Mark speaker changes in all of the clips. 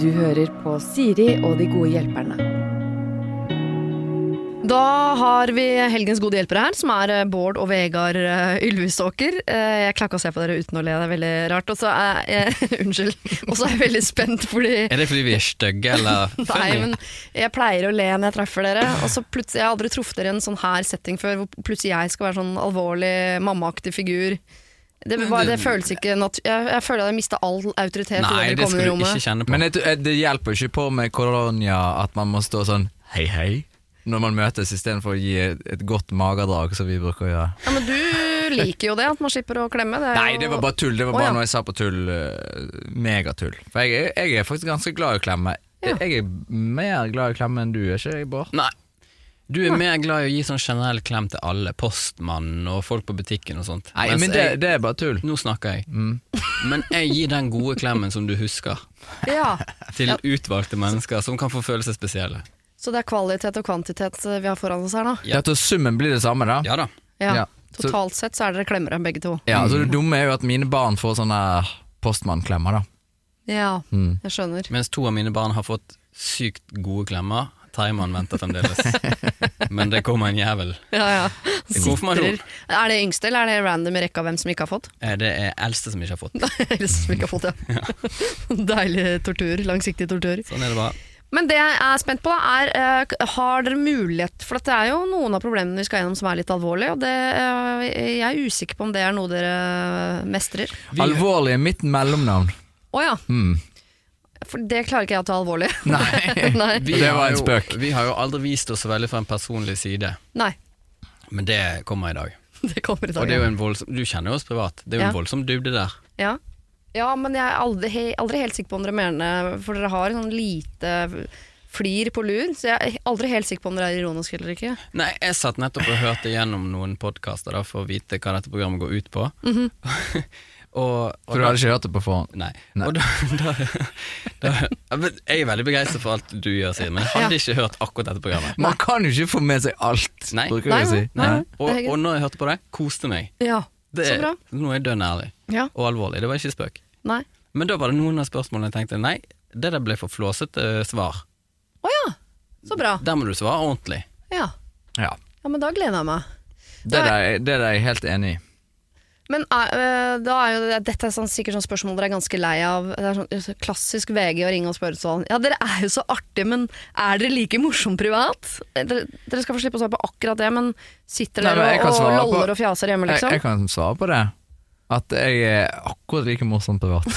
Speaker 1: Du hører på Siri og de gode hjelperne.
Speaker 2: Da har vi helgens gode hjelpere her, som er eh, Bård og Vegard eh, Ylvisåker. Eh, Jeg klarer ikke å se på dere uten å le, det er veldig rart. Og så er jeg, unnskyld. Og så er jeg veldig spent, fordi
Speaker 3: Er det fordi vi er stygge, eller
Speaker 2: Nei, men jeg pleier å le når jeg treffer dere. Og så plutselig, Jeg har aldri truffet dere i en sånn her setting før, hvor plutselig jeg skal være sånn alvorlig, mammaaktig figur. Det, var, det føles ikke nat jeg, jeg føler at jeg mista all autoritet
Speaker 3: Nei,
Speaker 2: i det kommende
Speaker 3: det skal du ikke
Speaker 2: rommet.
Speaker 3: kjenne på.
Speaker 4: Men jeg, tror- eh, det hjelper jo ikke på med koronia at man må stå sånn hei, hei, når man møtes, istedenfor å gi et godt magedrag, som vi bruker å gjøre.
Speaker 2: Ja, men du liker jo det, at man slipper å klemme. Det er
Speaker 4: Nei,
Speaker 2: jo-
Speaker 4: det var bare tull. Det var
Speaker 2: Å,
Speaker 4: bare
Speaker 2: ja.
Speaker 4: noe jeg sa på tull. eh, Megatull. For jeg, er- jeg er faktisk ganske glad i å klemme. Jeg- Jeg er mer glad i å klemme enn du, er ikke jeg, Bård?
Speaker 3: Nei. Du er mer glad i å gi sånn generell klem til alle, postmannen og folk på butikken og sånt.
Speaker 4: Nei,
Speaker 3: Mens
Speaker 4: men det, Mm.
Speaker 3: jeg,
Speaker 4: det er bare tull.
Speaker 3: Nå snakker jeg. Men jeg gir den gode klemmen som du husker,
Speaker 2: Ja.
Speaker 3: til
Speaker 2: Ja.
Speaker 3: utvalgte mennesker som kan få føle seg spesielle.
Speaker 2: Så det er kvalitet og kvantitet eh, vi har foran oss her nå.
Speaker 3: Ja.
Speaker 4: Ja. At summen blir det samme, da?
Speaker 3: Ja da.
Speaker 2: Ja.
Speaker 4: Ja.
Speaker 2: Totalt sett så er dere klemmere, begge to.
Speaker 4: Ja, så Det dumme er jo at mine barn får sånne postmannklemmer, da.
Speaker 2: Ja,
Speaker 3: Mm.
Speaker 2: jeg skjønner.
Speaker 3: Mens to av mine barn har fått sykt gode klemmer. Thaiman venter fremdeles. Men det kommer en jævel.
Speaker 2: Ja, ja.
Speaker 3: Konfirmasjon.
Speaker 2: Sitrer. Er det yngste, eller er det random i rekka hvem som ikke har fått?
Speaker 3: Eh, Det er eldste som ikke har fått.
Speaker 2: Eller som ikke har fått, ja. Deilig tortur. Langsiktig tortur.
Speaker 3: Sånn er det bare.
Speaker 2: Men det jeg er spent på, da, er eh, k- har dere mulighet For at det er jo noen av problemene vi skal gjennom som er litt alvorlige, og det, eh, jeg er usikker på om det er noe dere mestrer.
Speaker 4: Alvorlig er mitt mellomnavn. Hmm.
Speaker 2: Å ja. For det klarer ikke jeg å ta alvorlig.
Speaker 4: Nei.
Speaker 2: Nei.
Speaker 3: Vi
Speaker 4: Det var
Speaker 3: har
Speaker 4: en
Speaker 3: jo-
Speaker 4: spøk.
Speaker 3: Vi har jo aldri vist oss så veldig fra en personlig side,
Speaker 2: Nei.
Speaker 3: men det kommer i dag.
Speaker 2: Det kommer i dag.
Speaker 3: Og det er jo en voldsom, Du kjenner jo oss privat. Det er jo en
Speaker 2: Ja.
Speaker 3: voldsom dybde der.
Speaker 2: Ja. ja, men jeg er aldri, he- aldri helt sikker på om dere mener det, for dere har sånn lite flir på lur, så jeg er aldri helt sikker på om dere er ironiske eller ikke.
Speaker 3: Nei, jeg satt nettopp og hørte gjennom noen podkaster for å vite hva dette programmet går ut på.
Speaker 2: Mhm.
Speaker 3: og, og
Speaker 4: For du hadde ikke hørt det på forhånd.
Speaker 3: Nei. Og da, da, da, Ja, men jeg er veldig begeistret for alt du gjør, Simen, men jeg hadde ikke hørt akkurat dette programmet.
Speaker 4: Man kan jo ikke få med seg alt,
Speaker 3: Nei.
Speaker 4: bruker
Speaker 2: Nei,
Speaker 4: jeg å si.
Speaker 2: nei.
Speaker 4: Nei.
Speaker 3: Og,
Speaker 2: Det er
Speaker 3: og når jeg hørte på det, koste meg.
Speaker 2: Ja,
Speaker 3: Det,
Speaker 2: så bra.
Speaker 3: Nå er jeg dønn ærlig
Speaker 2: Ja,
Speaker 3: og alvorlig. Det var ikke spøk.
Speaker 2: nei.
Speaker 3: Men da var det noen av spørsmålene jeg tenkte nei, det der ble for flåsete svar.
Speaker 2: Å ja, så bra.
Speaker 3: Der må du svare ordentlig.
Speaker 2: Ja.
Speaker 4: Ja.
Speaker 2: ja, men da gleder jeg meg.
Speaker 4: Det er jeg- det er jeg helt enig i.
Speaker 2: Men er, øh, da er jo det, dette er sånn, sikkert sånn spørsmål dere er ganske lei av. Det er sånn så klassisk VG å ringe og spørre sånn Ja, dere er jo så artige, men er dere like morsom privat? Eh, Dere, dere skal få slippe å svare på akkurat det, men sitter
Speaker 4: Nei,
Speaker 2: dere
Speaker 4: men jeg kan
Speaker 2: og,
Speaker 4: svare
Speaker 2: og
Speaker 4: på-
Speaker 2: loller og fjaser hjemme,
Speaker 4: Jeg,
Speaker 2: liksom?
Speaker 4: jeg kan svare på det. At jeg er akkurat like morsom privat.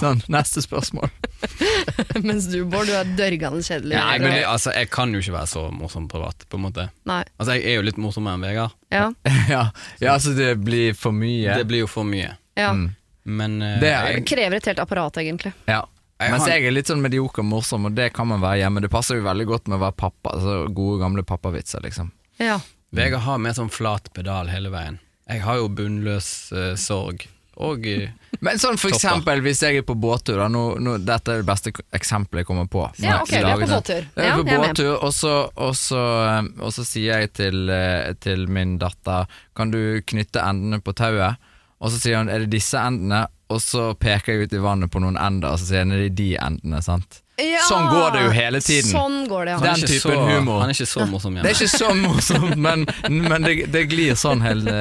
Speaker 4: Sånn, neste spørsmål.
Speaker 2: Mens du, Bård, du er dørgende kjedelig.
Speaker 3: Nei, men det, altså, jeg kan jo ikke være så morsom privat, på en måte.
Speaker 2: Nei.
Speaker 3: Altså, jeg er jo litt morsommere enn Vegard.
Speaker 2: Ja.
Speaker 4: ja, ja, altså det blir for mye.
Speaker 3: Det blir jo for mye.
Speaker 2: ja.
Speaker 4: Mm.
Speaker 3: Men eh,
Speaker 4: Det er-
Speaker 2: Det krever et helt apparat, egentlig.
Speaker 4: ja.
Speaker 3: Jeg
Speaker 4: Mens
Speaker 3: har-
Speaker 4: jeg er litt sånn medioker morsom, og det kan man være hjemme. Det passer jo veldig godt med å være pappa. Altså gode, gamle pappavitser, liksom.
Speaker 2: Ja.
Speaker 3: Vegard har mer sånn flat pedal hele veien. Jeg har jo bunnløs eh, sorg. Og eh,
Speaker 4: Men sånn for
Speaker 3: Topper.
Speaker 4: eksempel hvis jeg er på båttur, da, nå, nå, dette er det beste eksempelet jeg kommer på.
Speaker 2: Ja, ok, vi er på
Speaker 4: Laget det.
Speaker 2: båttur.
Speaker 4: Jeg er
Speaker 2: Ja,
Speaker 4: på
Speaker 2: jeg er med.
Speaker 4: båttur, og så, og, så, eh, og så sier jeg til, eh, til min datter Kan du knytte endene på tauet? Og så sier hun er det disse endene? Og så peker jeg ut i vannet på noen ender, og så sier hun er det de endene, sant?
Speaker 2: Ja!
Speaker 4: Sånn går det jo hele tiden.
Speaker 2: Sånn går det,
Speaker 3: han
Speaker 2: ja.
Speaker 3: er
Speaker 4: Den
Speaker 3: ikke
Speaker 4: typen
Speaker 3: så,
Speaker 4: humor.
Speaker 3: Han er ikke så morsom
Speaker 4: Det
Speaker 3: hjemme.
Speaker 4: er ikke så morsomt, men, men det, det glir sånn hele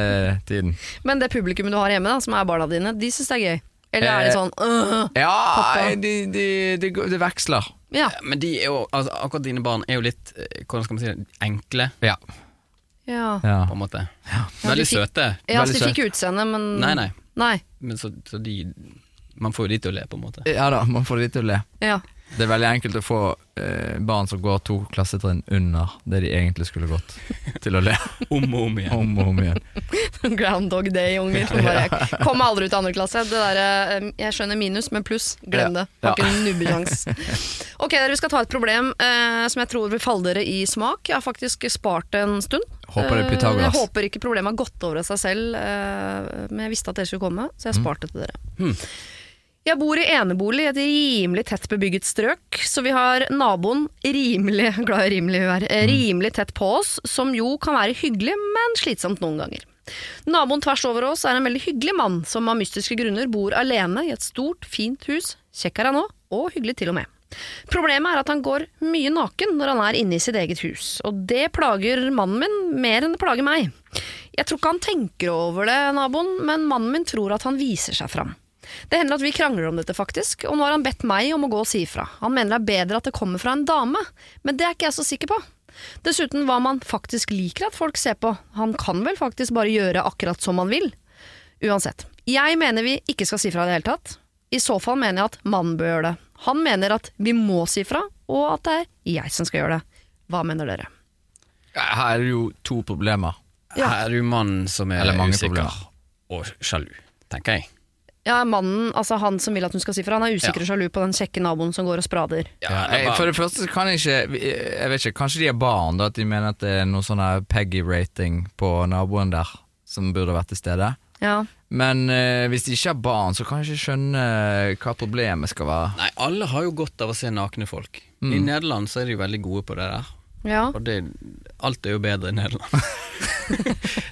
Speaker 4: tiden.
Speaker 2: Men det publikummet du har hjemme, da, som er barna dine, de syns det er gøy? Eller er de
Speaker 4: Eh,
Speaker 2: sånn øh,
Speaker 4: Ja, det de, de, de det veksler.
Speaker 2: Ja.
Speaker 3: Men de er jo, altså, akkurat dine barn er jo litt eh, hvordan skal man si det, enkle,
Speaker 4: Ja.
Speaker 2: ja.
Speaker 4: ja.
Speaker 3: på en måte.
Speaker 2: Ja, de
Speaker 3: Veldig
Speaker 2: fikk-
Speaker 3: søte.
Speaker 2: Ja, altså,
Speaker 4: Veldig
Speaker 2: de fikk utseende, men
Speaker 3: Nei, nei.
Speaker 2: Nei,
Speaker 3: Men så, så de Man får jo de til å le, på en måte.
Speaker 4: Ja da, man får det til å le.
Speaker 2: Ja.
Speaker 4: Det er veldig enkelt å få eh, barn som går to klassetrinn under det de egentlig skulle gått, til å le
Speaker 3: Om og om igjen.
Speaker 4: om og om igjen.
Speaker 2: Groundhog Day-unger. som bare, Kom aldri ut av andre klasse. Det der, eh, jeg skjønner minus, men pluss, glem det. Har ikke nubbekjangs. Ok, dere, vi skal ta et problem eh, som jeg tror vil falle dere i smak. Jeg har faktisk spart det en stund.
Speaker 4: Håper det er
Speaker 2: Eh,
Speaker 4: Pythagoras.
Speaker 2: Jeg håper ikke problemet har gått over av seg selv, eh, men jeg visste at dere skulle komme, så
Speaker 4: Mm.
Speaker 2: jeg sparte det til dere. Jeg bor i enebolig i et rimelig tett bebygget strøk, så vi har naboen rimelig, glad i rimelig hun er, eh, rimelig tett på oss, som jo kan være hyggelig, men slitsomt noen ganger. Naboen tvers over oss er en veldig hyggelig mann som av mystiske grunner bor alene i et stort, fint hus. Kjekk er han òg, og hyggelig til og med. Problemet er at han går mye naken når han er inne i sitt eget hus, og det plager mannen min mer enn det plager meg. Jeg tror ikke han tenker over det, naboen, men mannen min tror at han viser seg fram. Det hender at vi krangler om dette, faktisk, og nå har han bedt meg om å gå og si ifra. Han mener det er bedre at det kommer fra en dame, men det er ikke jeg så sikker på. Dessuten hva man faktisk liker at folk ser på. Han kan vel faktisk bare gjøre akkurat som han vil. Uansett. Jeg mener vi ikke skal si fra i det hele tatt. I så fall mener jeg at mannen bør gjøre det. Han mener at vi må si fra, og at det er jeg som skal gjøre det. Hva mener dere?
Speaker 4: Her er det jo to problemer.
Speaker 2: Ja.
Speaker 3: Her er jo mannen som er
Speaker 4: Eller mange
Speaker 3: usikker
Speaker 4: problemer.
Speaker 3: og sjalu, tenker jeg.
Speaker 2: Ja, mannen, altså han som vil at hun skal si fra, han er usikker og sjalu på den kjekke naboen som går og sprader.
Speaker 3: Ja, det er
Speaker 4: jeg,
Speaker 3: bare-
Speaker 4: for det første så kan jeg ikke eh, Jeg vet ikke, Kanskje de er barn, da at de mener at det er noe sånn her Peggy-rating på naboen der som burde vært til stede.
Speaker 2: Ja.
Speaker 4: Men eh, hvis de ikke er barn, så kan jeg ikke skjønne eh, hva problemet skal være.
Speaker 3: Nei, alle har jo godt av å se nakne folk.
Speaker 4: Mm.
Speaker 3: I Nederland så er de jo veldig gode på det der.
Speaker 2: ja.
Speaker 3: Og det, alt er jo bedre i Nederland.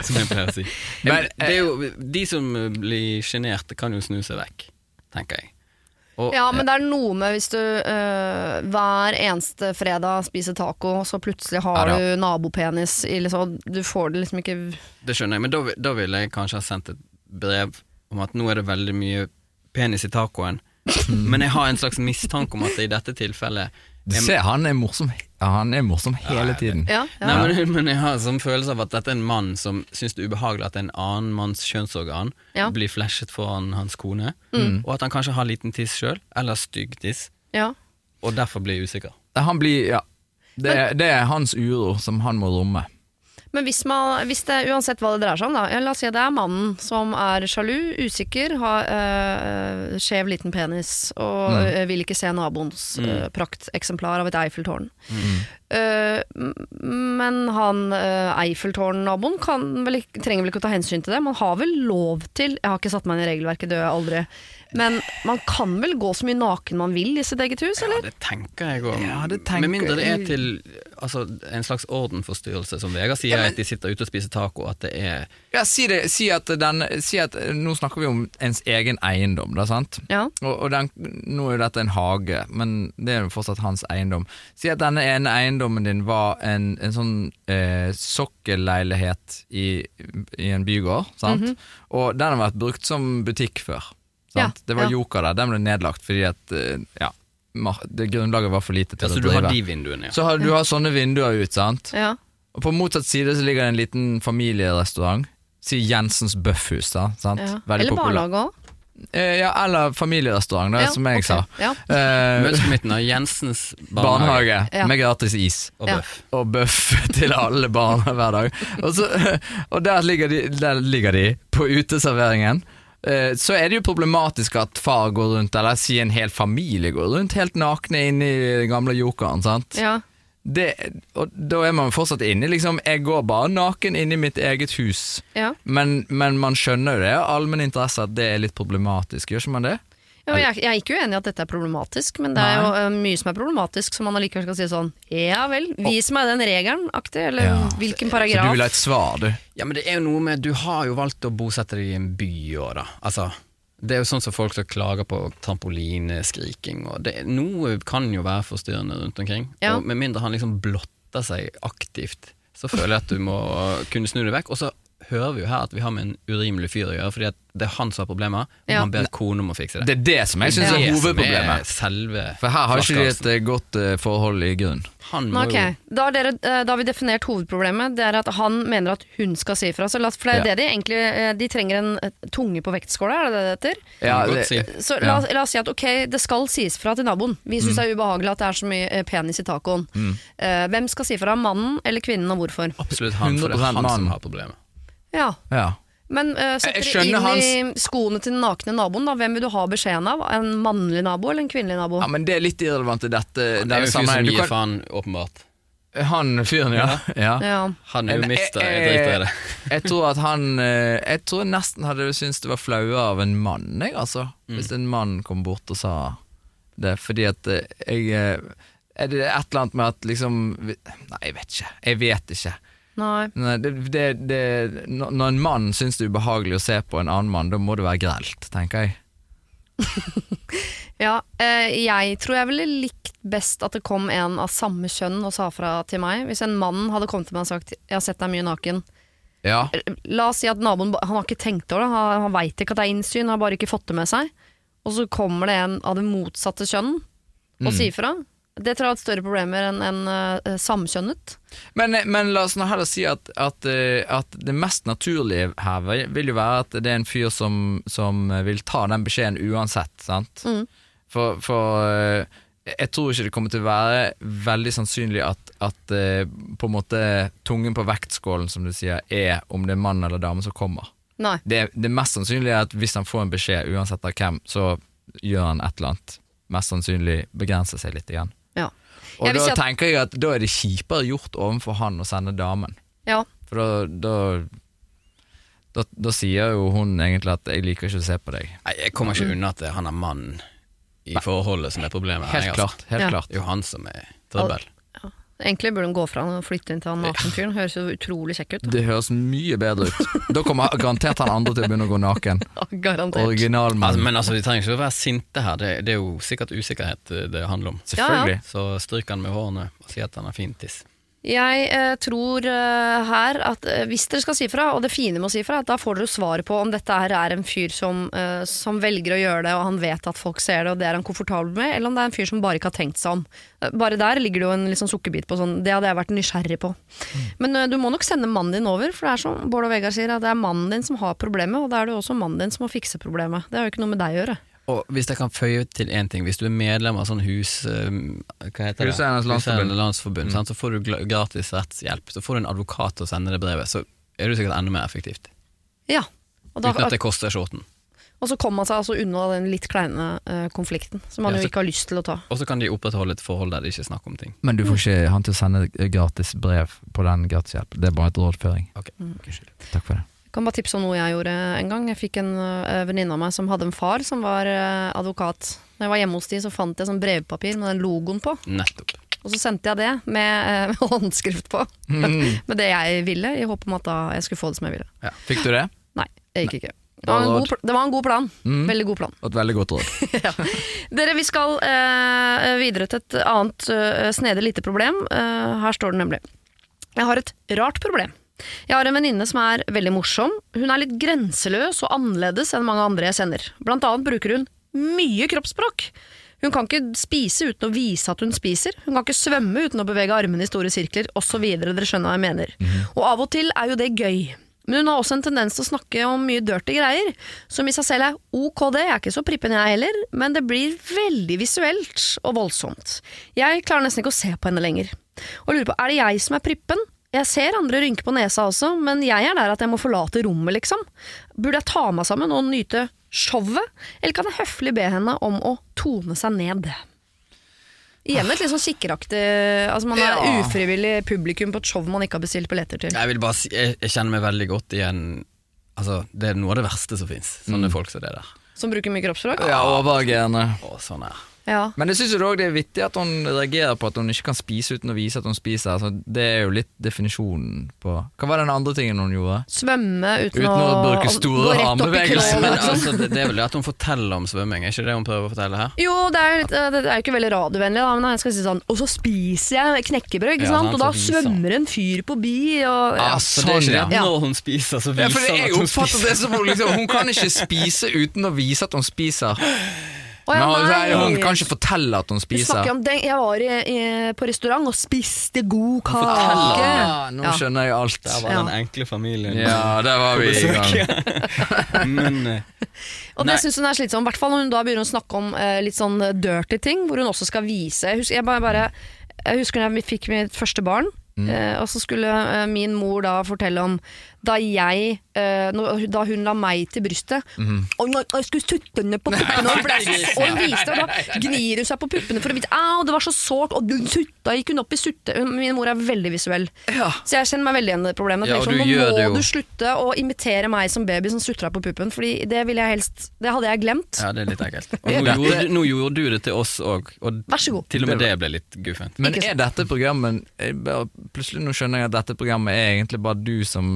Speaker 3: som jeg pleier å si.
Speaker 4: Men, eh,
Speaker 3: Men, det er jo, de som blir sjenerte, kan jo snu seg vekk, tenker jeg. Og,
Speaker 2: Ja, men det er noe med hvis du øh, hver eneste fredag spiser taco, så plutselig har
Speaker 4: Ja,
Speaker 2: du nabopenis i liksom Du får det liksom ikke
Speaker 3: Det skjønner jeg, men da, vil- da ville jeg kanskje ha sendt et brev om at nå er det veldig mye penis i tacoen, men jeg har en slags mistanke om at det i dette tilfellet
Speaker 4: Du ser, han er morsom, ja, han er morsom hele tiden.
Speaker 2: Ja, ja.
Speaker 3: Nei, men, men jeg har en sånn følelse av at dette er en mann som syns det er ubehagelig at en annen manns kjønnsorgan
Speaker 2: Ja. Mm.
Speaker 3: blir flashet foran hans kone, og at han kanskje har liten tiss sjøl, eller stygg tiss,
Speaker 2: ja.
Speaker 3: og derfor blir usikker.
Speaker 4: Nei, Han blir, ja det, er- det er hans uro som han må romme.
Speaker 2: Men hvis, man, hvis det uansett hva det dreier seg om, da ja, La oss si at det er mannen som er sjalu, usikker, har øh, skjev liten penis og
Speaker 4: Mm.
Speaker 2: øh, vil ikke se naboens øh, prakteksemplar av et Eiffeltårn.
Speaker 4: Mm.
Speaker 2: Øh, m- men han øh, Eiffeltårn-naboen kan vel ikke- trenger vel ikke å ta hensyn til det? Man har vel lov til Jeg har ikke satt meg inn i regelverket, det gjør jeg aldri. Men man kan vel gå så mye naken man vil i sitt eget hus,
Speaker 3: Ja,
Speaker 2: eller?
Speaker 3: det tenker jeg òg.
Speaker 4: Ja, det tenker
Speaker 3: Med mindre det er
Speaker 4: jeg.
Speaker 3: til altså, en slags ordenforstyrrelse, som Vegard sier, at de sitter ute og spiser taco, at det er
Speaker 4: Ja, si, det, si, at den, si at Nå snakker vi om ens egen eiendom, da, sant?
Speaker 2: Ja.
Speaker 4: Og, og den, nå er jo dette en hage, men det er jo fortsatt hans eiendom. Si at denne ene eiendommen din var en, en sånn eh, sokkelleilighet i, i en bygård, sant? Og den har vært brukt som butikk før. Sant?
Speaker 2: Ja,
Speaker 4: det var
Speaker 2: ja.
Speaker 4: Joker der, den ble nedlagt fordi at eh, ja, mar- det grunnlaget var for lite til
Speaker 3: Altså,
Speaker 4: å
Speaker 3: du
Speaker 4: drive.
Speaker 3: har de vinduene, ja.
Speaker 4: Så har, du har sånne vinduer ut, sant?
Speaker 2: Ja.
Speaker 4: Og på motsatt side så ligger det en liten familierestaurant. Si Jensens Bøffhus, da. Sant?
Speaker 2: ja.
Speaker 4: Veldig
Speaker 2: Eller
Speaker 4: populær.
Speaker 2: barnehage òg.
Speaker 4: Eh, ja, eller familierestaurant, da, som jeg sa.
Speaker 2: Ja.
Speaker 4: Eh,
Speaker 3: Møt på midten av Jensens barnehage
Speaker 4: barnehage
Speaker 2: Ja.
Speaker 4: med gratis is.
Speaker 3: og
Speaker 2: Ja.
Speaker 3: bøff.
Speaker 4: Og bøff til alle barna hver dag. Og, så, og der, ligger de, der ligger de, på uteserveringen. Eh, Så er det jo problematisk at far går rundt, eller si en hel familie går rundt, helt nakne inne i den gamle jokeren. sant?
Speaker 2: Ja.
Speaker 4: det, og da er man fortsatt inne. Liksom, jeg går bare naken inn i mitt eget hus.
Speaker 2: Ja.
Speaker 4: Men, men man skjønner jo det, av allmenn interesse, at det er litt problematisk. Gjør ikke man det?
Speaker 2: Ja, men jeg, jeg er ikke uenig i at dette er problematisk, men det er jo eh, mye som er problematisk som man allikevel skal si sånn Ja vel, vis meg den regelen aktig, eller
Speaker 4: Ja.
Speaker 2: hvilken
Speaker 4: Så du
Speaker 2: paragraf.
Speaker 4: vil ha et svar, du.
Speaker 3: Ja, men det er jo noe med Du har jo valgt å bosette deg i en by òg, da. Altså, det er jo sånn som folk som klager på trampolineskriking og det, Noe kan jo være forstyrrende rundt omkring.
Speaker 2: Ja.
Speaker 3: Og med mindre han liksom blotter seg aktivt, så føler jeg at du må kunne snu deg vekk. Og så hører vi jo her at vi har med en urimelig fyr å gjøre, fordi at det er han som har problemer, og
Speaker 2: Ja.
Speaker 3: han ber kona om å fikse det.
Speaker 4: Det er det som jeg syns er
Speaker 3: det som
Speaker 4: hovedproblemet.
Speaker 3: selve
Speaker 4: For her har ikke de
Speaker 3: flaskehalsen.
Speaker 4: et eh, godt eh, forhold i grunnen.
Speaker 3: Han må
Speaker 2: Men ok, da, har dere, eh, da har vi definert hovedproblemet. Det er at han mener at hun skal si ifra. Så la oss- For det er
Speaker 4: Ja.
Speaker 2: det de egentlig eh, De trenger en eh, tunge på vektskåla, er det det det heter?
Speaker 3: jo
Speaker 4: Ja, Mm.
Speaker 3: Kan
Speaker 4: det,
Speaker 3: godt si.
Speaker 2: Så la, oss- la oss si at ok, det skal sies fra til naboen. Vi syns det er ubehagelig at det er så mye eh, penis i tacoen.
Speaker 4: Mm.
Speaker 2: Eh, hvem skal si fra? Mannen eller kvinnen, og hvorfor?
Speaker 3: Absolutt han, for det er
Speaker 4: 100%
Speaker 3: han som
Speaker 4: mann.
Speaker 3: har problemer.
Speaker 2: Ja,
Speaker 4: ja.
Speaker 2: Men uh,
Speaker 4: Jeg- jeg
Speaker 2: setter inn
Speaker 4: skjønner
Speaker 2: i skoene til den nakne naboen, da. Hvem vil du ha beskjeden av? En mannlig nabo eller en kvinnelig nabo?
Speaker 4: ja, men det er litt irrelevant i dette.
Speaker 3: Det
Speaker 4: denne
Speaker 3: er jo fyr som
Speaker 4: sammenhengen. Du
Speaker 3: gir
Speaker 4: kan-
Speaker 3: faen, åpenbart.
Speaker 4: Han fyren, ja. ja.
Speaker 2: Ja.
Speaker 3: Han er jo
Speaker 4: Men
Speaker 3: mister,
Speaker 4: jeg-
Speaker 3: jeg driter i det.
Speaker 4: jeg tror at han eh, Jeg tror jeg nesten hadde syntes det var flaue av en mann, jeg, altså. Hvis en mann kom bort og sa det. Fordi at eh, jeg eh, Er det et eller annet med at liksom vi- Nei, jeg vet ikke. Jeg vet ikke.
Speaker 2: Nei.
Speaker 4: Nei, det, det, det, når når en mann syns det er ubehagelig å se på en annen mann, da må det være grelt, tenker jeg.
Speaker 2: Ja, eh, jeg tror jeg ville likt best at det kom en av samme kjønn og sa fra til meg. Hvis en mann hadde kommet til meg og sagt 'jeg har sett deg mye naken'.
Speaker 4: Ja,
Speaker 2: La oss si at naboen ba- han har ikke tenkt over det, han, han veit ikke at det er innsyn, han har bare ikke fått det med seg. Og så kommer det en av det motsatte kjønn og
Speaker 4: Mm.
Speaker 2: sier fra. Det tror jeg har hatt større problemer enn enn, eh, samkjønnet.
Speaker 4: Men, men la oss nå heller si at, at, eh, at det mest naturlige her vil- vil jo være at det er en fyr som, som vil ta den beskjeden uansett, sant? For, for eh, jeg tror ikke det kommer til å være veldig sannsynlig at, at eh, på en måte tungen på vektskålen, som du sier, er om det er mann eller dame som kommer.
Speaker 2: Nei.
Speaker 4: Det, det mest sannsynlige er at hvis han får en beskjed, uansett av hvem, så gjør han et eller annet. Mest sannsynlig begrenser seg litt igjen.
Speaker 2: Ja.
Speaker 4: Og
Speaker 2: Jeg vil
Speaker 4: da
Speaker 2: si at-
Speaker 4: tenker jeg at da er det kjipere gjort overfor han å sende damen.
Speaker 2: ja.
Speaker 4: For da da, da da sier jo hun egentlig at 'jeg liker ikke å se på deg'.
Speaker 3: Nei, jeg kommer ikke unna at det er han er mannen i forholdet som er problemet.
Speaker 4: Helt
Speaker 3: jeg, altså.
Speaker 4: klart. helt
Speaker 2: Ja.
Speaker 4: klart
Speaker 3: Det er jo han som er trøbbel.
Speaker 2: Egentlig burde hun gå fra han og flytte inn til han nakenfyren. Høres jo utrolig kjekk ut.
Speaker 4: Det høres mye bedre ut. Da kommer garantert han andre til å begynne å gå naken.
Speaker 2: Ja, Garantert.
Speaker 3: Altså,
Speaker 4: Originalmann.
Speaker 3: men altså, de trenger ikke å være sinte her, det, det er jo sikkert usikkerhet eh, det handler om.
Speaker 4: Selvfølgelig.
Speaker 3: Så stryk han med hårene og si at han har fin tiss.
Speaker 2: Jeg eh, tror eh, her at eh, hvis dere skal si fra, og det fine med å si fra, da får dere jo svaret på om dette her er en fyr som, eh, som velger å gjøre det, og han vet at folk ser det, og det er han komfortabel med, eller om det er en fyr som bare ikke har tenkt seg om. Eh, Bare der ligger det jo en litt sånn sukkerbit på sånn, det hadde jeg vært nysgjerrig på. Men eh, du må nok sende mannen din over, for det er som Bård og Vegard sier, at det er mannen din som har problemet, og da er det jo også mannen din som må fikse problemet. Det har jo ikke noe med deg å gjøre.
Speaker 3: Og hvis jeg kan føye til én ting, hvis du er medlem av sånn hus... eh, Hva heter det?
Speaker 4: Huseiernes Landsforbund.
Speaker 3: Huseiernes Landsforbund, sant, så får du gla- gratis rettshjelp. Så får du en advokat til å sende det brevet, så er du sikkert enda mer effektivt.
Speaker 2: Ja. Og, da,
Speaker 3: Uten at det koster skjorten.
Speaker 2: og så kom han seg altså unna den litt kleine eh, konflikten, som han
Speaker 3: Ja,
Speaker 2: jo
Speaker 3: så-
Speaker 2: ikke har lyst til å ta.
Speaker 3: Og så kan de opprettholde et forhold der det ikke er snakk om ting.
Speaker 4: Men du får ikke han til å sende gratis brev på den gratishjelpen. Det er bare et rådføring.
Speaker 3: Ok, unnskyld.
Speaker 4: Takk for det.
Speaker 2: Jeg kan bare tipse om noe jeg gjorde en gang. Jeg fikk en ø, venninne av meg som hadde en far som var ø, advokat. Når jeg var hjemme hos de, så fant jeg sånn brevpapir med den logoen på.
Speaker 3: Nettopp.
Speaker 2: Og så sendte jeg det med, ø, med håndskrift på. med det jeg ville, i håp om at da jeg skulle få det som jeg ville.
Speaker 4: Fikk du det?
Speaker 2: Nei, det gikk ikke. Det var, Mm. en god, pl- det var en god plan. Veldig god plan.
Speaker 4: Et veldig godt råd.
Speaker 2: Dere, vi skal ø, videre til et annet ø, snedig lite problem. Eh, her står det nemlig. Jeg har et rart problem. Jeg har en venninne som er veldig morsom. Hun er litt grenseløs og annerledes enn mange andre jeg kjenner. Blant annet bruker hun mye kroppsspråk. Hun kan ikke spise uten å vise at hun spiser. Hun kan ikke svømme uten å bevege armene i store sirkler, osv. Dere skjønner hva jeg mener. Og av og til er jo det gøy. Men hun har også en tendens til å snakke om mye dirty greier, som i seg selv er ok det, jeg er ikke så prippen jeg heller, men det blir veldig visuelt og voldsomt. Jeg klarer nesten ikke å se på henne lenger. Og lurer på, er det jeg som er prippen? Jeg ser andre rynke på nesa også, men jeg er der at jeg må forlate rommet, liksom. Burde jeg ta meg sammen og nyte showet, eller kan jeg høflig be henne om å tone seg ned? Igjen et litt sånn kikkeraktig Altså man er
Speaker 4: Ja.
Speaker 2: ufrivillig publikum på et show man ikke har bestilt billetter til.
Speaker 3: Jeg vil bare si, jeg, jeg kjenner meg veldig godt igjen Altså, det er noe av det verste som fins.
Speaker 4: Mm.
Speaker 3: Sånne folk som det der.
Speaker 2: Som bruker mye kroppsspråk?
Speaker 4: Ja, overreagerende.
Speaker 3: Å, sånn her.
Speaker 2: Ja.
Speaker 4: Men jeg syns òg det er vittig at hun reagerer på at hun ikke kan spise uten å vise at hun spiser. Altså, det er jo litt definisjonen på Hva var den andre tingen hun gjorde?
Speaker 2: Svømme uten,
Speaker 4: Uten å bruke store
Speaker 2: gå rett opp i
Speaker 4: armbevegelser,
Speaker 2: knollen,
Speaker 3: Men
Speaker 2: liksom.
Speaker 3: altså, det, det er vel det at hun forteller om svømming, er ikke det hun prøver å fortelle her?
Speaker 2: Jo, det er, jo litt, eh, det er jo ikke veldig radiovennlig, da, men jeg skal si sånn Og så spiser jeg knekkebrød, ikke
Speaker 3: Ja,
Speaker 2: sant?
Speaker 3: sant,
Speaker 2: og da
Speaker 3: så viser han.
Speaker 2: svømmer en fyr forbi, og ja.
Speaker 4: Ah,
Speaker 3: Så det er ikke det at
Speaker 2: ja.
Speaker 3: når hun spiser, så
Speaker 4: Ja,
Speaker 3: viser
Speaker 4: for
Speaker 3: hun
Speaker 4: jeg
Speaker 3: at hun
Speaker 4: oppfatter
Speaker 3: spiser.
Speaker 4: det som hun liksom Hun kan ikke spise uten å vise at hun spiser.
Speaker 2: Å,
Speaker 4: Men
Speaker 2: ja,
Speaker 4: hun,
Speaker 2: nei.
Speaker 4: hun kan ikke fortelle at hun
Speaker 2: Vi snakker
Speaker 4: spiser.
Speaker 2: om den, Jeg var i, i, på restaurant og spiste god kake.
Speaker 4: Ah, nå
Speaker 2: Ja.
Speaker 4: skjønner jeg alt.
Speaker 3: Der var
Speaker 2: Ja.
Speaker 3: den enkle familien.
Speaker 4: Ja, der var vi i gang.
Speaker 3: Men eh,
Speaker 2: Og det syns hun er slitsom, i hvert fall når hun da begynner å snakke om eh, litt sånn dirty ting, hvor hun også skal vise. Jeg husker, jeg bare, bare, jeg husker når jeg fikk mitt første barn, eh, og så skulle eh, min mor da fortelle om da jeg eh, nå- Da hun la meg til brystet «Å, nå- Jeg skulle sutte henne på puppene og, ble, og hun viste og da gnir hun seg på puppene for å vite Au, det var så sårt Og du sutta, gikk hun opp i sutte Hun- Min mor er veldig visuell
Speaker 4: Ja.
Speaker 2: Så jeg kjenner meg veldig igjen i det problemet
Speaker 3: Ja,
Speaker 2: Jeg
Speaker 3: og
Speaker 2: tenker sånn,
Speaker 3: du
Speaker 2: Nå
Speaker 3: gjør det
Speaker 2: må
Speaker 3: jo.
Speaker 2: du slutte å imitere meg som baby Som sutter deg på puppen Fordi det, ville jeg helst, det hadde jeg glemt
Speaker 3: Ja, det er litt ekkelt. Og nå gjorde, nå gjorde du det til oss òg, og
Speaker 2: Vær så god.
Speaker 3: til og med det ble litt guffent.
Speaker 4: Men
Speaker 2: Ikke
Speaker 4: er dette programmet jeg bare- Plutselig nå skjønner jeg at dette programmet er egentlig bare du som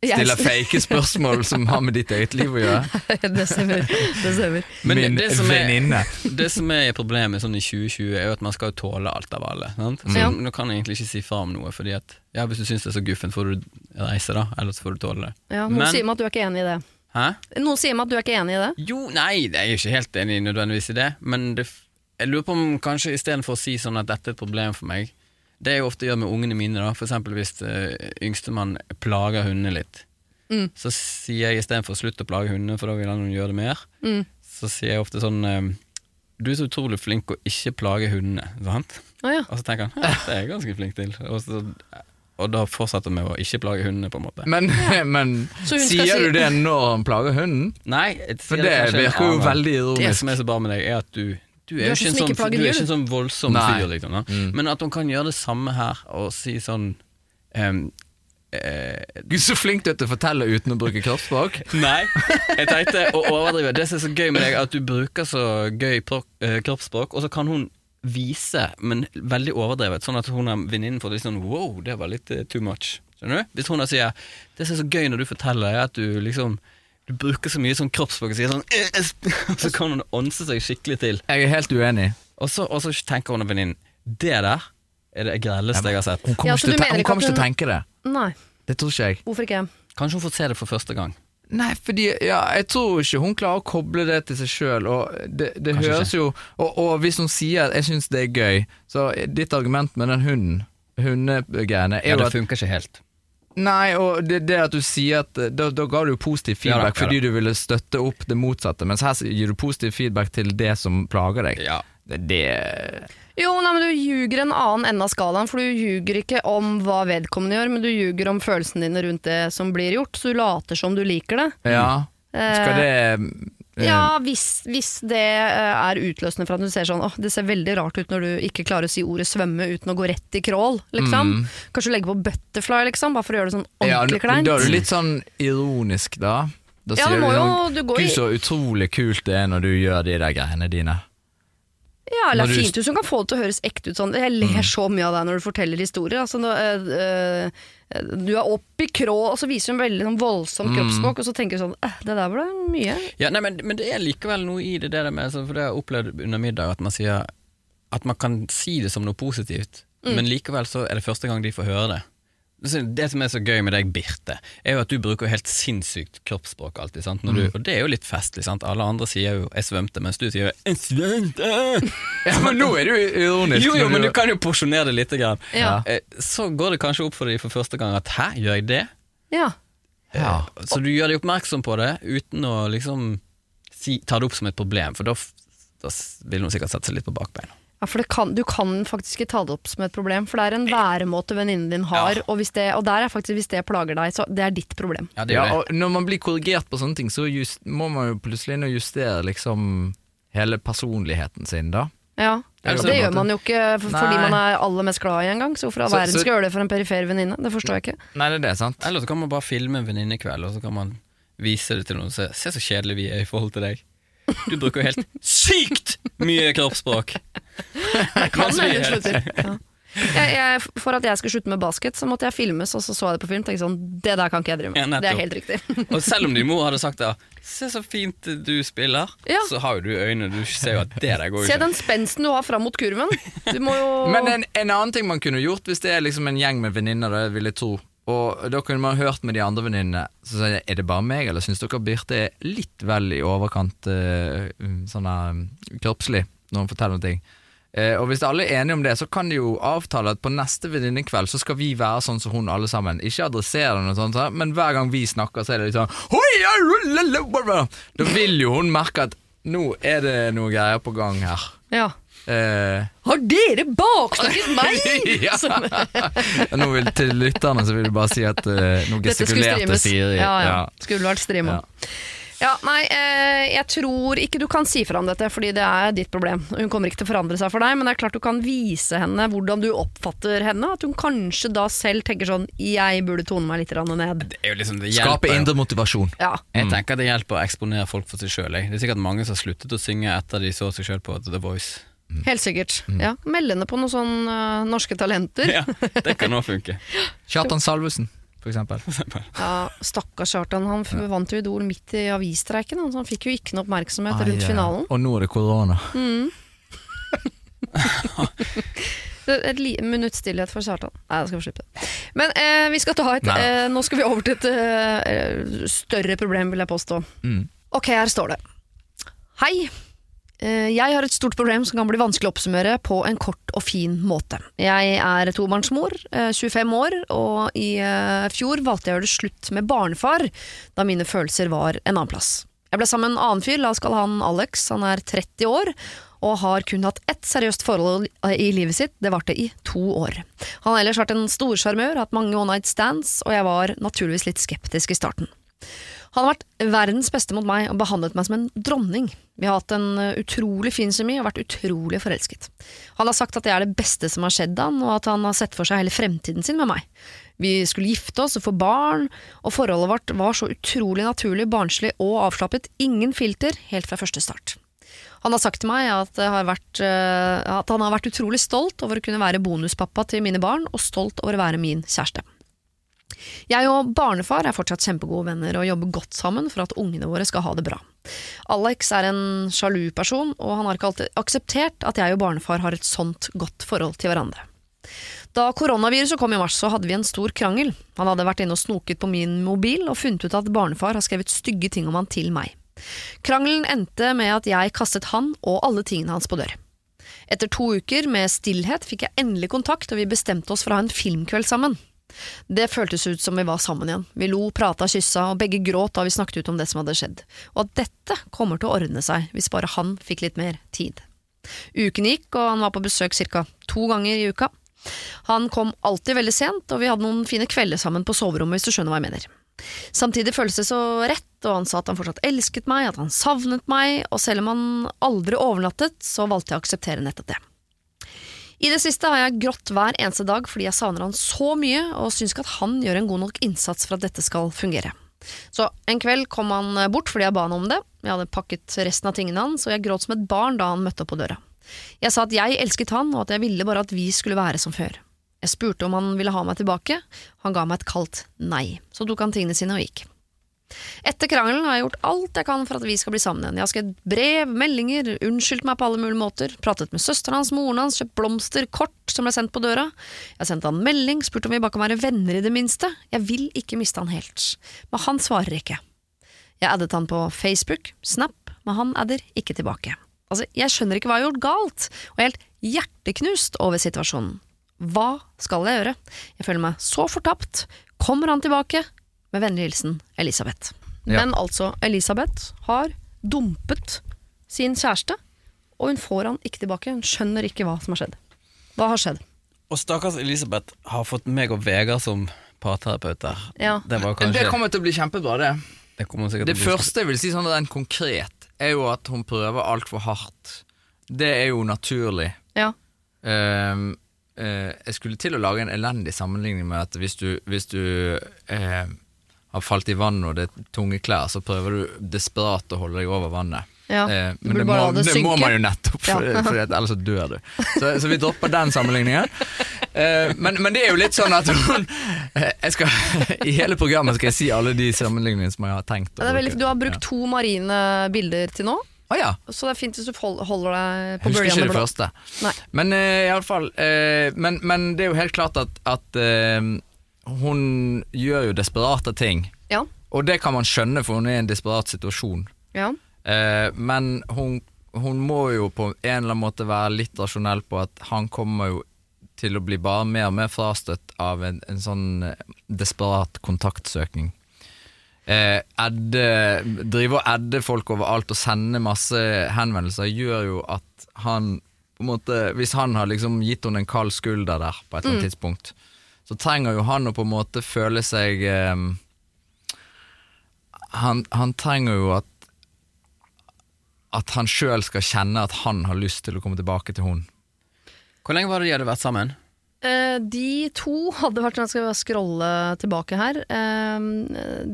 Speaker 2: Jeg-
Speaker 4: stiller fake spørsmål som har med ditt eget liv å gjøre.
Speaker 2: Det stemmer, det stemmer
Speaker 3: Men
Speaker 4: Min
Speaker 3: det som er-
Speaker 4: venninne.
Speaker 3: Det som er problemet sånn i 2020, er jo at man skal jo tåle alt av alle. Sant? Så
Speaker 2: Ja.
Speaker 3: Nå kan jeg egentlig ikke si fra om noe, Fordi at ja, hvis du syns det er så guffent, får du reise, da. Ellers får du tåle det.
Speaker 2: ja, Noen sier meg at du er ikke enig i det
Speaker 3: Hæ?
Speaker 2: Noen sier meg at du er ikke enig i det
Speaker 3: Jo, nei, jeg er jo ikke helt enig nødvendigvis i det, men det, f- jeg lurer på om kanskje istedenfor å si sånn at dette er et problem for meg, det jeg ofte gjør med ungene mine, da, for eksempel hvis eh, yngstemann plager hundene litt, så sier jeg istedenfor slutt å plage hundene, for da vil han gjøre det mer, så sier jeg ofte sånn eh, du er så utrolig flink å ikke plage hundene, sant?
Speaker 2: Å ja.
Speaker 3: Og så tenker han, «Ja, det er jeg ganske flink til. Og, så, og da fortsetter vi med å ikke plage hundene, på en måte.
Speaker 4: Men, men
Speaker 2: Så hun skal
Speaker 4: sier
Speaker 2: si-
Speaker 4: du det når han plager hunden?
Speaker 3: Nei, jeg sier
Speaker 4: For det
Speaker 3: kanskje en
Speaker 4: virker jo
Speaker 3: annen gang.
Speaker 4: veldig ironisk.
Speaker 3: Det som er så bra med deg, er at du du er,
Speaker 2: Du er
Speaker 3: jo
Speaker 2: sånn
Speaker 3: ikke en
Speaker 2: som
Speaker 3: sånn,
Speaker 2: ikke plager
Speaker 3: du er
Speaker 2: dyr.
Speaker 3: ikke en sånn voldsom
Speaker 4: Nei. Mm.
Speaker 3: fyr, liksom, da. men at hun kan gjøre det samme her og si sånn ehm, eh,
Speaker 4: Gud, så flink du er til å fortelle uten å bruke kroppsspråk.
Speaker 3: Nei, jeg tenkte å overdrive. Det som er så gøy med deg, er at du bruker så gøy pro- eh, kroppsspråk, og så kan hun vise, men veldig overdrevet, sånn at hun er venninnen får litt sånn wow, det var litt eh, too much. Skjønner du? Hvis hun da sier det som er så gøy når du forteller, er at du liksom du bruker så mye sånn kroppsspråk og sier sånn «Eh, eh, sp-» Så kan hun ånse seg skikkelig til.
Speaker 4: Jeg er helt uenig.
Speaker 3: Og så, og så tenker hun og venninnen Det der er det grelleste jeg har sett.
Speaker 4: Hun kommer
Speaker 2: Ja, så
Speaker 4: ikke,
Speaker 2: du
Speaker 4: til, å te-
Speaker 2: mener
Speaker 4: hun
Speaker 2: ikke
Speaker 4: kommer
Speaker 2: at
Speaker 4: ikke til å tenke det.
Speaker 2: Nei,
Speaker 4: Det tror ikke jeg.
Speaker 2: hvorfor ikke?
Speaker 3: Kanskje hun får se det for første gang.
Speaker 4: Nei, fordi ja, jeg tror ikke hun klarer å koble det til seg sjøl. Og det, det
Speaker 3: Kanskje
Speaker 4: høres jo og, og hvis hun sier 'jeg syns det er gøy', så ditt argument med den hunden Hundegreiene er
Speaker 3: Ja,
Speaker 4: jo
Speaker 3: det
Speaker 4: at
Speaker 3: funker ikke helt.
Speaker 4: Nei, og det, det at du sier at eh, Da, da ga du jo positiv
Speaker 3: Ja da, ja
Speaker 4: feedback
Speaker 3: da.
Speaker 4: fordi du ville støtte opp det motsatte, mens her gir du positiv feedback til det som plager deg.
Speaker 3: Ja.
Speaker 4: Det, det
Speaker 2: Jo, nei, men Du ljuger en annen ende av skalaen, for du ljuger ikke om hva vedkommende gjør, men du ljuger om følelsene dine rundt det som blir gjort, så du later som du liker det.
Speaker 4: Ja. Skal det eh,
Speaker 2: Ja, hvis, hvis det eh, er utløsende for at du ser sånn åh, det ser veldig rart ut når du ikke klarer å si ordet svømme uten å gå rett i crawl, liksom. Kanskje du legger på butterfly, liksom, bare for å gjøre det sånn
Speaker 4: Mm. Ja,
Speaker 2: ordentlig
Speaker 4: da
Speaker 2: kleint.
Speaker 4: da er du litt sånn ironisk, da. Da
Speaker 2: Ja, det
Speaker 4: du
Speaker 2: må jo
Speaker 4: sånn,
Speaker 2: du går i
Speaker 4: Gud, så utrolig kult det er når du gjør de der greiene dine.
Speaker 2: Ja, eller
Speaker 4: Når du- Mm.
Speaker 2: fint ut som kan få det til å høres ekte ut sånn. Jeg ler så mye av deg når du forteller historier. Altså, nå, eh, eh, du er opp i krå, og så viser hun veldig sånn
Speaker 4: Mm.
Speaker 2: voldsom kroppsspråk, og så tenker du sånn eh, Det der ble mye.
Speaker 3: Ja, nei, men, men det er likevel noe i det, det der med, altså, for det har jeg opplevd under middag, at man sier at man kan si det som noe positivt, men likevel så er det første gang de får høre det. Så Det som er så gøy med deg, Birte, er jo at du bruker helt sinnssykt kroppsspråk alltid. Sant? Når du, og det er jo litt festlig. Sant? Alle andre sier jo 'jeg svømte', mens du sier 'jeg svømte'.
Speaker 4: Ja, men nå er du ironisk.
Speaker 3: Jo, jo,
Speaker 4: når
Speaker 3: men du kan jo porsjonere det lite grann.
Speaker 2: Ja.
Speaker 3: Eh, Så går det kanskje opp for deg for første gang at 'hæ, gjør jeg det?'
Speaker 2: Ja.
Speaker 4: Ja.
Speaker 3: Eh, Så du gjør deg oppmerksom på det uten å liksom si, ta det opp som et problem, for da, f- da s- vil hun sikkert sette seg litt på bakbeina.
Speaker 2: Ja, for det kan, Du kan faktisk ikke ta det opp som et problem, for det er en væremåte venninnen din har.
Speaker 3: Ja.
Speaker 2: Og, hvis det, og der er faktisk hvis det plager deg, så det er ditt problem.
Speaker 3: Ja, det
Speaker 4: Ja,
Speaker 3: er jo det.
Speaker 4: og når man blir korrigert på sånne ting, så just, må man jo plutselig inn og justere liksom hele personligheten sin, da.
Speaker 2: Ja,
Speaker 4: Ja,
Speaker 2: Så
Speaker 4: det
Speaker 2: Det
Speaker 4: er
Speaker 2: gjør
Speaker 4: sant.
Speaker 2: man jo ikke f- fordi
Speaker 4: Nei.
Speaker 2: man er aller mest glad i en gang. Så hvorfor i all
Speaker 4: Så-
Speaker 2: verden
Speaker 4: så-
Speaker 2: skal jeg gjøre det for en perifer venninne? Det forstår jeg ikke.
Speaker 4: Nei, det er det, sant?
Speaker 3: Eller så kan man bare filme en venninnekveld, og så kan man vise det til noen og se, se så kjedelig vi er i forhold til deg. Du bruker jo helt sykt mye kroppsspråk!
Speaker 2: Kan
Speaker 3: Mens
Speaker 2: hende
Speaker 3: vi
Speaker 2: hun
Speaker 3: gjør det.
Speaker 2: slutter. Ja. Jeg, jeg, for at jeg skulle slutte med basket, så måtte jeg filmes, og så så jeg det på film. Tenkte sånn, Det der kan ikke jeg drive med.
Speaker 3: Ja, nettopp.
Speaker 2: det er helt riktig.
Speaker 3: Og selv om din mor hadde sagt det, 'se så fint du spiller',
Speaker 2: Ja.
Speaker 3: så har jo du øynene, du ser jo at det der går jo
Speaker 2: Se
Speaker 3: ikke.
Speaker 2: den spensten du har fram mot kurven. Du må jo
Speaker 4: Men en, en annen ting man kunne gjort hvis det er liksom en gjeng med venninner, det vil jeg tro. Og da kunne man hørt med de andre venninnene Så sier jeg, Er det bare meg, eller syns dere Birte er litt vel i overkant eh, um, sånn her, um, kroppslig når hun forteller om ting? Eh, og hvis alle er enige om det, så kan de jo avtale at på neste venninnekveld så skal vi være sånn som hun alle sammen. Ikke adressere henne, og sånt, sånn, men hver gang vi snakker, så er det litt sånn «Hoi, ja, lalalala». Da vil jo hun merke at nå er det noe greier på gang her.
Speaker 2: Ja.
Speaker 4: Eh,
Speaker 2: Har dere baksnakket meg?!
Speaker 4: ja.
Speaker 2: Som-
Speaker 4: Nå vil, til lytterne så vil du bare si at eh, nå
Speaker 2: Dette skulle
Speaker 4: gestikulerte
Speaker 2: streames.
Speaker 4: Siri.
Speaker 2: Ja, ja.
Speaker 4: Ja.
Speaker 2: Skulle vært streama.
Speaker 4: Ja.
Speaker 2: Ja. nei, eh, jeg tror ikke du kan si fra om dette, fordi det er ditt problem. Og Hun kommer ikke til å forandre seg for deg, men det er klart du kan vise henne hvordan du oppfatter henne. At hun kanskje da selv tenker sånn 'jeg burde tone meg litt grann ned'.
Speaker 3: Det er jo liksom, det
Speaker 4: Skape
Speaker 3: hjelper jo.
Speaker 4: indre motivasjon.
Speaker 2: Ja.
Speaker 4: Mm.
Speaker 3: Jeg tenker det hjelper å eksponere folk for seg sjøl. Det er sikkert mange som har sluttet å synge etter de så seg sjøl på The Voice.
Speaker 2: Helt sikkert.
Speaker 4: Mm.
Speaker 2: Ja. Meld henne på noen sånn eh, norske talenter. Ja.
Speaker 3: Ja, Det kan òg funke.
Speaker 4: Kjartan Salvesen, for eksempel.
Speaker 2: Stakkars Kjartan, han f- vant jo Idol midt i avisstreiken, han, så han fikk jo ikke noe oppmerksomhet
Speaker 4: Ai,
Speaker 2: rundt
Speaker 4: ja.
Speaker 2: finalen.
Speaker 4: Og nå er det korona.
Speaker 2: Det er Et li minutt stillhet for Kjartan. Nei, da skal vi slippe det. Men eh, vi skal ta et
Speaker 4: Nei.
Speaker 2: eh, Nå skal vi over til et eh, større problem, vil jeg påstå.
Speaker 4: Mm.
Speaker 2: Ok, her står det. Hei. Eh, Jeg har et stort problem som kan bli vanskelig å oppsummere på en kort og fin måte. Jeg er tobarnsmor, eh, 25 år, og i eh, fjor valgte jeg å gjøre det slutt med barnefar, da mine følelser var en annen plass. Jeg ble sammen med en annen fyr, la oss kalle han Alex, han er 30 år, og har kun hatt ett seriøst forhold i livet sitt, det varte i to år. Han har ellers vært en storsjarmør, hatt mange one night stands, og jeg var naturligvis litt skeptisk i starten. Han har vært verdens beste mot meg og behandlet meg som en dronning. Vi har hatt en eh, utrolig fin kjemi og vært utrolig forelsket. Han har sagt at jeg er det beste som har skjedd han, og at han har sett for seg hele fremtiden sin med meg. Vi skulle gifte oss og få barn, og forholdet vårt var så utrolig naturlig, barnslig og avslappet. Ingen filter helt fra første start. Han har sagt til meg at, det har vært, eh, at han har vært utrolig stolt over å kunne være bonuspappa til mine barn, og stolt over å være min kjæreste. Jeg og barnefar er fortsatt kjempegode venner og jobber godt sammen for at ungene våre skal ha det bra. Alex er en sjalu person, og han har ikke alltid akseptert at jeg og barnefar har et sånt godt forhold til hverandre. Da koronaviruset kom i mars, så hadde vi en stor krangel. Han hadde vært inne og snoket på min mobil og funnet ut at barnefar har skrevet stygge ting om han til meg. Krangelen endte med at jeg kastet han og alle tingene hans på dør. Etter to uker med stillhet fikk jeg endelig kontakt, og vi bestemte oss for å ha en filmkveld sammen. Det føltes ut som vi var sammen igjen. Vi lo, prata, kyssa, og begge gråt da vi snakket ut om det som hadde skjedd. Og at dette kommer til å ordne seg, hvis bare han fikk litt mer tid. Uken gikk, og han var på besøk ca. to ganger i uka. Han kom alltid veldig sent, og vi hadde noen fine kvelder sammen på soverommet, hvis du skjønner hva jeg mener. Samtidig føltes det så rett, og han sa at han fortsatt elsket meg, at han savnet meg, og selv om han aldri overnattet, så valgte jeg å akseptere nettopp det. I det siste har jeg grått hver eneste dag fordi jeg savner han så mye, og syns ikke at han gjør en god nok innsats for at dette skal fungere. Så en kveld kom han bort fordi jeg ba han om det. Jeg hadde pakket resten av tingene hans, og jeg gråt som et barn da han møtte opp på døra. Jeg sa at jeg elsket han, og at jeg ville bare at vi skulle være som før. Jeg spurte om han ville ha meg tilbake. Han ga meg et kaldt nei. Så tok han tingene sine og gikk. Etter krangelen har jeg gjort alt jeg kan for at vi skal bli sammen igjen. Jeg har skrevet brev, meldinger, unnskyldt meg på alle mulige måter, pratet med søsteren hans, moren hans, kjøpt blomster, kort som ble sendt på døra. Jeg har sendt han melding, spurt om vi bare kan være venner i det minste. Jeg vil ikke miste han helt. Men han svarer ikke. Jeg addet han på Facebook, Snap, men han adder ikke tilbake. Altså, jeg skjønner ikke hva jeg har gjort galt, og jeg er helt hjerteknust over situasjonen. Hva skal jeg gjøre? Jeg føler meg så fortapt. Kommer han tilbake? Med vennlig hilsen Elisabeth.
Speaker 4: Ja.
Speaker 2: Men altså, Elisabeth har dumpet sin kjæreste, og hun får han ikke tilbake. Hun skjønner ikke hva som har skjedd. Hva har skjedd?
Speaker 3: Og stakkars Elisabeth har fått meg og Vegard som parterapeuter.
Speaker 2: Ja.
Speaker 3: Det var kanskje
Speaker 4: Det kommer til å bli kjempebra, det.
Speaker 3: det kommer sikkert
Speaker 4: Det
Speaker 3: til å bli-
Speaker 4: første jeg vil si sånn rent konkret, er jo at hun prøver altfor hardt. Det er jo naturlig.
Speaker 2: Ja.
Speaker 4: Ehm, eh, jeg skulle til å lage en elendig sammenligning med at hvis du, hvis du ehm, har falt i vannet og det er tunge klær, så prøver du desperat å holde deg over vannet.
Speaker 2: Ja,
Speaker 4: Eh,
Speaker 2: du
Speaker 4: men
Speaker 2: burde
Speaker 4: det,
Speaker 2: bare
Speaker 4: må,
Speaker 2: la det
Speaker 4: det, må
Speaker 2: synke.
Speaker 4: man jo nettopp, for,
Speaker 2: Ja.
Speaker 4: for at ellers så dør du. Så, så vi dropper den sammenligningen. Eh, men, men det er jo litt sånn at hun eh, jeg skal, I hele programmet skal jeg si alle de sammenligningene som jeg har tenkt å
Speaker 2: Det er veldig,
Speaker 4: bruke.
Speaker 2: du har brukt to marine bilder til nå,
Speaker 4: Å ja.
Speaker 2: så det er fint hvis du hold- holder deg på
Speaker 4: Husker ikke
Speaker 2: bølgene
Speaker 4: det
Speaker 2: blå.
Speaker 4: første.
Speaker 2: Nei.
Speaker 4: Men eh, i alle fall eh, men, men det er jo helt klart at, at eh, hun gjør jo desperate ting.
Speaker 2: Ja.
Speaker 4: Og det kan man skjønne, for hun er i en desperat situasjon.
Speaker 2: ja.
Speaker 4: Eh, men hun, hun må jo på en eller annen måte være litt rasjonell på at han kommer jo til å bli bare mer og mer frastøtt av en, en sånn eh, desperat kontaktsøkning. Eh, edde, drive og edde folk overalt og sende masse henvendelser gjør jo at han på en måte, Hvis han har liksom gitt henne en kald skulder der på et eller annet tidspunkt, så trenger jo han å på en måte føle seg eh, han, han trenger jo at at han sjøl skal kjenne at han har lyst til å komme tilbake til hun.
Speaker 3: Hvor lenge var det de hadde vært sammen?
Speaker 2: Eh, de to hadde vært Jeg skal bare scrolle tilbake her. Eh,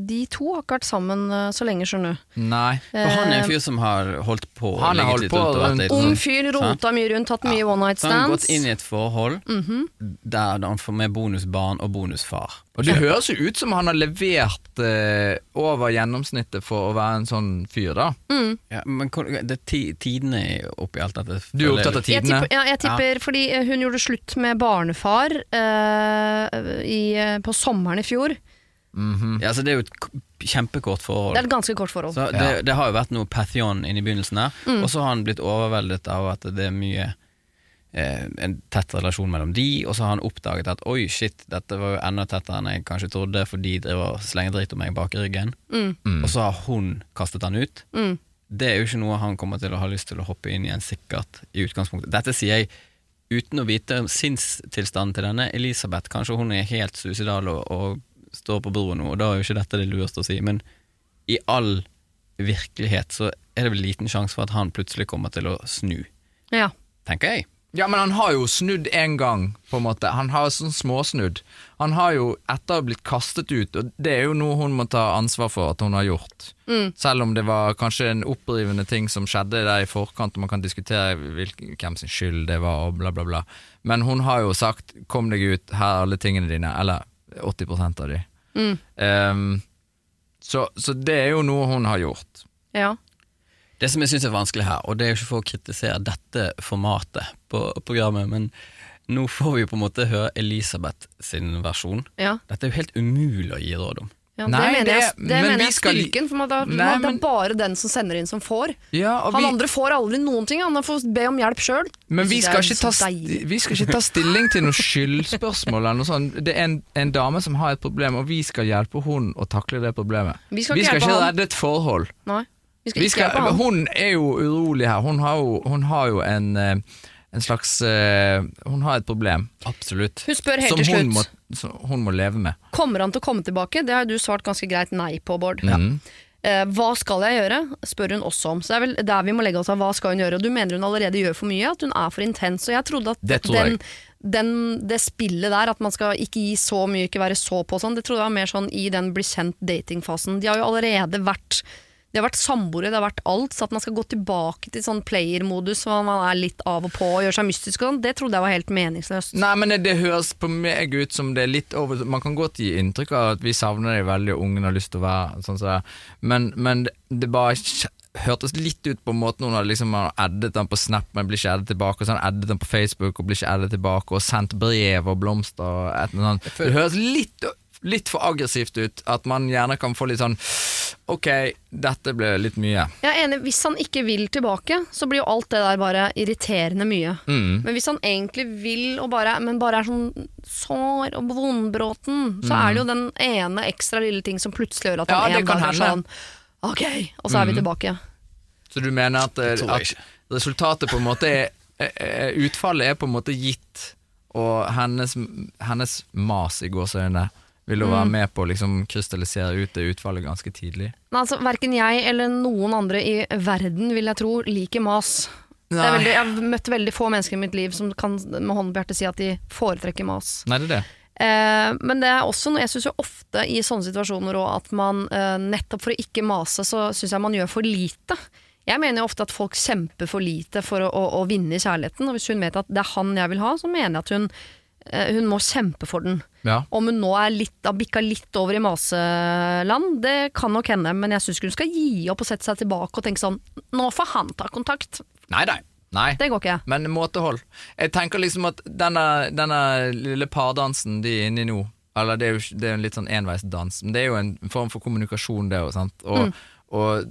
Speaker 2: de to har ikke vært sammen eh, så lenge, skjønner du.
Speaker 4: Nei.
Speaker 3: For han er en fyr som har holdt på å
Speaker 4: Han har
Speaker 3: ligge
Speaker 4: holdt
Speaker 3: litt
Speaker 4: på
Speaker 3: rundt og vært
Speaker 4: rundt-
Speaker 3: litt
Speaker 2: Eh, Ung
Speaker 3: sånn.
Speaker 2: fyr, rota mye rundt, hatt mye one night
Speaker 3: Så han har gått
Speaker 2: stands.
Speaker 3: inn i et forhold
Speaker 2: Mhm.
Speaker 3: der han får med bonusbarn og bonusfar.
Speaker 4: Og Det høres jo ut som han har levert eh, over gjennomsnittet for å være en sånn fyr, da.
Speaker 2: Mm.
Speaker 3: Ja, men hvor- det er ti- tidene oppi alt dette.
Speaker 4: Du er opptatt av
Speaker 2: Jeg
Speaker 4: tidene.
Speaker 2: tipper, ja, jeg tipper fordi eh, hun gjorde slutt med barnefar eh, i, eh, på sommeren i fjor. Det
Speaker 3: Ja, så det er jo et k- kjempekort forhold.
Speaker 2: er et ganske kort forhold.
Speaker 3: Så det, det har jo vært noe Pathion inn i begynnelsen her, og så har han blitt overveldet av at det er mye eh, en tett relasjon mellom de, og så har han oppdaget at oi, shit, dette var jo enda tettere enn jeg kanskje trodde, for de drev og slenger dritt om meg bak i ryggen. Og så har hun kastet han ut.
Speaker 2: Mm.
Speaker 3: Det er jo ikke noe han kommer til å ha lyst til å hoppe inn igjen, sikkert, i utgangspunktet. Dette sier jeg uten å vite sinnstilstanden til denne Elisabeth. Kanskje hun er helt suicidal og, og står på broen nå, og da er jo ikke dette det lureste å si, men i all virkelighet så er det vel liten sjanse for at han plutselig kommer til å snu,
Speaker 2: Ja.
Speaker 3: tenker jeg.
Speaker 4: Ja, men han har jo snudd en gang, på en måte. Han har sånn småsnudd. Han har jo etter å ha blitt kastet ut, og det er jo noe hun må ta ansvar for at hun har gjort. Selv om det var kanskje en opprivende ting som skjedde der i forkant, og man kan diskutere hvilken, hvem sin skyld det var, og bla, bla, bla. Men hun har jo sagt 'kom deg ut, her er alle tingene dine', eller 80 av de. Ehm, så, så det er jo noe hun har gjort.
Speaker 2: ja.
Speaker 3: Det som jeg syns er vanskelig her, og det er jo ikke for å kritisere dette formatet på programmet, men nå får vi jo på en måte høre Elisabeth sin versjon.
Speaker 2: ja.
Speaker 3: Dette er jo helt umulig å gi råd om.
Speaker 2: Ja,
Speaker 4: Nei,
Speaker 2: det mener jeg, det
Speaker 4: det- men
Speaker 2: mener
Speaker 4: vi
Speaker 2: jeg er
Speaker 4: skal li-
Speaker 2: styrken, for man, da,
Speaker 4: Nei,
Speaker 2: man, det
Speaker 4: men-
Speaker 2: er bare den som sender inn som får.
Speaker 4: Ja, og
Speaker 2: Han
Speaker 4: vi-
Speaker 2: andre får aldri noen ting, han får be om hjelp sjøl.
Speaker 4: Men vi skal, ikke ta,
Speaker 2: sånn
Speaker 4: st- vi skal ikke ta stilling til noe skyldspørsmål. Eller noe sånt. Det er en, en dame som har et problem, og vi skal hjelpe hun å takle det problemet.
Speaker 2: Vi skal ikke hjelpe
Speaker 4: ikke
Speaker 2: han.
Speaker 4: redde et forhold.
Speaker 2: Nei, vi skal
Speaker 4: Vi
Speaker 2: ikke
Speaker 4: skal,
Speaker 2: hjelpe han.
Speaker 4: hun er jo urolig her. Hun har jo, hun har jo en, eh, en slags eh, Hun har et problem
Speaker 3: Absolutt.
Speaker 2: Hun spør helt
Speaker 4: som
Speaker 2: til
Speaker 4: hun
Speaker 2: slutt
Speaker 4: må, som hun må leve med.
Speaker 2: Kommer han til å komme tilbake? Det har jo du svart ganske greit nei på, Bård.
Speaker 4: Mm.
Speaker 2: Eh, hva skal jeg gjøre? spør hun også om. Så det er vel der vi må legge oss av. Hva skal hun gjøre? Og du mener hun allerede gjør for mye, at hun er for intens. Og jeg trodde at
Speaker 4: Det tror
Speaker 2: den, den, det spillet der, at man skal ikke gi så mye, ikke være så på og sånn, det trodde jeg var mer sånn i den bli kjent-datingfasen. De har jo allerede vært de har vært samboere, det har vært alt. Så at man skal gå tilbake til sånn player-modus, hvor man er litt av og på og gjør seg mystisk og sånn, det trodde jeg var helt meningsløst.
Speaker 4: Nei, men det, det høres på meg ut som det er litt over Man kan godt gi inntrykk av at vi savner deg veldig, og ungen har lyst til å være sånn som det er, men, men det, det bare kj- hørtes litt ut på måten hun hadde liksom han eddet han på Snap, men blir ikke eddet tilbake, og så han eddet han på Facebook og blir ikke eddet tilbake, og sendt brev og blomster og et eller annet. Det høres litt, litt for aggressivt ut, at man gjerne kan få litt sånn Ok, dette ble litt mye.
Speaker 2: Jeg er enig, Hvis han ikke vil tilbake, så blir jo alt det der bare irriterende mye.
Speaker 4: Mm.
Speaker 2: Men hvis han egentlig vil, og bare, men bare er sånn sår og vondbråten, så er det jo den ene ekstra lille ting som plutselig gjør at
Speaker 4: Mm. Ja,
Speaker 2: han
Speaker 4: det
Speaker 2: en
Speaker 4: kan
Speaker 2: dag er sånn
Speaker 4: hende. Mm.
Speaker 2: Ok, og så er vi tilbake.
Speaker 4: Så du mener at, eh,
Speaker 3: tror jeg
Speaker 4: at
Speaker 3: ikke.
Speaker 4: resultatet på en måte er eh, eh, Utfallet er på en måte gitt, og hennes, hennes mas i gåseøynene vil jo være med på å liksom krystallisere ut det utfallet ganske tidlig.
Speaker 2: Nei, altså, Verken jeg eller noen andre i verden, vil jeg tro, liker mas. Det er
Speaker 4: Nei.
Speaker 2: veldig, jeg har møtt veldig få mennesker i mitt liv som kan med hånden på hjertet si at de foretrekker mas.
Speaker 4: Nei, det er det.
Speaker 2: Eh, men det er også noe jeg syns ofte i sånne situasjoner også, at man eh, nettopp for å ikke mase, så syns jeg man gjør for lite. Jeg mener jo ofte at folk kjemper for lite for å, å, å vinne i kjærligheten. Og hvis hun vet at det er han jeg vil ha, så mener jeg at hun, eh, hun må kjempe for den.
Speaker 4: Ja.
Speaker 2: Om hun nå er litt, har bikka litt over i maseland, det kan nok hende. Men jeg syns ikke hun skal gi opp og sette seg tilbake og tenke sånn Nå får han ta kontakt.
Speaker 4: Nei, nei. nei.
Speaker 2: Det går ikke.
Speaker 4: Men måtehold. Jeg tenker liksom at denne, denne lille pardansen de er inne i nå Eller det er jo ikke- det er jo en litt sånn enveisdans, men det er jo en form for kommunikasjon, det òg, sant. Og, og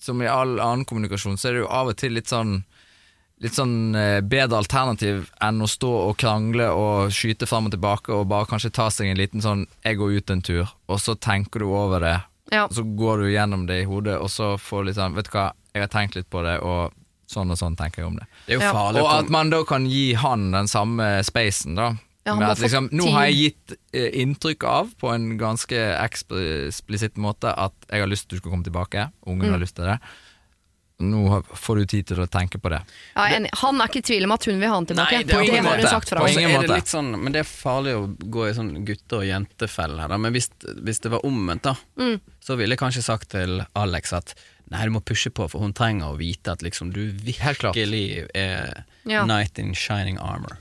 Speaker 4: som i all annen kommunikasjon, så er det jo av og til litt sånn Litt sånn eh, bedre alternativ enn å stå og krangle og skyte fram og tilbake og bare kanskje ta seg en liten sånn 'jeg går ut en tur', og så tenker du over det
Speaker 2: Ja.
Speaker 4: Altså, og så går du gjennom det i hodet, og så får du litt sånn Vet du hva, jeg har tenkt litt på det, og Sånn og sånn tenker jeg om det.
Speaker 3: Det er jo
Speaker 2: Ja.
Speaker 3: farlig
Speaker 4: Og
Speaker 3: å
Speaker 4: at
Speaker 3: komme
Speaker 4: man da kan gi han den samme spacen, da.
Speaker 2: Ja, han
Speaker 4: Med
Speaker 2: må
Speaker 4: at
Speaker 2: få
Speaker 4: liksom, nå
Speaker 2: tid.
Speaker 4: har jeg gitt eh, inntrykk av, på en ganske eksplisitt måte, at jeg har lyst til du skal komme tilbake. Ungen har lyst til det. Nå har- får du tid til å tenke på det.
Speaker 2: Ja, jeg er enig. Han er ikke i tvil om at hun vil ha han tilbake.
Speaker 3: Nei,
Speaker 2: det,
Speaker 4: på ingen
Speaker 2: har hun
Speaker 4: måte.
Speaker 2: sagt fra
Speaker 4: På
Speaker 2: oss.
Speaker 4: ingen
Speaker 3: er det
Speaker 4: måte.
Speaker 3: litt sånn, men det er farlig å gå i sånn gutte- og jentefelle her, da. Men hvis, hvis det var omvendt, da,
Speaker 2: Mm.
Speaker 3: så ville jeg kanskje sagt til Alex at nei, du må pushe på, for hun trenger å vite at liksom du
Speaker 4: Helt klart.
Speaker 3: virkelig er
Speaker 2: Ja.
Speaker 3: knight in shining armor.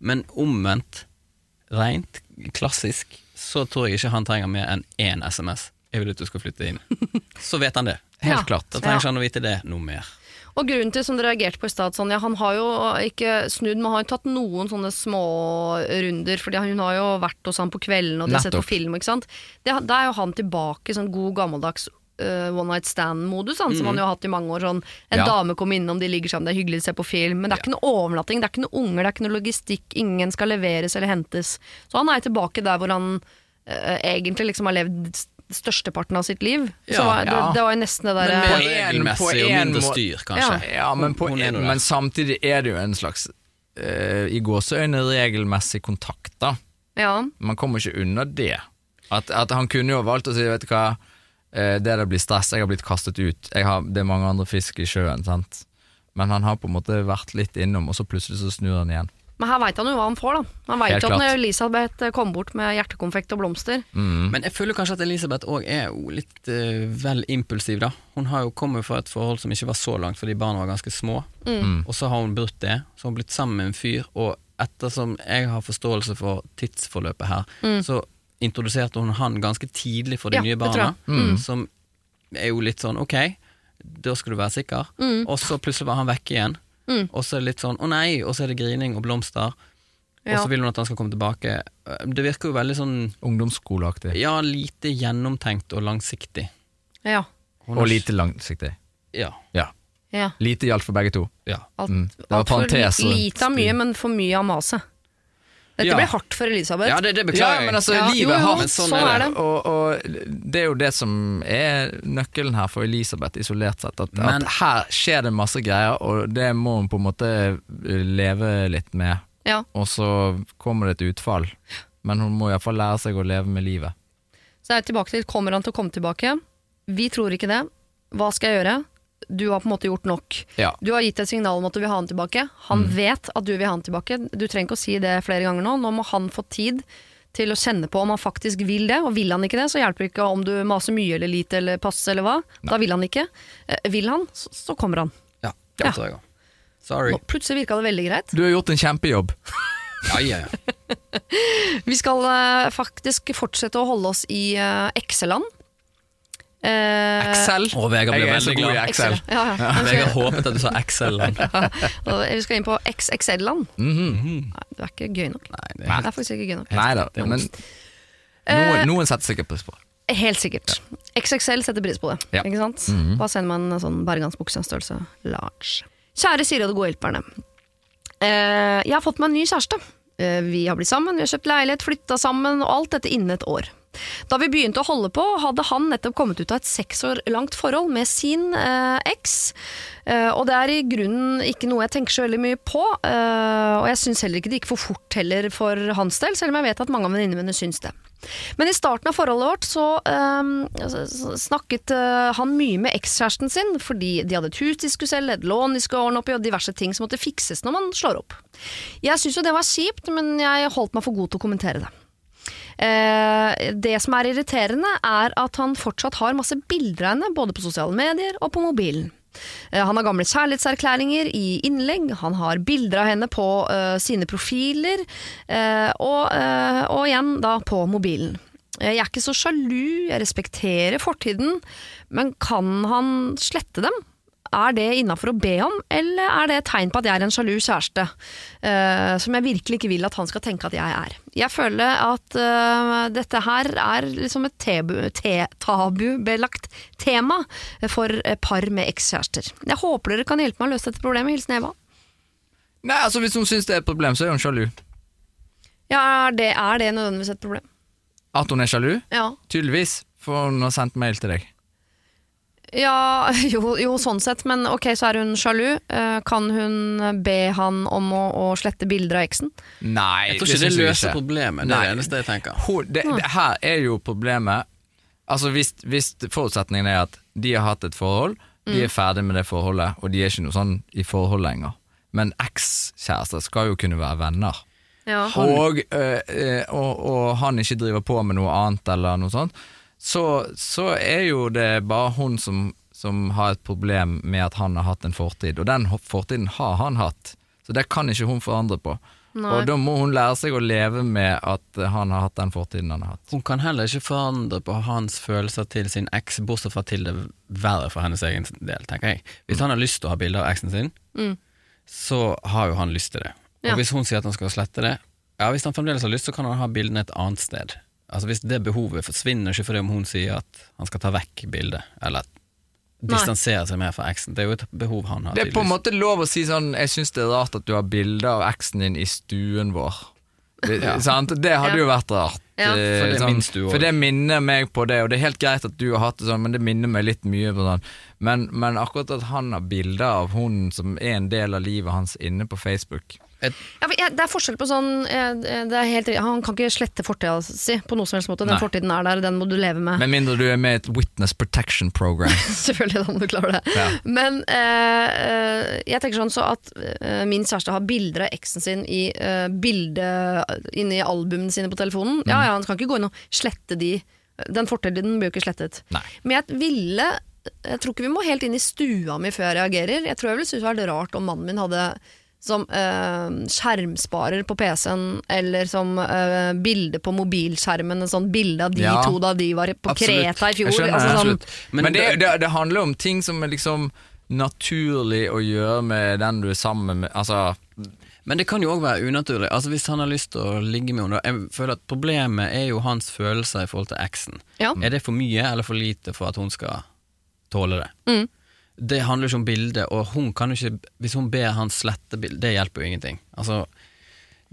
Speaker 3: Men omvendt, rent klassisk, så tror jeg ikke han trenger mer enn én SMS. Jeg vil at du skal flytte inn. Så vet han det.
Speaker 4: Helt
Speaker 2: Ja.
Speaker 4: klart.
Speaker 3: Da trenger ikke han å vite det noe mer.
Speaker 2: Og grunnen til som dere reagerte på i stad, sånn, ja, han har jo ikke snudd, men han har jo tatt noen sånne smårunder, fordi hun har jo vært hos han på kvelden, og de har sett på
Speaker 4: Nettopp.
Speaker 2: film, ikke sant. Det, da er jo han tilbake i sånn god gammeldags eh, one night stand-modus, han, som han jo har hatt i mange år. Sånn, en
Speaker 4: Mm. Ja.
Speaker 2: dame kommer innom, de ligger sammen, det er hyggelig å se på film, men det er ikke noe overnatting, det er ikke noe unger, det er ikke noe logistikk, ingen skal leveres eller hentes. Så han er tilbake der hvor han eh, egentlig liksom har levd st- størsteparten av sitt liv. så
Speaker 3: Ja,
Speaker 2: det,
Speaker 4: ja.
Speaker 2: det var jo nesten det derre
Speaker 4: mer-
Speaker 3: Mer
Speaker 4: På en- på
Speaker 3: regelmessig og
Speaker 4: en
Speaker 3: mindre
Speaker 4: må-
Speaker 3: styr, kanskje.
Speaker 4: Ja, men, på,
Speaker 3: Hun er nå der.
Speaker 4: men samtidig er det jo en slags eh, i gåseøyne regelmessig kontakt, da.
Speaker 2: ja.
Speaker 4: Man kommer ikke unna det. At, at han kunne jo valgt å si, vet du hva, eh, det der blir stress, jeg har blitt kastet ut, jeg har, det er mange andre fisk i sjøen, sant? Men han har på en måte vært litt innom, og så plutselig så snur han igjen.
Speaker 2: Men her veit han jo hva han får, da. Han veit
Speaker 4: Helt
Speaker 2: jo at når
Speaker 4: klart.
Speaker 2: Elisabeth eh, kom bort med hjertekonfekt og blomster
Speaker 4: Mm.
Speaker 3: Men jeg føler kanskje at Elisabeth òg er jo litt eh, vel impulsiv, da. Hun har jo kommet fra et forhold som ikke var så langt, fordi barna var ganske små.
Speaker 2: Mm.
Speaker 3: Og så har hun brutt det, så har hun blitt sammen med en fyr, og ettersom jeg har forståelse for tidsforløpet her, så introduserte hun han ganske tidlig for
Speaker 2: Mm.
Speaker 3: de
Speaker 2: Ja, det
Speaker 3: nye barna,
Speaker 2: tror Mm.
Speaker 3: som er jo litt sånn ok, da skal du være sikker,
Speaker 2: Mm.
Speaker 3: og så plutselig var han vekke igjen. Og så er det litt sånn å nei, og så er det grining og blomster, og
Speaker 2: Ja.
Speaker 3: så vil hun at han skal komme tilbake. Det virker jo veldig sånn
Speaker 4: Ungdomsskoleaktig.
Speaker 3: ja, lite gjennomtenkt og langsiktig.
Speaker 2: Ja.
Speaker 3: Hun har-
Speaker 4: Og lite langsiktig.
Speaker 3: Ja.
Speaker 4: Ja.
Speaker 2: ja.
Speaker 4: Lite gjaldt for begge to.
Speaker 3: ja.
Speaker 2: Alt,
Speaker 4: Mm. Det var
Speaker 2: alt for
Speaker 4: parentes.
Speaker 2: li- Lite av mye, men for mye av maset. Dette
Speaker 3: Ja.
Speaker 2: blir hardt for Elisabeth.
Speaker 3: ja det, det beklager jeg.
Speaker 4: men altså,
Speaker 2: Ja, jo,
Speaker 4: livet
Speaker 2: jo,
Speaker 4: er hardt.
Speaker 3: men sånn
Speaker 2: sånn
Speaker 3: er
Speaker 2: er det.
Speaker 4: Og, og det er jo det som er nøkkelen her for Elisabeth, isolert sett. At,
Speaker 3: Men-
Speaker 4: at her skjer det masse greier, og det må hun på en måte leve litt med.
Speaker 2: Ja.
Speaker 4: Og så kommer det et utfall. Men hun må iallfall lære seg å leve med livet.
Speaker 2: Så jeg er tilbake til Kommer han til å komme tilbake? Vi tror ikke det. Hva skal jeg gjøre? Du har på en måte gjort nok.
Speaker 4: Ja. Mm.
Speaker 2: Du har gitt et signal om at du vil ha han tilbake. Han vet at du vil ha han tilbake. Du trenger ikke å si det flere ganger nå. Nå må han få tid til å kjenne på om han faktisk vil det. Og vil han ikke det, så hjelper det ikke om du maser mye eller lite eller passe eller hva. Da vil han ikke. Eh, Vil han, så, så kommer han.
Speaker 3: Ja,
Speaker 2: Ja.
Speaker 3: det tror jeg også. Sorry.
Speaker 2: Nå, plutselig virka det veldig greit.
Speaker 4: Du har gjort en kjempejobb.
Speaker 3: Ja, ja, ja.
Speaker 2: Vi skal eh, faktisk fortsette å holde oss i eh, Excel-land. Eh,
Speaker 4: Excel.
Speaker 3: Og Vegard ble
Speaker 4: Jeg er så
Speaker 3: veldig
Speaker 4: god i
Speaker 3: glad.
Speaker 4: Excel.
Speaker 2: Ja, ja.
Speaker 3: Vegard håpet at du sa Excel. Nei,
Speaker 2: Og Vi skal inn på XXL-land.
Speaker 4: Mm. Mhm.
Speaker 2: Nei, det er ikke gøy nok.
Speaker 3: det
Speaker 2: Det
Speaker 3: er
Speaker 2: er faktisk ikke gøy nok.
Speaker 4: Nei da,
Speaker 3: Det er
Speaker 4: men
Speaker 3: vondt.
Speaker 4: noen, noen setter sikkert pris på det.
Speaker 2: Helt sikkert. XXL setter pris på det.
Speaker 4: Ja. Mm-hmm.
Speaker 2: Ikke sant? Da sender man en sånn bergansbuksestørrelse large. Kjære Siri og de gode hjelperne. Eh, jeg har fått meg en ny kjæreste. Eh, vi har blitt sammen, vi har kjøpt leilighet, flytta sammen, og alt dette innen et år. Da vi begynte å holde på, hadde han nettopp kommet ut av et seks år langt forhold med sin eh, eks. Eh, og det er i grunnen ikke noe jeg tenker så veldig mye på. Eh, og jeg syns heller ikke det gikk for fort heller for hans del, selv om jeg vet at mange av venninnene mine syns det. Men i starten av forholdet vårt så eh, s- s- snakket eh, han mye med ekskjæresten sin, fordi de hadde et hus de skulle selge, et lån de skulle ordne opp i, og diverse ting som måtte fikses når man slår opp. Jeg syntes jo det var kjipt, men jeg holdt meg for god til å kommentere det. Eh, det som er irriterende, er at han fortsatt har masse bilder av henne, både på sosiale medier og på mobilen. Eh, Han har gamle kjærlighetserklæringer i innlegg, han har bilder av henne på eh, sine profiler, eh, og, eh, og igjen da på mobilen. Eh, Jeg er ikke så sjalu, jeg respekterer fortiden, men kan han slette dem? Er det innafor å be om, eller er det et tegn på at jeg er en sjalu kjæreste? eh, som jeg virkelig ikke vil at han skal tenke at jeg er. Jeg føler at eh, dette her er liksom et tebu, te, tabubelagt tema for eh, par med ekskjærester. Jeg håper dere kan hjelpe meg å løse dette problemet. Hilsen Eva.
Speaker 4: Nei, altså Hvis hun syns det er et problem, så er hun sjalu.
Speaker 2: Ja, er det, er det nødvendigvis et problem?
Speaker 4: At hun er sjalu?
Speaker 2: Ja.
Speaker 4: Tydeligvis, for hun har sendt mail til deg.
Speaker 2: Ja, jo, jo, sånn sett, men ok, så er hun sjalu. Eh, Kan hun be han om å, å slette bilder av eksen?
Speaker 4: Nei,
Speaker 3: Jeg tror ikke det
Speaker 4: syns jeg
Speaker 3: løser
Speaker 4: ikke.
Speaker 3: problemet. Det er
Speaker 4: Nei.
Speaker 3: det eneste jeg tenker.
Speaker 4: Hun, det, det, her er jo problemet Altså hvis, hvis forutsetningen er at de har hatt et forhold, de er ferdig med det forholdet, og de er ikke noe sånn i forhold lenger. Men ekskjærester skal jo kunne være venner.
Speaker 2: Ja.
Speaker 4: Og, øh, øh, og, og han ikke driver på med noe annet eller noe sånt, så, så er jo det bare hun som, som har et problem med at han har hatt en fortid, og den ho- fortiden har han hatt, så det kan ikke hun forandre på.
Speaker 2: Nei.
Speaker 4: Og da må hun lære seg å leve med at øh, han har hatt den fortiden han har hatt.
Speaker 3: Hun kan heller ikke forandre på hans følelser til sin eks, bortsett fra til det verre for hennes egen del, tenker jeg. Hvis han har lyst til å ha bilder av eksen sin, så har jo han lyst til det. Og
Speaker 2: Ja.
Speaker 3: hvis hun sier at han skal slette det, ja, hvis han fremdeles har lyst, så kan han ha bildene et annet sted. Altså Hvis det behovet forsvinner ikke fordi om hun sier at han skal ta vekk bildet, eller distansere seg mer fra eksen. Det er jo et behov han har.
Speaker 4: Det er på en
Speaker 3: tydeligvis.
Speaker 4: måte lov å si sånn Jeg syns det er rart at du har bilder av eksen din i stuen vår. Det, sant? det hadde jo vært rart.
Speaker 2: Ja.
Speaker 4: eh,
Speaker 3: For det
Speaker 4: sånn,
Speaker 3: minnes du også.
Speaker 4: for det minner meg på det, og det er helt greit at du har hatt det sånn, men det minner meg litt mye på sånn. Men, men akkurat at han har bilder av hun som er en del av livet hans inne på Facebook
Speaker 2: Ja, for jeg, det er forskjell på sånn eh, det er helt, Han kan ikke slette fortida si på noe som helst måte. Den
Speaker 4: Nei.
Speaker 2: fortiden er der, den må du leve med.
Speaker 4: Med mindre du er med i et Witness Protection Program.
Speaker 2: Selvfølgelig, da må du klare det.
Speaker 4: Ja.
Speaker 2: Men eh, eh, jeg tenker sånn så at eh, min kjæreste har bilder av eksen sin i eh, bilde inni albumene sine på telefonen.
Speaker 4: Mm.
Speaker 2: Ja ja, han kan ikke gå inn og slette de. Den fortiden blir jo ikke slettet.
Speaker 4: Nei.
Speaker 2: Men jeg ville Jeg tror ikke vi må helt inn i stua mi før jeg reagerer. Jeg tror jeg ville synes det var rart om mannen min hadde som eh, skjermsparer på PC-en, eller som eh, bilde på mobilskjermen. En sånn bilde av de
Speaker 4: Ja.
Speaker 2: to da de var på
Speaker 3: Absolutt.
Speaker 2: Kreta i fjor.
Speaker 4: Jeg skjønner,
Speaker 2: altså, sånn,
Speaker 4: absolutt. Men,
Speaker 3: Men
Speaker 4: det, det, det handler om ting som er liksom naturlig å gjøre med den du er sammen med. Altså
Speaker 3: Men det kan jo òg være unaturlig. Altså Hvis han har lyst til å ligge med henne da, Jeg føler at Problemet er jo hans følelser i forhold til eksen.
Speaker 2: Ja.
Speaker 3: Er det for mye eller for lite for at hun skal tåle det? Det handler jo ikke om bildet, og hun kan jo ikke Hvis hun ber han slette bildet, det hjelper jo ingenting. Altså,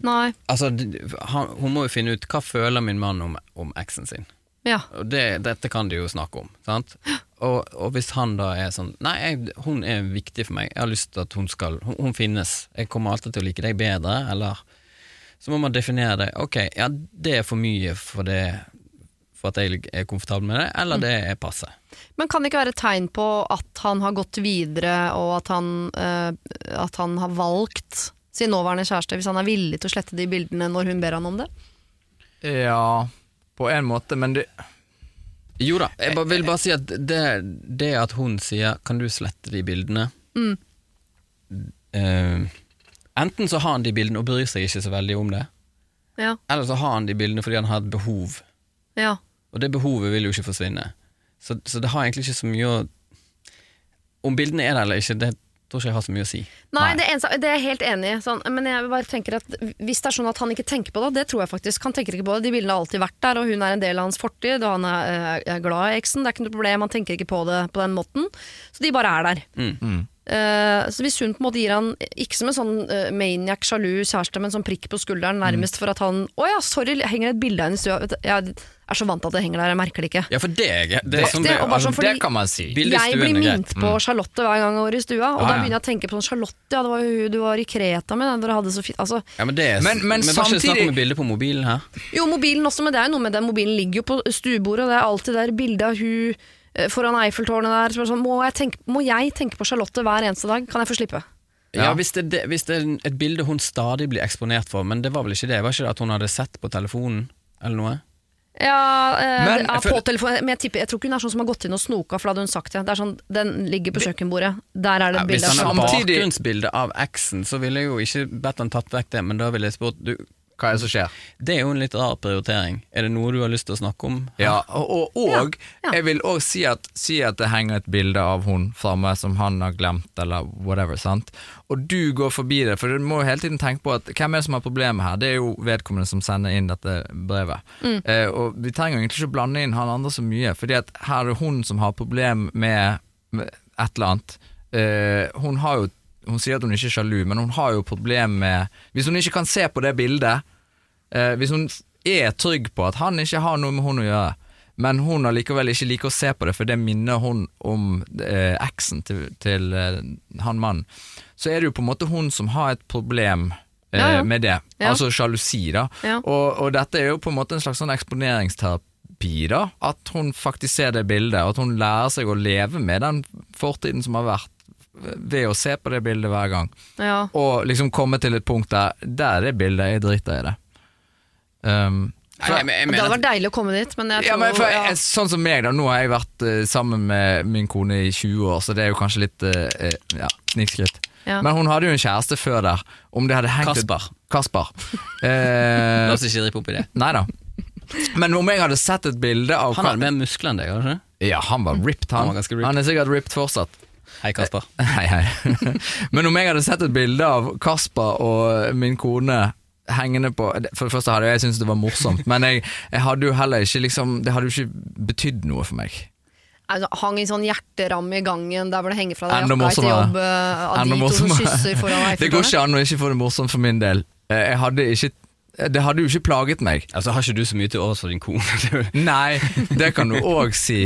Speaker 2: Nei.
Speaker 3: altså d- han, Hun må jo finne ut hva føler min mann om, om eksen sin.
Speaker 2: Ja.
Speaker 3: Og det, dette kan de jo snakke om. Sant? Og, og hvis han da er sånn Nei, jeg, hun er viktig for meg. Jeg har lyst til at hun skal Hun, hun finnes. Jeg kommer alltid til å like deg bedre, eller Så må man definere det. Ok, ja, det er for mye for det for at jeg er komfortabel med det, eller det er passe.
Speaker 2: Men kan det ikke være et tegn på at han har gått videre, og at han, eh, at han har valgt sin nåværende kjæreste, hvis han er villig til å slette de bildene når hun ber han om det?
Speaker 4: Ja, på en måte, men det
Speaker 3: Jo da, jeg bare, vil bare si at det, det at hun sier 'kan du slette de bildene' eh, Enten så har han de bildene og bryr seg ikke så veldig om det,
Speaker 2: Ja.
Speaker 3: eller så har han de bildene fordi han har et behov
Speaker 2: ja.
Speaker 3: Og det behovet vil jo ikke forsvinne. Så, så det har egentlig ikke så mye å Om bildene er der eller ikke, det tror ikke jeg har så mye å si.
Speaker 2: Nei, Det, eneste, det er jeg helt enig i. Sånn, men jeg bare tenker at hvis det er sånn at han ikke tenker på det, det tror jeg faktisk. Han tenker ikke på det. De bildene har alltid vært der, og hun er en del av hans fortid, og han er, eh, er glad i eksen. Det er ikke noe problem, han tenker ikke på det på den måten. Så de bare er der. Eh, så hvis hun på en måte gir han, ikke som en sånn eh, maniac, sjalu kjæreste, men sånn prikk på skulderen nærmest for at han Å ja, sorry, henger det et bilde av henne i stua? Vet du, Jeg er så vant til at det henger der, jeg merker det ikke.
Speaker 3: Ja, for det er jeg- det er som
Speaker 2: det er
Speaker 3: det-
Speaker 2: å bare sånn fordi-
Speaker 4: Det kan man si.
Speaker 3: Bildet i
Speaker 2: Jeg
Speaker 3: stuen
Speaker 2: blir
Speaker 3: er greit.
Speaker 2: minnet på Charlotte hver gang jeg går i stua, og
Speaker 3: Ja,
Speaker 2: da
Speaker 3: ja.
Speaker 2: begynner jeg å tenke på sånn Charlotte, ja, det var jo hun du var i Kreta med, den dere hadde så fint altså,
Speaker 3: ja, men det er,
Speaker 4: Men- men
Speaker 3: var ikke det snakk om
Speaker 4: samtidig-
Speaker 3: et bilde på mobilen her?
Speaker 2: Jo, mobilen også, men det er jo noe med den. Mobilen ligger jo på stuebordet, og det er alltid der bildet av hun eh, foran Eiffeltårnet der. Så bare sånn, må, jeg tenke, må jeg tenke på Charlotte hver eneste dag? Kan jeg få slippe?
Speaker 3: Ja,
Speaker 4: Ja.
Speaker 3: hvis, det, er det, hvis det er et bilde hun stadig blir eksponert for, men det var vel ikke det? Var ikke det at hun hadde sett på telefonen, eller noe?
Speaker 2: Ja, eh,
Speaker 4: Men-
Speaker 2: det er
Speaker 4: jeg føler-
Speaker 2: på telefonen, men jeg tipper Jeg tror ikke hun er sånn som har gått inn og snoka, for da hadde hun sagt det. det er sånn, den ligger på kjøkkenbordet. Der er det
Speaker 3: Ja,
Speaker 2: et
Speaker 3: hvis
Speaker 2: bilde.
Speaker 3: han
Speaker 2: av
Speaker 3: har
Speaker 2: Charlotte.
Speaker 4: Samtidig-
Speaker 3: bakgrunnsbilde av eksen, så ville jeg jo ikke bedt han tatt vekk det, men da ville jeg spurt du,
Speaker 4: Hva er det som skjer?
Speaker 3: Det er jo en litt rar prioritering. Er det noe du har lyst til å snakke om?
Speaker 4: Ja, og, og, og
Speaker 2: Ja, ja.
Speaker 4: jeg vil òg si, at- si at det henger et bilde av hun framme som han har glemt, eller whatever. sant? Og du går forbi det, for du må jo hele tiden tenke på at hvem er det som har problemet her? Det er jo vedkommende som sender inn dette brevet.
Speaker 2: Mm.
Speaker 4: Eh, og vi trenger jo egentlig ikke blande inn han andre så mye, fordi at her er det hun som har problem med, med et eller annet. Eh, hun har jo hun sier at hun ikke er sjalu, men hun har jo problem med Hvis hun ikke kan se på det bildet, Eh, hvis hun er trygg på at han ikke har noe med hun å gjøre, men hun allikevel ikke liker å se på det, for det minner hun om eh, eksen til, til eh, han mannen. Så er det jo på en måte hun som har et problem eh,
Speaker 2: Ja, ja.
Speaker 4: med det,
Speaker 2: Ja.
Speaker 4: altså sjalusi, da.
Speaker 2: Ja.
Speaker 4: Og, og dette er jo på en måte en slags sånn eksponeringsterapi, da. At hun faktisk ser det bildet, og at hun lærer seg å leve med den fortiden som har vært, ved å se på det bildet hver gang.
Speaker 2: Ja.
Speaker 4: Og liksom komme til et punkt der Der er det bildet, jeg driter i det. Um,
Speaker 3: Nei, jeg, jeg
Speaker 2: det
Speaker 3: mener
Speaker 2: hadde
Speaker 3: at-
Speaker 2: vært deilig å komme dit, men jeg tror
Speaker 4: ja, men for,
Speaker 2: ja.
Speaker 4: jeg, sånn som meg da Nå har jeg vært eh, sammen med min kone i 20 år Så det er jo kanskje litt eh, eh, ja, snikskritt
Speaker 2: Ja.
Speaker 4: Men hun hadde jo en kjæreste før der Om det hadde hengt et-
Speaker 3: Kasper.
Speaker 4: Kasper
Speaker 3: La
Speaker 4: eh,
Speaker 3: oss ikke rippe opp i det.
Speaker 4: Neida Men om jeg hadde sett et bilde av
Speaker 3: Han hadde mer muskler enn deg, hadde han ikke?
Speaker 4: Ja, han var ripped
Speaker 3: Han
Speaker 4: han
Speaker 3: var ganske ripped.
Speaker 4: han er sikkert ripped fortsatt
Speaker 3: Hei, Kasper.
Speaker 4: Hei, hei. Men om jeg hadde sett et bilde av Kasper og min kone hengende på For det første hadde jeg syntes det var morsomt, men jeg, jeg hadde jo heller ikke liksom Det hadde jo ikke betydd noe for meg.
Speaker 2: Altså, hang i sånn hjerteramme i gangen der hvor det henger fra deg
Speaker 4: Enda
Speaker 2: jakka etter
Speaker 4: morsommere.
Speaker 2: jobb. eh, Av de to
Speaker 4: Enda
Speaker 2: som
Speaker 4: morsommere.
Speaker 2: kysser foran deg.
Speaker 4: Det går ikke an å ikke få det morsomt for min del. Eh, Jeg hadde ikke, det hadde jo ikke plaget meg.
Speaker 3: Altså, har ikke du så mye til overs for din kone? Det er jo-
Speaker 4: Nei, det kan du òg si.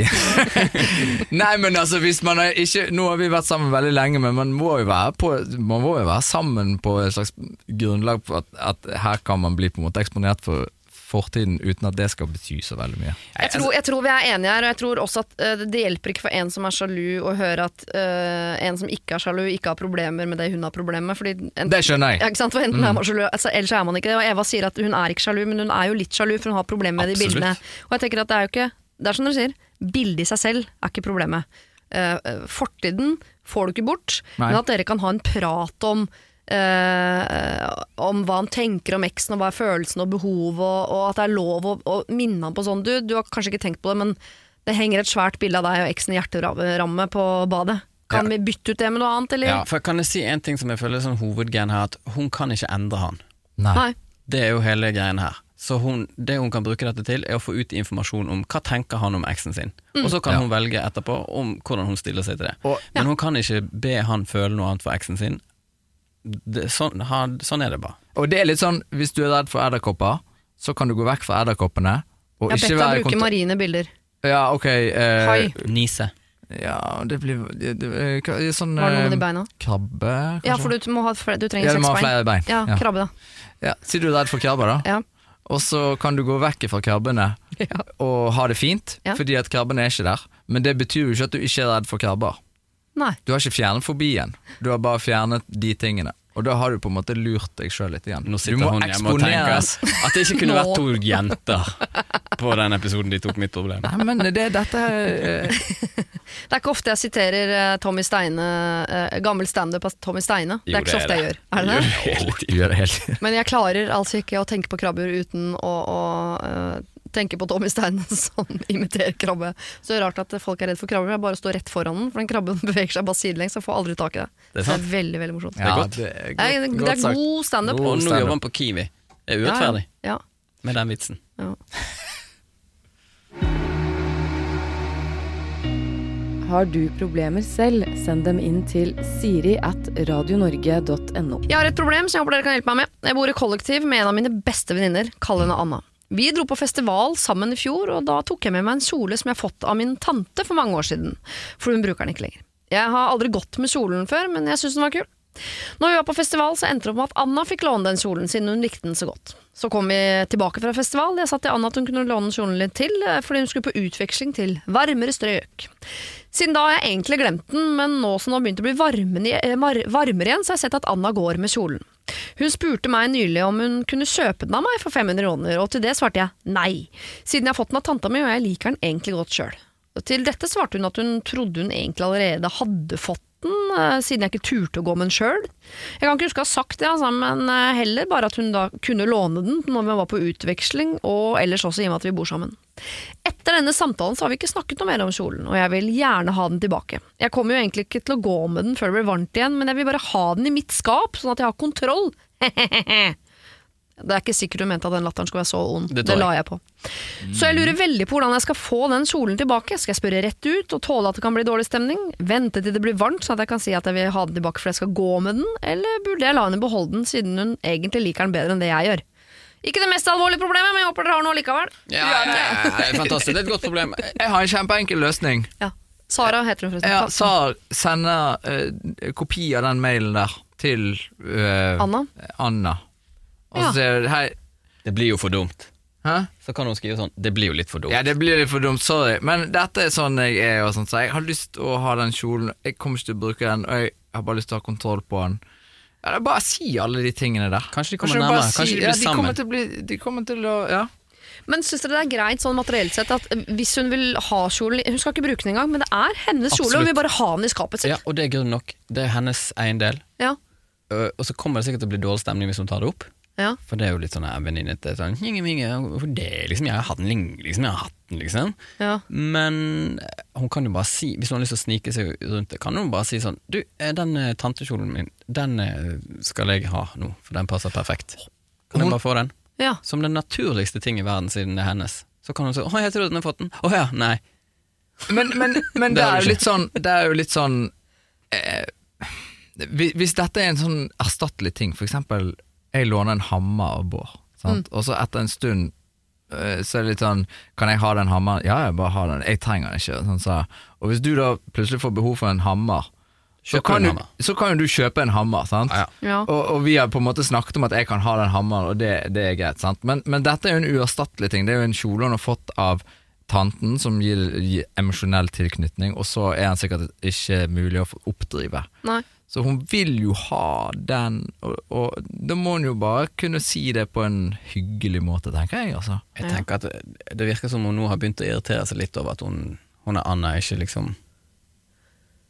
Speaker 4: Nei, men altså hvis man er ikke Nå har vi vært sammen veldig lenge, men man må jo være, på, man må jo være sammen på et slags grunnlag på at, at her kan man bli på en måte eksponert for fortiden uten at det skal bety så veldig mye.
Speaker 2: Jeg tror, jeg tror vi er enige her, og jeg tror også at eh, det hjelper ikke for en som er sjalu å høre at eh, en som ikke er sjalu, ikke har problemer med det hun har problemer med. Fordi en,
Speaker 4: Det skjønner
Speaker 2: ja,
Speaker 4: jeg.
Speaker 2: ikke sant? For enten er man sjalu, altså, ellers er man ikke det. Og Eva sier at hun er ikke sjalu, men hun er jo litt sjalu, for hun har problemer med de
Speaker 3: Absolutt.
Speaker 2: bildene. Og jeg tenker at det er jo ikke Det er som dere sier, bildet i seg selv er ikke problemet. Eh, eh, fortiden får du ikke bort,
Speaker 4: Nei.
Speaker 2: men at dere kan ha en prat om eh, om hva han tenker om eksen, og hva er følelsen og behovet, og, og at det er lov å, å minne han på sånn Du, du har kanskje ikke tenkt på det, men det henger et svært bilde av deg og eksen i hjerteramme på badet. Kan vi bytte ut det med noe annet, eller?
Speaker 3: Ja, for kan jeg si en ting som jeg føler er sånn hovedgen her, at hun kan ikke endre han.
Speaker 4: Nei.
Speaker 2: Nei.
Speaker 3: Det er jo hele greien her. Så hun, det hun kan bruke dette til, er å få ut informasjon om hva tenker han om eksen sin. Og så kan hun velge etterpå om hvordan hun stiller seg til det.
Speaker 4: Og-
Speaker 3: Men hun kan ikke be han føle noe annet for eksen sin. Det, sånn, ha, sånn er det bare.
Speaker 4: Og det er litt sånn, hvis du er redd for edderkopper, så kan du gå vekk fra edderkoppene. Og
Speaker 2: Jeg har
Speaker 4: ikke
Speaker 2: bedt
Speaker 4: være
Speaker 2: deg
Speaker 4: i
Speaker 2: bruke
Speaker 4: kontakt
Speaker 2: marine bilder.
Speaker 4: Ja, ok. eh,
Speaker 2: Hai.
Speaker 3: Nise.
Speaker 4: Ja, det blir det, det, eh, hva- Sånn
Speaker 2: Var det noe
Speaker 4: eh,
Speaker 2: med de beina?
Speaker 4: krabbe, kanskje?
Speaker 2: Ja, for du, må ha, fle- du trenger
Speaker 4: Ja, du
Speaker 2: seks
Speaker 4: må ha
Speaker 2: bein.
Speaker 4: flere bein.
Speaker 2: Ja,
Speaker 4: Ja.
Speaker 2: krabbe, da.
Speaker 4: Ja, Si du er redd for krabber, da.
Speaker 2: Ja.
Speaker 4: Og så kan du gå vekk fra krabbene og ha det fint,
Speaker 2: Ja.
Speaker 4: fordi at krabbene er ikke der. Men det betyr jo ikke at du ikke er redd for krabber.
Speaker 2: Nei.
Speaker 4: Du har ikke fjernet fobien, du har bare fjernet de tingene. Og da har du på en måte lurt deg sjøl litt igjen.
Speaker 3: Nå
Speaker 4: Du
Speaker 3: sitter
Speaker 4: må
Speaker 3: hun hjemme og
Speaker 4: eksponeres.
Speaker 3: tenker at det ikke kunne
Speaker 2: Nå.
Speaker 3: vært to jenter på den episoden de tok mitt problem.
Speaker 4: Nei, men det, dette er eh,
Speaker 2: Det er ikke ofte jeg siterer eh, Tommy Steine, eh, gammel standup av Tommy Steine. det er ikke så ofte jeg gjør. Er det det?
Speaker 3: Hele
Speaker 4: Du
Speaker 3: tiden.
Speaker 4: gjør det helt
Speaker 2: Men jeg klarer altså ikke å tenke på krabber uten å, å eh, tenke på Tommy Steine som imiterer krabbe. Så det er rart at folk er redd for krabber. Jeg bare står rett foran den, for den krabben beveger seg bare sidelengs og får aldri tak i det.
Speaker 3: Det er
Speaker 2: Så
Speaker 3: sant.
Speaker 2: det er veldig, veldig morsomt.
Speaker 3: er godt.
Speaker 4: det er,
Speaker 2: Nei, det, det er
Speaker 4: sagt.
Speaker 2: god standup.
Speaker 3: Og nå
Speaker 4: standup.
Speaker 3: jobber han på Kiwi. Det
Speaker 2: Ja,
Speaker 3: er
Speaker 2: ja.
Speaker 3: urettferdig
Speaker 2: Ja,
Speaker 3: med den vitsen.
Speaker 2: ja.
Speaker 1: Har du problemer selv, send dem inn til siri at radionorge.no.
Speaker 2: Jeg har et problem som jeg håper dere kan hjelpe meg med. Jeg bor i kollektiv med en av mine beste venninner, kall henne Anna. Vi dro på festival sammen i fjor, og da tok jeg med meg en kjole som jeg har fått av min tante for mange år siden, for hun bruker den ikke lenger. Jeg har aldri gått med kjolen før, men jeg syns den var kul. Når vi var på festival, så endte det opp med at Anna fikk låne den kjolen siden hun likte den så godt. Så kom vi tilbake fra festival. Jeg sa til Anna at hun kunne låne kjolen litt til, eh, fordi hun skulle på utveksling til varmere strøk. Siden da har jeg egentlig glemt den, men nå som det har begynt å bli varmen i- eh, var- varmere igjen, så har jeg sett at Anna går med kjolen. Hun spurte meg nylig om hun kunne kjøpe den av meg for 500 kroner, og til det svarte jeg nei, siden jeg har fått den av tanta mi og jeg liker den egentlig godt sjøl. Til dette svarte hun at hun trodde hun egentlig allerede hadde fått den, eh, siden jeg ikke turte å gå med den sjøl. Jeg kan ikke huske å ha sagt det, altså, men eh, heller bare at hun da kunne låne den når vi var på utveksling, og ellers også i og med at vi bor sammen. Etter denne samtalen så har vi ikke snakket noe mer om kjolen, og jeg vil gjerne ha den tilbake. Jeg kommer jo egentlig ikke til å gå med den før det blir varmt igjen, men jeg vil bare ha den i mitt skap, sånn at jeg har kontroll. Det er ikke sikkert du mente at den latteren skulle være så ond.
Speaker 3: Det
Speaker 2: Det,
Speaker 3: tar jeg.
Speaker 2: la jeg på. Så jeg lurer veldig på hvordan jeg skal få den kjolen tilbake. Skal jeg spørre rett ut og tåle at det kan bli dårlig stemning? Vente til det blir varmt, sånn at jeg kan si at jeg vil ha den tilbake fordi jeg skal gå med den? Eller burde jeg la henne beholde den, siden hun egentlig liker den bedre enn det jeg gjør? Ikke det mest alvorlige problemet, men jeg håper dere har noe likevel.
Speaker 3: Ja, ja, ja, det er fantastisk. Det er et godt problem.
Speaker 4: Jeg har en kjempeenkel løsning.
Speaker 2: Ja. Sara heter hun forresten.
Speaker 4: Ja, Sar sender eh, kopi av den mailen der til eh,
Speaker 2: Anna?
Speaker 4: Anna. Og så
Speaker 2: Ja.
Speaker 4: sier du hei
Speaker 3: Det blir jo for dumt.
Speaker 4: Hæ?
Speaker 3: Så kan hun skrive sånn Det blir jo litt for dumt.
Speaker 4: Ja, det blir litt for dumt, sorry. Men dette er sånn jeg er, og sånt, så jeg har lyst å ha den kjolen. Jeg kommer ikke til å bruke den, og jeg har bare lyst til å ha kontroll på den. Ja, det er bare å si alle de tingene der.
Speaker 3: Kanskje de kommer
Speaker 4: du bare
Speaker 3: nærmere, kanskje de blir
Speaker 4: ja,
Speaker 3: sammen.
Speaker 4: Kommer til å bli, de kommer til å Ja.
Speaker 2: Men syns dere det er greit sånn materielt sett at eh, hvis hun vil ha kjolen Hun skal ikke bruke den engang, men det er hennes kjole, og hun vil bare ha den i skapet
Speaker 3: Ja,
Speaker 2: sitt.
Speaker 3: og det er grunn nok. Det er hennes eiendel.
Speaker 2: Ja.
Speaker 3: Ø, Og så kommer det sikkert til å bli dårlig stemning hvis hun tar det opp.
Speaker 2: Ja.
Speaker 3: For det er jo litt sånn eh, venninnete sånn, «Inge, Inge, hvorfor det, liksom, jeg har hatt den lenge, liksom, jeg har hatt den, liksom.
Speaker 2: Ja.
Speaker 3: Men eh, hun kan jo bare si, hvis hun har lyst til å snike seg rundt det, kan hun bare si sånn, du, eh, den eh, tantekjolen min, den eh, skal jeg ha nå, for den passer perfekt. Kan jeg bare få den?
Speaker 2: ja.
Speaker 3: Som den naturligste ting i verden siden det er hennes. Så kan hun si, å, jeg trodde den har fått den. Å ja, nei.
Speaker 4: Men, men, men
Speaker 3: Det
Speaker 4: det
Speaker 3: har
Speaker 4: er
Speaker 3: du
Speaker 4: jo litt sånn, det er jo litt sånn eh, hvi- Hvis dette er en sånn erstattelig ting, for eksempel jeg låner en hammer av Bård, sant?
Speaker 3: Mm.
Speaker 4: og så etter en stund eh, så er det litt sånn Kan jeg ha den hammeren? Ja, jeg bare har den. Jeg trenger den ikke. Sånn, sa jeg. og hvis du da plutselig får behov for en hammer, så
Speaker 3: Kjøp
Speaker 4: kan,
Speaker 3: en
Speaker 4: du,
Speaker 3: hammer.
Speaker 4: så kan jo du kjøpe en hammer, sant?
Speaker 3: Ja,
Speaker 2: Ja.
Speaker 4: Og, og vi har på en måte snakket om at jeg kan ha den hammeren, og det, det er greit. sant? Men, men dette er jo en uerstattelig ting. Det er jo en kjole hun har fått av tanten, som gir, gir emosjonell tilknytning, og så er den sikkert ikke mulig å få oppdrive.
Speaker 2: Nei.
Speaker 4: Så hun vil jo ha den, og, og da må hun jo bare kunne si det på en hyggelig måte, tenker jeg, altså.
Speaker 3: Jeg tenker at det- det virker som hun nå har begynt å irritere seg litt over at hun, hun er Anna, ikke liksom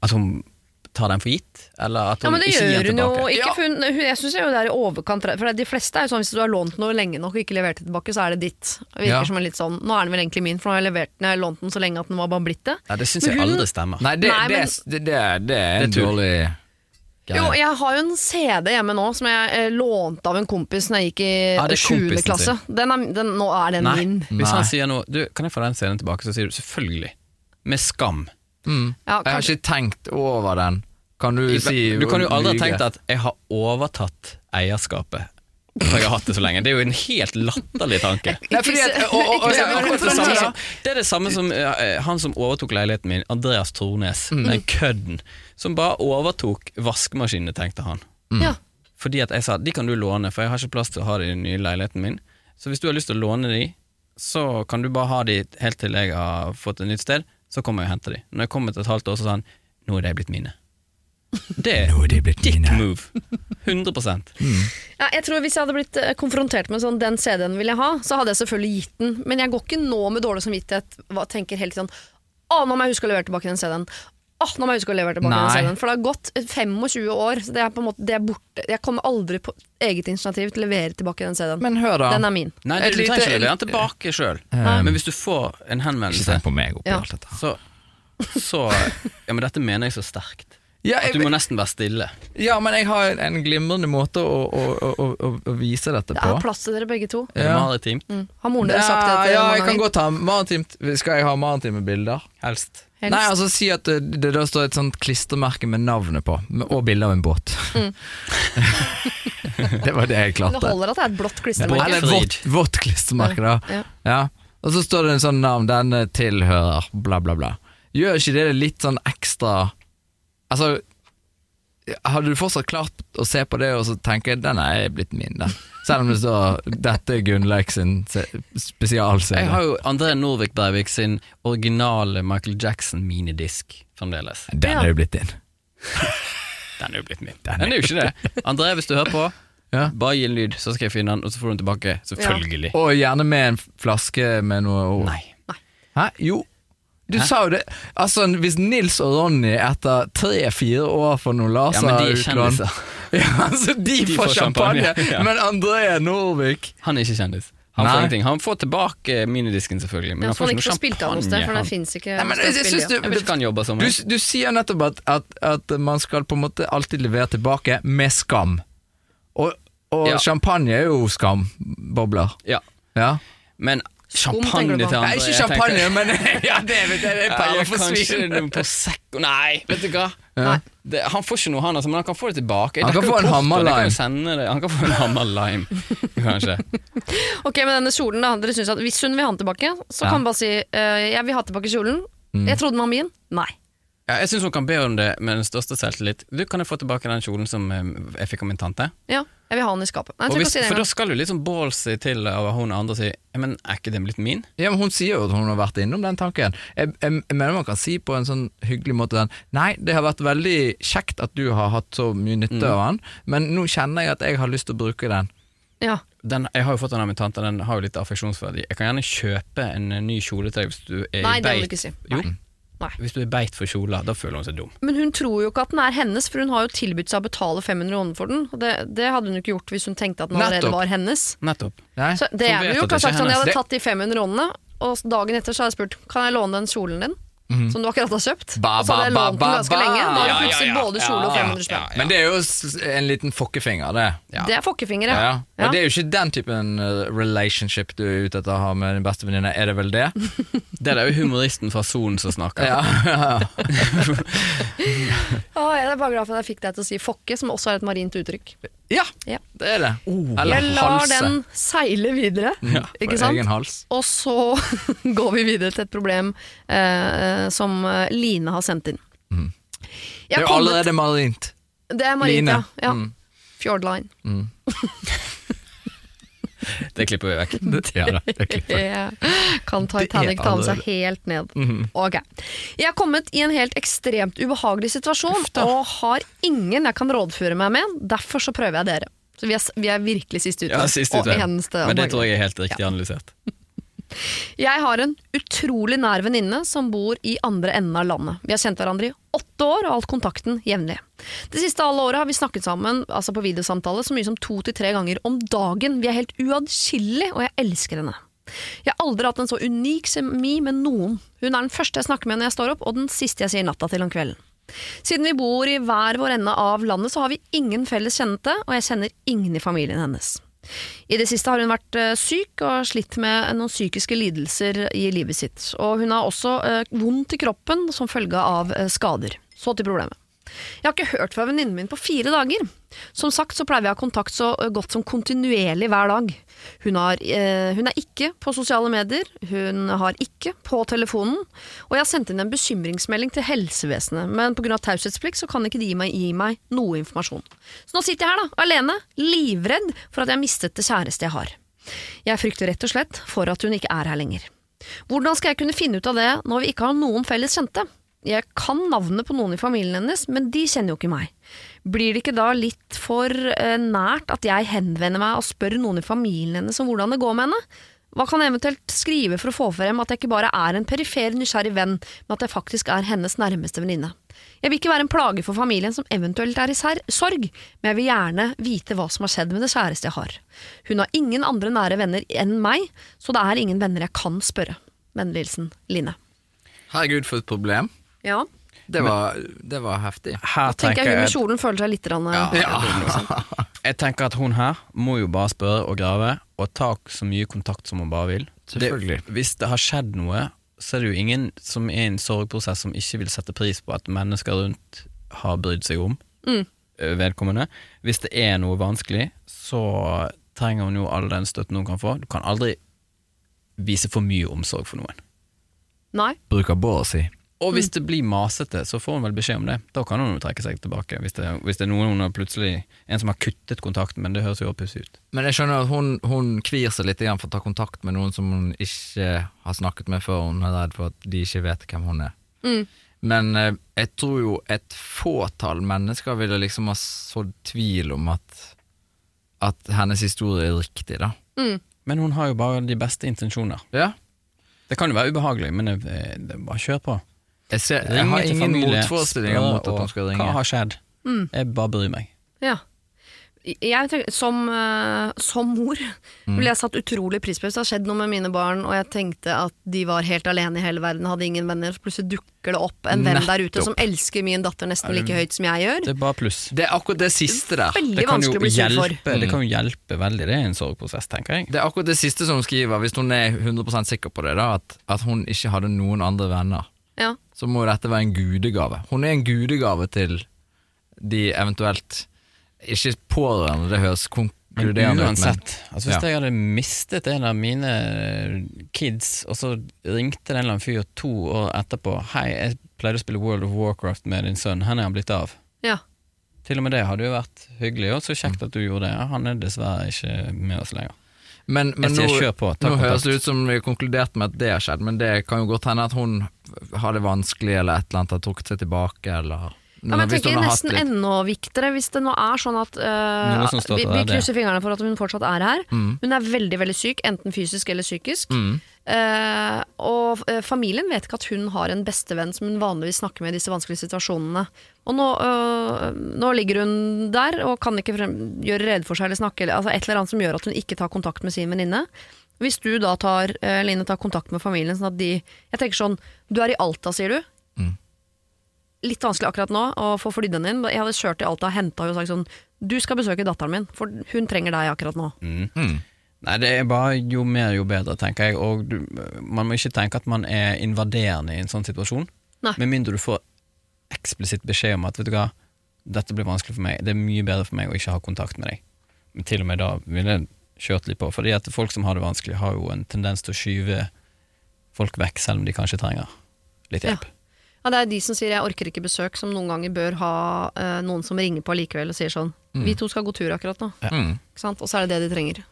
Speaker 3: At hun tar den for gitt, eller at
Speaker 2: Ja,
Speaker 3: hun
Speaker 2: men det
Speaker 3: ikke gir
Speaker 2: gjør hun
Speaker 3: den
Speaker 2: jo
Speaker 3: tilbake.
Speaker 2: ikke.
Speaker 4: Ja.
Speaker 2: For hun, hun, jeg syns jo det er i overkant For de fleste er jo sånn hvis du har lånt noe lenge nok og ikke levert det tilbake, så er det ditt. Det virker
Speaker 4: Ja.
Speaker 2: som en litt sånn Nå er den vel egentlig min, for nå har jeg levert den, jeg har lånt den så lenge at den var bare blitt det.
Speaker 3: Nei, det syns
Speaker 2: Men
Speaker 3: jeg
Speaker 2: hun-
Speaker 3: aldri stemmer.
Speaker 4: Nei, det,
Speaker 2: Nei, men-
Speaker 4: det, det, det, det er
Speaker 3: Det er
Speaker 4: en
Speaker 3: tull.
Speaker 4: dårlig
Speaker 2: Jo, jeg har jo en CD hjemme nå som jeg eh, lånte av en kompis Når jeg gikk i
Speaker 3: Ja, det er
Speaker 2: 7.
Speaker 3: kompisen
Speaker 2: klasse. Den er, den, nå er den min.
Speaker 3: Hvis han
Speaker 4: Nei.
Speaker 3: sier noe du, 'Kan jeg få den scenen tilbake?' så sier du 'selvfølgelig'. Med skam.
Speaker 2: Ja,
Speaker 4: Jeg har
Speaker 2: kanskje-
Speaker 4: ikke tenkt over den. Kan du si
Speaker 3: du kan jo aldri ha
Speaker 4: lyge?
Speaker 3: tenkt at 'jeg har overtatt eierskapet'. For jeg har hatt det så lenge. Det er jo en helt latterlig tanke.
Speaker 4: Nei, fordi at, og, og, og,
Speaker 2: Ikke
Speaker 3: Det
Speaker 2: se-
Speaker 3: er, akkurat det, samme,
Speaker 4: ja.
Speaker 3: som- det er det samme som eh, han som overtok leiligheten min, Andreas Tornes, den kødden, som bare overtok vaskemaskinene, tenkte han.
Speaker 4: Mm.
Speaker 2: ja.
Speaker 3: Fordi at jeg sa de kan du låne, for jeg har ikke plass til å ha de i den nye leiligheten min. Så hvis du har lyst til å låne de, så kan du bare ha de helt til jeg har fått et nytt sted, så kommer jeg og henter de. Når jeg kommer til et halvt år, så sa han nå er de blitt mine. Det er
Speaker 4: Nå er de blitt mine.
Speaker 3: move. 100
Speaker 2: Ja, jeg tror Hvis jeg hadde blitt eh, konfrontert med sånn, den CD-en vil jeg ha, så hadde jeg selvfølgelig gitt den. Men jeg går ikke nå med dårlig samvittighet og tenker hele tiden Å, nå må jeg huske å levere tilbake den CD-en. Å, nå må jeg huske å levere tilbake
Speaker 4: Nei.
Speaker 2: den CD-en. For det har gått 25 år, så det er på en måte, det er borte. Jeg kommer aldri på eget initiativ til å levere tilbake den CD-en.
Speaker 4: Men hør, da.
Speaker 2: Den er min.
Speaker 3: Nei,
Speaker 4: Et
Speaker 3: du trenger
Speaker 4: lite-
Speaker 3: ikke å levere den tilbake sjøl,
Speaker 4: Nei.
Speaker 3: men hvis du får en
Speaker 4: Ikke
Speaker 3: henvendelse,
Speaker 4: tenk på meg oppi
Speaker 2: Ja.
Speaker 4: alt dette.
Speaker 3: så, så Ja, men dette mener jeg så sterkt.
Speaker 4: Ja,
Speaker 3: At du må nesten være stille.
Speaker 4: ja, men jeg har en glimrende måte å, å, å, å, å vise dette
Speaker 2: Det
Speaker 4: på.
Speaker 2: er plass til dere begge to. Mm.
Speaker 3: Er det
Speaker 4: Ja.
Speaker 3: maritimt?
Speaker 2: Har moren deres sagt det? til dere
Speaker 4: ja,
Speaker 2: noen
Speaker 4: jeg kan
Speaker 2: ganger?
Speaker 4: godt ha maritimt. Skal jeg ha maritime bilder?
Speaker 3: Helst.
Speaker 2: Helst.
Speaker 4: Nei, altså si at det, det da står et sånt klistremerke med navnet på, med- og bilde av en båt.
Speaker 2: Mm.
Speaker 4: det var det jeg
Speaker 2: Men det
Speaker 4: klarte.
Speaker 2: holder at det er et blått
Speaker 3: Båt-
Speaker 2: klistremerke.
Speaker 4: Eller vått, vått klistremerke, da.
Speaker 2: Ja.
Speaker 4: Ja. Og så står det en sånn navn, denne tilhører, bla, bla, bla. Gjør ikke det litt sånn ekstra Altså, hadde du fortsatt klart å se på det og så tenke den er blitt min, den? Selv om det står 'Dette er Gunnlaug sin se-
Speaker 3: Jeg
Speaker 4: spesialserie'.
Speaker 3: har jo André Norvik Bergvik sin originale Michael Jackson minidisk fremdeles.
Speaker 4: Den er jo blitt din.
Speaker 3: Den er jo blitt min. Den er jo ikke det. André, hvis du hører på,
Speaker 4: Ja.
Speaker 3: bare gi en lyd, så skal jeg finne den, og så får du den tilbake. Selvfølgelig.
Speaker 4: Og gjerne med en flaske med noe ord.
Speaker 3: Nei.
Speaker 4: Hæ? Jo. Du sa jo det. Altså, hvis Nils og Ronny etter tre-fire år får noen
Speaker 3: Ja,
Speaker 2: Altså,
Speaker 3: men de er
Speaker 4: laserutlån
Speaker 3: kjendiser.
Speaker 4: Ja, altså, de,
Speaker 3: De
Speaker 4: får
Speaker 3: får
Speaker 4: champagne,
Speaker 3: champagne, ja.
Speaker 4: men André Norvik
Speaker 3: Han er ikke kjendis. Han
Speaker 4: Nei.
Speaker 3: får ingenting. Han får tilbake minidisken, selvfølgelig, men
Speaker 2: Ja,
Speaker 3: han
Speaker 2: så
Speaker 3: får
Speaker 2: man
Speaker 3: ikke
Speaker 2: ikke får
Speaker 3: noe
Speaker 2: spilt av noe sted, for
Speaker 3: champagne.
Speaker 2: den fins ikke.
Speaker 4: Nei, men
Speaker 2: noe sted å
Speaker 4: jeg
Speaker 2: spille
Speaker 4: synes
Speaker 2: i.
Speaker 4: du,
Speaker 3: Han- Jeg vet ikke han jobber som.
Speaker 4: du, du sier nettopp at, at, at man skal på en måte alltid levere tilbake med skam. Og, og
Speaker 3: Ja.
Speaker 4: champagne er jo skambobler.
Speaker 3: Ja.
Speaker 4: Ja.
Speaker 3: Men
Speaker 2: Skum, tenker du
Speaker 3: Champagne til
Speaker 2: på?
Speaker 3: andre.
Speaker 4: Nei, ikke
Speaker 3: jeg
Speaker 4: champagne,
Speaker 3: tenker-
Speaker 4: men ja, det vet jeg, det er
Speaker 3: Ja,
Speaker 4: perler for
Speaker 3: kanskje
Speaker 4: svin.
Speaker 3: noe Prosecco Nei, vet du hva?
Speaker 4: Ja.
Speaker 3: Det, han får ikke noe, han, altså, men han kan få det tilbake.
Speaker 4: Han
Speaker 3: Det
Speaker 4: kan
Speaker 3: er
Speaker 4: få en
Speaker 3: jo kort,
Speaker 4: hammer
Speaker 3: og det kan jo
Speaker 4: lime.
Speaker 3: sende det- Han kan få en hammer lime, kanskje.
Speaker 2: Ok, men denne kjolen da, dere synes at Hvis hun vil ha den tilbake, så
Speaker 4: Ja.
Speaker 2: kan hun bare si eh, Jeg vil ha tilbake kjolen.
Speaker 3: Mm.
Speaker 2: Jeg trodde den var min. Nei.
Speaker 3: Ja, jeg syns hun kan be om det med den største selvtillit. Du, kan jeg få tilbake den kjolen som eh, jeg fikk av min tante?
Speaker 2: Ja, jeg vil ha den i skapet. Nei, jeg
Speaker 3: Og
Speaker 2: tror
Speaker 3: hvis,
Speaker 2: ikke jeg
Speaker 3: for
Speaker 2: sier
Speaker 3: da
Speaker 2: det.
Speaker 3: skal du litt sånn ballsy til av hun andre og si «Ja, Men er ikke den blitt min?
Speaker 4: Ja, men Hun sier jo at hun har vært innom den tanken. Jeg, jeg, jeg mener man kan si på en sånn hyggelig måte den Nei, det har vært veldig kjekt at du har hatt så mye nytte
Speaker 3: Mm.
Speaker 4: av den, men nå kjenner jeg at jeg har lyst til å bruke den.
Speaker 2: Ja.
Speaker 3: Den, jeg har jo fått den av min tante, den har jo litt affeksjonsverdi. Jeg kan gjerne kjøpe en eh, ny kjole til deg hvis du er
Speaker 2: Nei,
Speaker 3: i
Speaker 2: det må du
Speaker 3: beit.
Speaker 2: ikke si.
Speaker 3: Jo,
Speaker 2: Nei.
Speaker 3: hvis du er i beit for kjoler, da føler hun seg dum.
Speaker 2: Men hun tror jo ikke at den er hennes, for hun har jo tilbudt seg å betale 500 kroner for den. Og det, det hadde hun jo ikke gjort hvis hun tenkte at den allerede
Speaker 4: Nettopp.
Speaker 2: var hennes.
Speaker 3: Nettopp.
Speaker 4: Nei?
Speaker 2: Så det
Speaker 3: Hun
Speaker 2: jeg
Speaker 3: vet
Speaker 2: ville
Speaker 3: at
Speaker 2: gjort,
Speaker 3: det
Speaker 2: var
Speaker 3: ikke er
Speaker 2: sagt sånn, jeg hadde
Speaker 4: hennes.
Speaker 2: tatt de 500 kronene, og dagen etter så hadde jeg spurt Kan jeg låne den kjolen din,
Speaker 3: Mhm.
Speaker 2: som du akkurat har kjøpt.
Speaker 4: Ba,
Speaker 2: så hadde jeg
Speaker 4: ba, ba,
Speaker 2: lånt den ganske
Speaker 4: ba, ba.
Speaker 2: lenge. Da har
Speaker 3: Ja,
Speaker 2: du
Speaker 3: ja,
Speaker 2: plutselig
Speaker 3: ja.
Speaker 2: både kjole og
Speaker 3: Ja,
Speaker 2: 500 spenn.
Speaker 3: ja, ja.
Speaker 4: Men det er jo s- en liten fokkefinger, det.
Speaker 3: Ja.
Speaker 2: Det er fokkefingre.
Speaker 4: Ja, ja.
Speaker 2: Ja.
Speaker 4: Men det er jo ikke den typen eh, relationship du er ute etter å ha med din beste venninne, er det vel det?
Speaker 3: Det er jo humoristen fra Solen som snakker.
Speaker 4: Ja, ja.
Speaker 2: Å, jeg er bare glad for at jeg fikk deg til å si fokke, som også er et marint uttrykk.
Speaker 4: ja,
Speaker 2: Ja. Oh.
Speaker 4: det er det. Eller
Speaker 2: Jeg lar
Speaker 4: halse.
Speaker 2: den seile videre,
Speaker 4: Ja,
Speaker 2: ikke
Speaker 4: for
Speaker 2: sant?
Speaker 4: Egen hals.
Speaker 2: Og så går vi videre til et problem eh, som eh, Line har sendt inn. Jeg
Speaker 4: Mm. Det er jo
Speaker 2: kom-
Speaker 4: allerede marint.
Speaker 2: Det er marint,
Speaker 4: Line.
Speaker 2: ja. ja.
Speaker 4: Mm.
Speaker 2: Fjordline.
Speaker 3: Det klipper vi vekk.
Speaker 4: Ja, da, det klipper.
Speaker 2: Eh, Kan Titanic ta med seg helt ned.
Speaker 4: Mm-hmm.
Speaker 2: Ok. Jeg har kommet i en helt ekstremt ubehagelig situasjon og har ingen jeg kan rådføre meg med. Derfor så prøver jeg dere. Så vi er, vi er virkelig sist ute.
Speaker 3: Ja, sist
Speaker 2: Og
Speaker 3: ute.
Speaker 2: eneste om
Speaker 3: Men det
Speaker 2: morgenen.
Speaker 3: tror jeg er helt riktig analysert.
Speaker 2: Jeg har en utrolig nær venninne som bor i andre enden av landet. Vi har kjent hverandre i åtte år og holdt kontakten jevnlig. Det siste halve året har vi snakket sammen altså på videosamtale så mye som to til tre ganger om dagen. Vi er helt uatskillelige, og jeg elsker henne. Jeg har aldri hatt en så unik semi med noen. Hun er den første jeg snakker med når jeg står opp, og den siste jeg sier natta til om kvelden. Siden vi bor i hver vår ende av landet, så har vi ingen felles kjente, og jeg kjenner ingen i familien hennes. I det siste har hun vært eh, syk og slitt med noen psykiske lidelser i livet sitt. Og hun har også eh, vondt i kroppen som følge av eh, skader. Så til problemet. Jeg har ikke hørt fra venninnen min på fire dager. Som sagt så pleier vi å ha kontakt så eh, godt som kontinuerlig hver dag. Hun, har, eh, hun er ikke på sosiale medier, hun har ikke på telefonen, og jeg har sendt inn en bekymringsmelding til helsevesenet, men pga. taushetsplikt så kan ikke de gi meg, gi meg noe informasjon. Så nå sitter jeg her, da, alene, livredd for at jeg har mistet det kjæreste jeg har. Jeg frykter rett og slett for at hun ikke er her lenger. Hvordan skal jeg kunne finne ut av det når vi ikke har noen felles kjente? Jeg kan navnet på noen i familien hennes, men de kjenner jo ikke meg. Blir det ikke da litt for eh, nært at jeg henvender meg og spør noen i familien hennes om hvordan det går med henne? Hva kan jeg eventuelt skrive for å få frem at jeg ikke bare er en perifer, nysgjerrig venn, men at jeg faktisk er hennes nærmeste venninne? Jeg vil ikke være en plage for familien som eventuelt er i sær- sorg, men jeg vil gjerne vite hva som har skjedd med det kjæreste jeg har. Hun har ingen andre nære venner enn meg, så det er ingen venner jeg kan spørre. Vennlig hilsen Line.
Speaker 4: Herregud, for et problem.
Speaker 2: Ja.
Speaker 4: Det var, det var heftig.
Speaker 3: Her
Speaker 2: Tenker jeg hun med kjolen føler seg litt eh, rann,
Speaker 3: Jeg tenker at hun her må jo bare spørre og grave og ta så mye kontakt som hun bare vil.
Speaker 4: Selvfølgelig.
Speaker 3: Det, hvis det har skjedd noe, så er det jo ingen som er i en sorgprosess som ikke vil sette pris på at mennesker rundt har brydd seg om
Speaker 2: Mm.
Speaker 3: eh, vedkommende. Hvis det er noe vanskelig, så trenger hun jo all den støtten hun kan få. Du kan aldri vise for mye omsorg for noen.
Speaker 2: Nei.
Speaker 4: Bruker båret si.
Speaker 3: Og hvis det blir masete, så får hun vel beskjed om det. Da kan hun jo trekke seg tilbake, hvis det, hvis det er noen hun har plutselig En som har kuttet kontakten, men det høres jo pussig ut.
Speaker 4: Men jeg skjønner at hun, hun kvir seg litt igjen for å ta kontakt med noen som hun ikke har snakket med før. Hun er redd for at de ikke vet hvem hun er. Men eh, jeg tror jo et fåtall mennesker ville liksom ha sådd tvil om at, at hennes historie er riktig, da.
Speaker 3: Men hun har jo bare de beste intensjoner.
Speaker 4: Ja.
Speaker 3: Det kan jo være ubehagelig, men eh, det er bare kjør på.
Speaker 4: Jeg, ser, jeg
Speaker 3: Ringe
Speaker 4: har
Speaker 3: til
Speaker 4: ingen
Speaker 3: familie,
Speaker 4: motforestillinger
Speaker 3: spør
Speaker 4: mot at
Speaker 3: og
Speaker 4: hun skal
Speaker 3: Hva
Speaker 4: ringe.
Speaker 3: har skjedd? Jeg bare bryr meg.
Speaker 2: Ja. jeg tenker, som, eh, som mor
Speaker 3: Mm.
Speaker 2: ble jeg satt utrolig pris på. hvis Det har skjedd noe med mine barn, og jeg tenkte at de var helt alene i hele verden, hadde ingen venner. Så plutselig dukker det opp en venn der ute
Speaker 4: Nettopp.
Speaker 2: som elsker min datter nesten like høyt som jeg gjør.
Speaker 3: Um, Det er bare pluss.
Speaker 4: Det er akkurat det siste der.
Speaker 2: Veldig
Speaker 3: Det kan,
Speaker 2: vanskelig
Speaker 3: jo
Speaker 2: å bli sur for.
Speaker 4: Mm.
Speaker 3: hjelpe, det kan jo hjelpe veldig, det er en sorgprosess, tenker jeg.
Speaker 4: Det er akkurat det siste som hun skriver, hvis hun er 100 sikker på det, da, at, at hun ikke hadde noen andre venner.
Speaker 2: Ja.
Speaker 4: Så må dette være en gudegave. Hun er en gudegave til de eventuelt Ikke pårørende, det høres
Speaker 3: Men
Speaker 4: konkluderende ut, men
Speaker 3: uansett, altså hvis
Speaker 4: Ja.
Speaker 3: jeg hadde mistet en av mine eh, kids, og så ringte det en eller annen fyr to år etterpå 'Hei, jeg pleide å spille World of Warcraft med din sønn, hvor er han blitt av?'
Speaker 2: ja.
Speaker 3: Til og med det hadde jo vært hyggelig, og så
Speaker 4: Mm.
Speaker 3: kjekt at du gjorde det. Ja, han er dessverre ikke med oss lenger.
Speaker 4: Men, men
Speaker 3: Jeg
Speaker 4: nå,
Speaker 3: sier kjør på, ta
Speaker 4: nå
Speaker 3: kontakt.
Speaker 4: høres det ut som vi konkluderte med at det har skjedd, men det kan jo godt hende at hun har det vanskelig eller et eller annet, har trukket seg tilbake eller
Speaker 2: Ja, men jeg
Speaker 4: Hvis hun
Speaker 2: tenker
Speaker 4: har sånn hatt
Speaker 2: nesten
Speaker 4: litt-
Speaker 2: enda viktigere hvis det nå er sånn at øh,
Speaker 3: Noe som står
Speaker 2: vi,
Speaker 3: til
Speaker 2: vi
Speaker 3: deg, det.
Speaker 2: krysser fingrene for at hun fortsatt er her.
Speaker 4: Mm.
Speaker 2: Hun er veldig veldig syk, enten fysisk eller psykisk. Eh, og eh, familien vet ikke at hun har en bestevenn som hun vanligvis snakker med i disse vanskelige situasjonene. Og nå, øh, nå ligger hun der og kan ikke frem, gjøre rede for seg eller snakke, eller- altså et eller annet som gjør at hun ikke tar kontakt med sin venninne. Hvis du da tar, eh, Line, tar kontakt med familien sånn at de Jeg tenker sånn, du er i Alta, sier du? litt vanskelig akkurat nå å få flydd henne inn. Jeg hadde kjørt til Alta og henta henne og sagt sånn Du skal besøke datteren min, for hun trenger deg akkurat nå.
Speaker 4: Mm. Hmm,
Speaker 3: Nei, det er bare jo mer jo bedre, tenker jeg. Og du, man må ikke tenke at man er invaderende i en sånn situasjon.
Speaker 2: Nei.
Speaker 3: Med mindre du får eksplisitt beskjed om at vet du hva, dette blir vanskelig for meg, det er mye bedre for meg å ikke ha kontakt med deg. Men til og med da ville jeg kjørt litt på, fordi at folk som har det vanskelig, har jo en tendens til å skyve folk vekk, selv om de kanskje trenger litt hjelp.
Speaker 2: Ja, det er de som sier 'jeg orker ikke besøk', som noen ganger bør ha eh, noen som ringer på likevel og sier sånn 'Vi to skal gå tur akkurat nå'.
Speaker 4: Mm.
Speaker 2: Ikke sant? Og så er det det de trenger.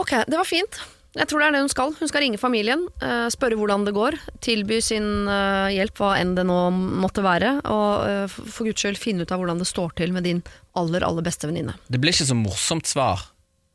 Speaker 2: Ok, det var fint. Jeg tror det er det hun skal. Hun skal ringe familien, eh, spørre hvordan det går, tilby sin eh, hjelp, hva enn det nå måtte være, og eh, for- for guds skyld finne ut av hvordan det står til med din aller, aller beste venninne.
Speaker 3: Det blir ikke så morsomt svar.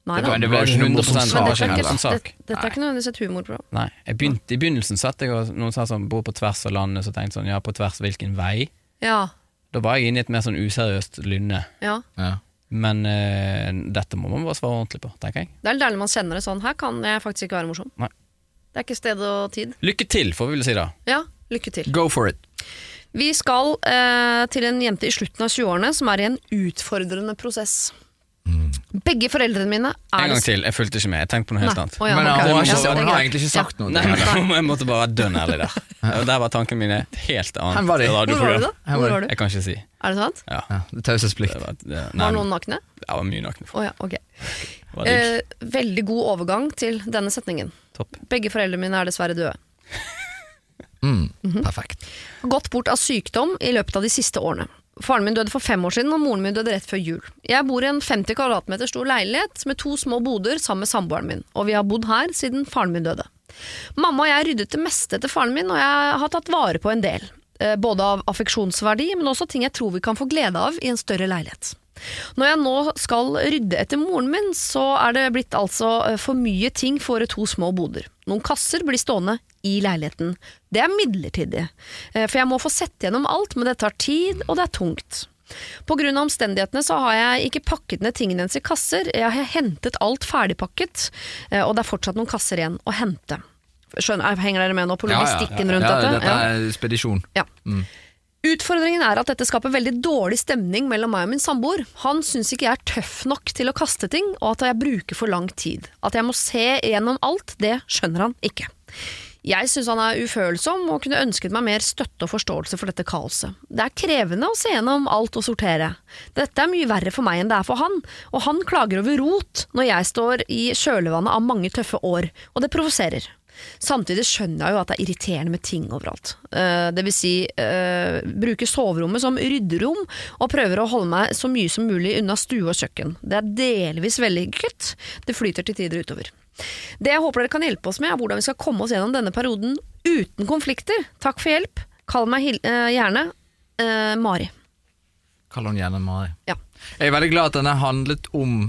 Speaker 2: Nei da.
Speaker 4: var- det var jo ikke noe morsomt
Speaker 2: Men
Speaker 4: svar
Speaker 2: dette er
Speaker 3: ikke
Speaker 2: ikke,
Speaker 3: en morsom sak.
Speaker 2: det- dette er ikke nødvendigvis et humorprogram.
Speaker 3: Nei, jeg begynte, I begynnelsen satt jeg og noen sa sånn, bor på tvers av landet, så tenkte jeg sånn, ja, på tvers hvilken vei?
Speaker 2: Ja,
Speaker 3: Da var jeg inne i et mer sånn useriøst lynne.
Speaker 2: ja.
Speaker 4: ja.
Speaker 3: Men eh, dette må man bare svare ordentlig på, tenker jeg.
Speaker 2: Det er litt deilig man kjenner det sånn. Her kan jeg faktisk ikke være morsom.
Speaker 3: Nei.
Speaker 2: Det er ikke sted og tid.
Speaker 3: Lykke til, får vi vel si da.
Speaker 2: Ja, lykke
Speaker 3: Mm.
Speaker 2: til.
Speaker 4: Go for it.
Speaker 2: Vi skal eh, til en jente i slutten av 20-årene som er i en utfordrende prosess. Begge foreldrene mine er
Speaker 3: Mm. En gang til, jeg fulgte ikke med. Jeg tenkte på noe helt
Speaker 2: Nei.
Speaker 3: annet.
Speaker 2: Å, ja,
Speaker 4: men
Speaker 2: ok.
Speaker 4: hun, har
Speaker 2: Ja,
Speaker 4: ikke,
Speaker 2: det er
Speaker 4: hun har
Speaker 2: greit.
Speaker 4: egentlig ikke
Speaker 2: Ja.
Speaker 4: sagt noe.
Speaker 3: Nei, men Jeg måtte bare være dønn ærlig der. Og Der var tankene mine et helt
Speaker 4: Hvem
Speaker 3: annet
Speaker 4: var de?
Speaker 2: Hvor var du da?
Speaker 4: Her
Speaker 2: Hvor
Speaker 4: var
Speaker 2: var du?
Speaker 3: Jeg kan ikke si.
Speaker 2: Er det sant?
Speaker 3: Ja.
Speaker 4: Ja, det er Taushetsplikt.
Speaker 3: Det var, det, nei,
Speaker 2: Var noen nakne?
Speaker 3: jeg var mye naken.
Speaker 2: Å ja, ok.
Speaker 3: Det var digg.
Speaker 2: Eh, veldig god overgang til denne setningen.
Speaker 3: Topp.
Speaker 2: Begge foreldrene mine er dessverre døde.
Speaker 4: Mm. Perfekt.
Speaker 2: har gått bort av sykdom i løpet av de siste årene. Faren min døde for fem år siden, og moren min døde rett før jul. Jeg bor i en 50 kvadratmeter stor leilighet med to små boder sammen med samboeren min, og vi har bodd her siden faren min døde. Mamma og jeg ryddet det meste etter faren min, og jeg har tatt vare på en del. Eh, Både av affeksjonsverdi, men også ting jeg tror vi kan få glede av i en større leilighet. Når jeg nå skal rydde etter moren min, så er det blitt altså eh, for mye ting for to små boder. Noen kasser blir stående i leiligheten. Det er midlertidig, eh, for jeg må få sett gjennom alt, men det tar tid, og det er tungt. På grunn av omstendighetene så har jeg ikke pakket ned tingene hennes i kasser, jeg har hentet alt ferdigpakket, eh, og det er fortsatt noen kasser igjen å hente. Skjønner, henger dere med nå på logistikken rundt
Speaker 4: ja,
Speaker 2: dette?
Speaker 4: dette er spedisjon.
Speaker 2: Ja. Utfordringen er at dette skaper veldig dårlig stemning mellom meg og min samboer. Han syns ikke jeg er tøff nok til å kaste ting, og at jeg bruker for lang tid. At jeg må se gjennom alt, det skjønner han ikke. Jeg syns han er ufølsom og kunne ønsket meg mer støtte og forståelse for dette kaoset. Det er krevende å se gjennom alt og sortere. Dette er mye verre for meg enn det er for han, og han klager over rot når jeg står i kjølvannet av mange tøffe år, og det provoserer. Samtidig skjønner jeg jo at det er irriterende med ting overalt. Eh, det vil si, eh, bruke soverommet som rydderom, og prøver å holde meg så mye som mulig unna stue og kjøkken. Det er delvis vellykket, det flyter til tider utover. Det jeg håper dere kan hjelpe oss med, er hvordan vi skal komme oss gjennom denne perioden uten konflikter. Takk for hjelp. Kall meg hil eh, gjerne eh, Mari.
Speaker 4: Kall henne gjerne Mari.
Speaker 2: Ja.
Speaker 4: Jeg er veldig glad at den er handlet om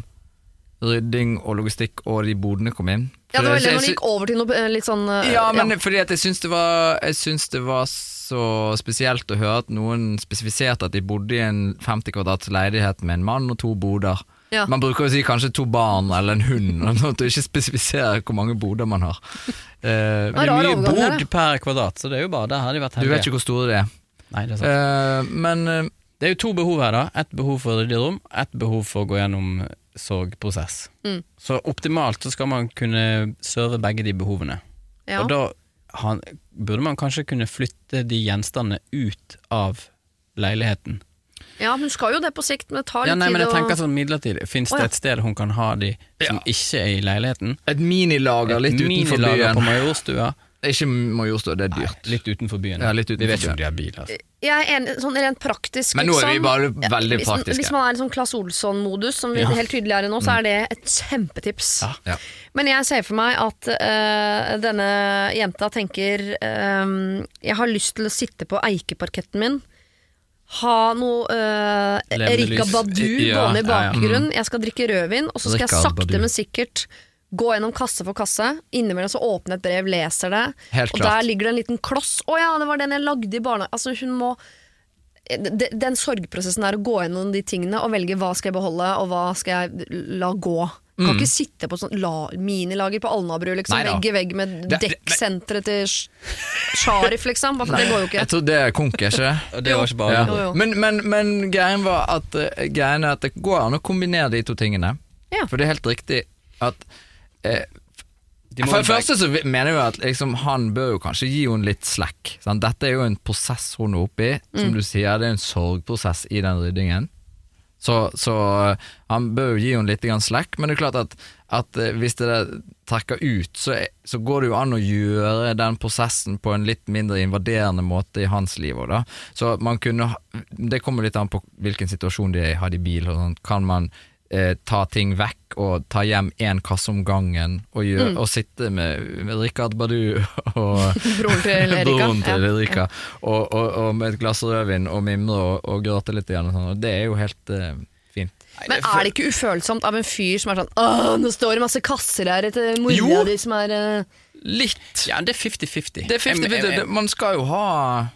Speaker 4: rydding og logistikk og de bodene kom inn.
Speaker 2: Ja, det var veldig
Speaker 4: Så jeg
Speaker 2: når det
Speaker 4: sy-
Speaker 2: gikk over til noe eh, litt sånn eh,
Speaker 4: Ja, men fordi at jeg syns det var Jeg syns det var så spesielt å høre at noen spesifiserte at de bodde i en 50 kvadrats leilighet med en mann og to boder.
Speaker 2: Ja.
Speaker 4: Man bruker jo å si kanskje to barn eller en hund, og sånn at du ikke spesifiserer hvor mange boder man har. Eh,
Speaker 2: var
Speaker 3: Men
Speaker 2: rar
Speaker 3: det er mye
Speaker 2: overgang der,
Speaker 3: bod per kvadrat, så det er jo bare der har de vært
Speaker 4: du
Speaker 3: heldige.
Speaker 4: vet ikke hvor store de er.
Speaker 3: Nei, det er sant.
Speaker 4: Eh, men eh,
Speaker 3: Det er jo to behov her, da. Ett behov for ryddig rom, ett behov for å gå gjennom sorgprosess.
Speaker 2: Mm.
Speaker 3: Så optimalt så skal man kunne serve begge de behovene.
Speaker 2: ja.
Speaker 3: Og da han, burde man kanskje kunne flytte de gjenstandene ut av leiligheten.
Speaker 2: ja, hun skal jo det på sikt, men det tar litt
Speaker 3: Ja, nei, men
Speaker 2: tid
Speaker 3: jeg
Speaker 2: å-
Speaker 3: tenker sånn midlertidig. Fins
Speaker 2: Å, ja.
Speaker 3: det et sted hun kan ha de som ikke er i leiligheten?
Speaker 4: et minilager litt utenfor
Speaker 3: minilager
Speaker 4: byen.
Speaker 3: på Majorstua.
Speaker 4: Ikke Majorstua, det er dyrt.
Speaker 3: Litt utenfor byen.
Speaker 4: Ja, litt utenfor
Speaker 3: Vi vet ikke
Speaker 4: byen.
Speaker 3: om de har bil. Altså.
Speaker 2: Jeg er enig, sånn rent praktisk
Speaker 4: Men nå er vi
Speaker 2: liksom.
Speaker 4: bare
Speaker 2: Ja,
Speaker 4: veldig
Speaker 2: hvis,
Speaker 4: praktiske.
Speaker 2: Hvis man er i sånn Claes Olsson-modus, som vi
Speaker 3: Ja.
Speaker 2: helt tydelig er i nå, så er det et kjempetips.
Speaker 4: Ja.
Speaker 2: Men jeg ser for meg at øh, denne jenta tenker øh, Jeg har lyst til å sitte på eikeparketten min. Ha noe øh,
Speaker 3: Levende
Speaker 2: Erika
Speaker 3: lys.
Speaker 2: Badu
Speaker 3: Ja,
Speaker 2: gående i
Speaker 3: ja, ja.
Speaker 2: bakgrunnen. Jeg skal drikke rødvin, og så skal jeg
Speaker 4: Rikard
Speaker 2: sakte,
Speaker 4: Mm. Badu.
Speaker 2: men sikkert gå gjennom kasse for kasse. Innimellom så åpner jeg et brev, leser det,
Speaker 4: Helt
Speaker 2: og
Speaker 4: klart.
Speaker 2: der ligger det en liten kloss. Å ja, det var den jeg lagde i barnehagen. Altså, hun må de- den sorgprosessen er å gå gjennom de tingene og velge hva skal jeg beholde og hva skal jeg la gå. Kan ikke sitte på sånn la, minilager på Alnabru, liksom,
Speaker 4: Mm. Neida.
Speaker 2: vegg i vegg med
Speaker 4: Det- det-
Speaker 2: dekksenteret til Sh- Sharif, liksom. Bare for det går jo ikke.
Speaker 4: Jeg tror det er konk, er ikke det?
Speaker 3: Og det var ikke bare
Speaker 2: Jo, jo.
Speaker 4: Ja. Men, men, men greien var at eh, Greien er at det går an å kombinere de to tingene.
Speaker 2: Ja.
Speaker 4: For det er helt riktig at eh,
Speaker 3: De må
Speaker 4: For det
Speaker 3: jo
Speaker 4: første så vi- mener jeg jo at liksom, han bør jo kanskje gi henne litt slack. Sant? Dette er jo en prosess hun er oppe i. Som
Speaker 2: Mm.
Speaker 4: du sier, det er en sorgprosess i den ryddingen. Så, så eh, han bør jo gi henne litt grann slack, men det er klart at, at eh, hvis det der trekker ut, så, er- så går det jo an å gjøre den prosessen på en litt mindre invaderende måte i hans liv òg, da. Så man kunne ha- Det kommer litt an på hvilken situasjon de er i, har de bil og sånn. Kan man eh, ta ting vekk og ta hjem én kasse om gangen og, gjøre, og sitte med, med Rikard Badu og
Speaker 2: Broren til Erika.
Speaker 4: Broren til
Speaker 2: Ja.
Speaker 4: Erika. Og, og, og med et glass rødvin og mimre og, og gråte litt. Igjen og sånn, og det er jo helt eh, fint.
Speaker 2: Men er det ikke ufølsomt av en fyr som er sånn Åh, nå står det masse kasser her etter mora
Speaker 4: Jo.
Speaker 2: di som er eh,
Speaker 4: Litt!
Speaker 3: Ja, det er 50-50.
Speaker 4: Det er 50
Speaker 3: Jeg- jeg- jeg-
Speaker 4: Man skal jo ha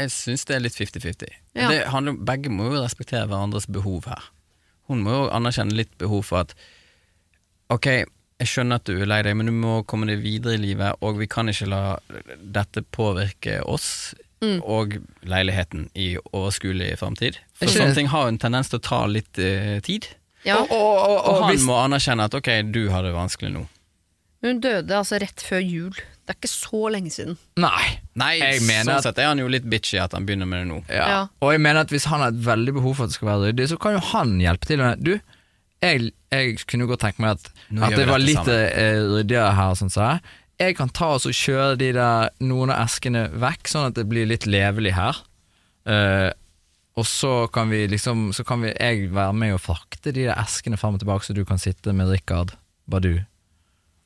Speaker 3: Jeg syns det er litt 50-50.
Speaker 2: Ja.
Speaker 3: Det handler om- Begge må jo respektere hverandres behov her. Hun må jo anerkjenne litt behov for at Ok, jeg skjønner at du er lei deg, men du må komme deg videre i livet, og vi kan ikke la dette påvirke oss
Speaker 4: Mm.
Speaker 3: og leiligheten i overskuelig framtid. For
Speaker 4: Ikke-
Speaker 3: sånne ting har jo en tendens til å ta litt eh, tid.
Speaker 2: Ja.
Speaker 4: Og, og, og,
Speaker 3: Og
Speaker 4: og
Speaker 3: han
Speaker 4: hvis,
Speaker 3: må anerkjenne at ok, du har det vanskelig nå.
Speaker 2: Hun døde altså rett før jul. Det er ikke så lenge siden.
Speaker 4: Nei.
Speaker 3: Nei,
Speaker 4: Jeg mener
Speaker 3: sånn
Speaker 4: at-
Speaker 3: sett er han jo litt bitchy at han begynner med det nå.
Speaker 4: Ja.
Speaker 2: Ja.
Speaker 4: Og jeg mener at hvis han har et veldig behov for at det skal være ryddig, så kan jo han hjelpe til. med, Du, jeg, jeg kunne godt tenke meg at,
Speaker 3: Nå gjør
Speaker 4: at
Speaker 3: vi
Speaker 4: det var
Speaker 3: dette
Speaker 4: litt eh, ryddigere her. Sånn, så jeg. jeg kan ta og så kjøre de der, noen av eskene vekk, sånn at det blir litt levelig her. Eh, og så kan vi liksom Så kan vi, jeg være med og frakte de der eskene frem og tilbake, så du kan sitte med Rikard Badu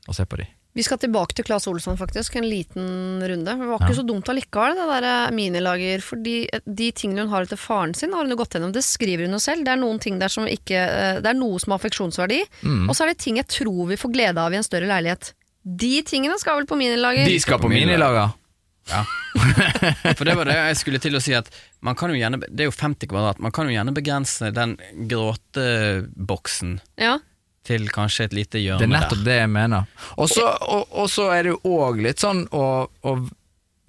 Speaker 4: og se på de.
Speaker 2: Vi skal tilbake til Claes Olsson, faktisk. En liten runde. Det var ikke så dumt allikevel, det der eh, minilager. Fordi eh, de tingene hun har etter faren sin, har hun jo gått gjennom. Det skriver hun jo selv. Det er noen ting der som ikke eh, Det er noe som har affeksjonsverdi.
Speaker 3: Mm.
Speaker 2: Og så er det ting jeg tror vi får glede av i en større leilighet. De tingene skal vel på minilager.
Speaker 4: De skal på minilager.
Speaker 3: For det var det jeg skulle til å si at man kan jo gjerne, Det er jo 50 kvadrat, man kan jo gjerne begrense den gråteboksen
Speaker 2: Ja.
Speaker 3: til kanskje et lite
Speaker 4: Det
Speaker 3: hjørne der.
Speaker 4: er nettopp det jeg mener. Og så- Og og så er det jo òg litt sånn å, å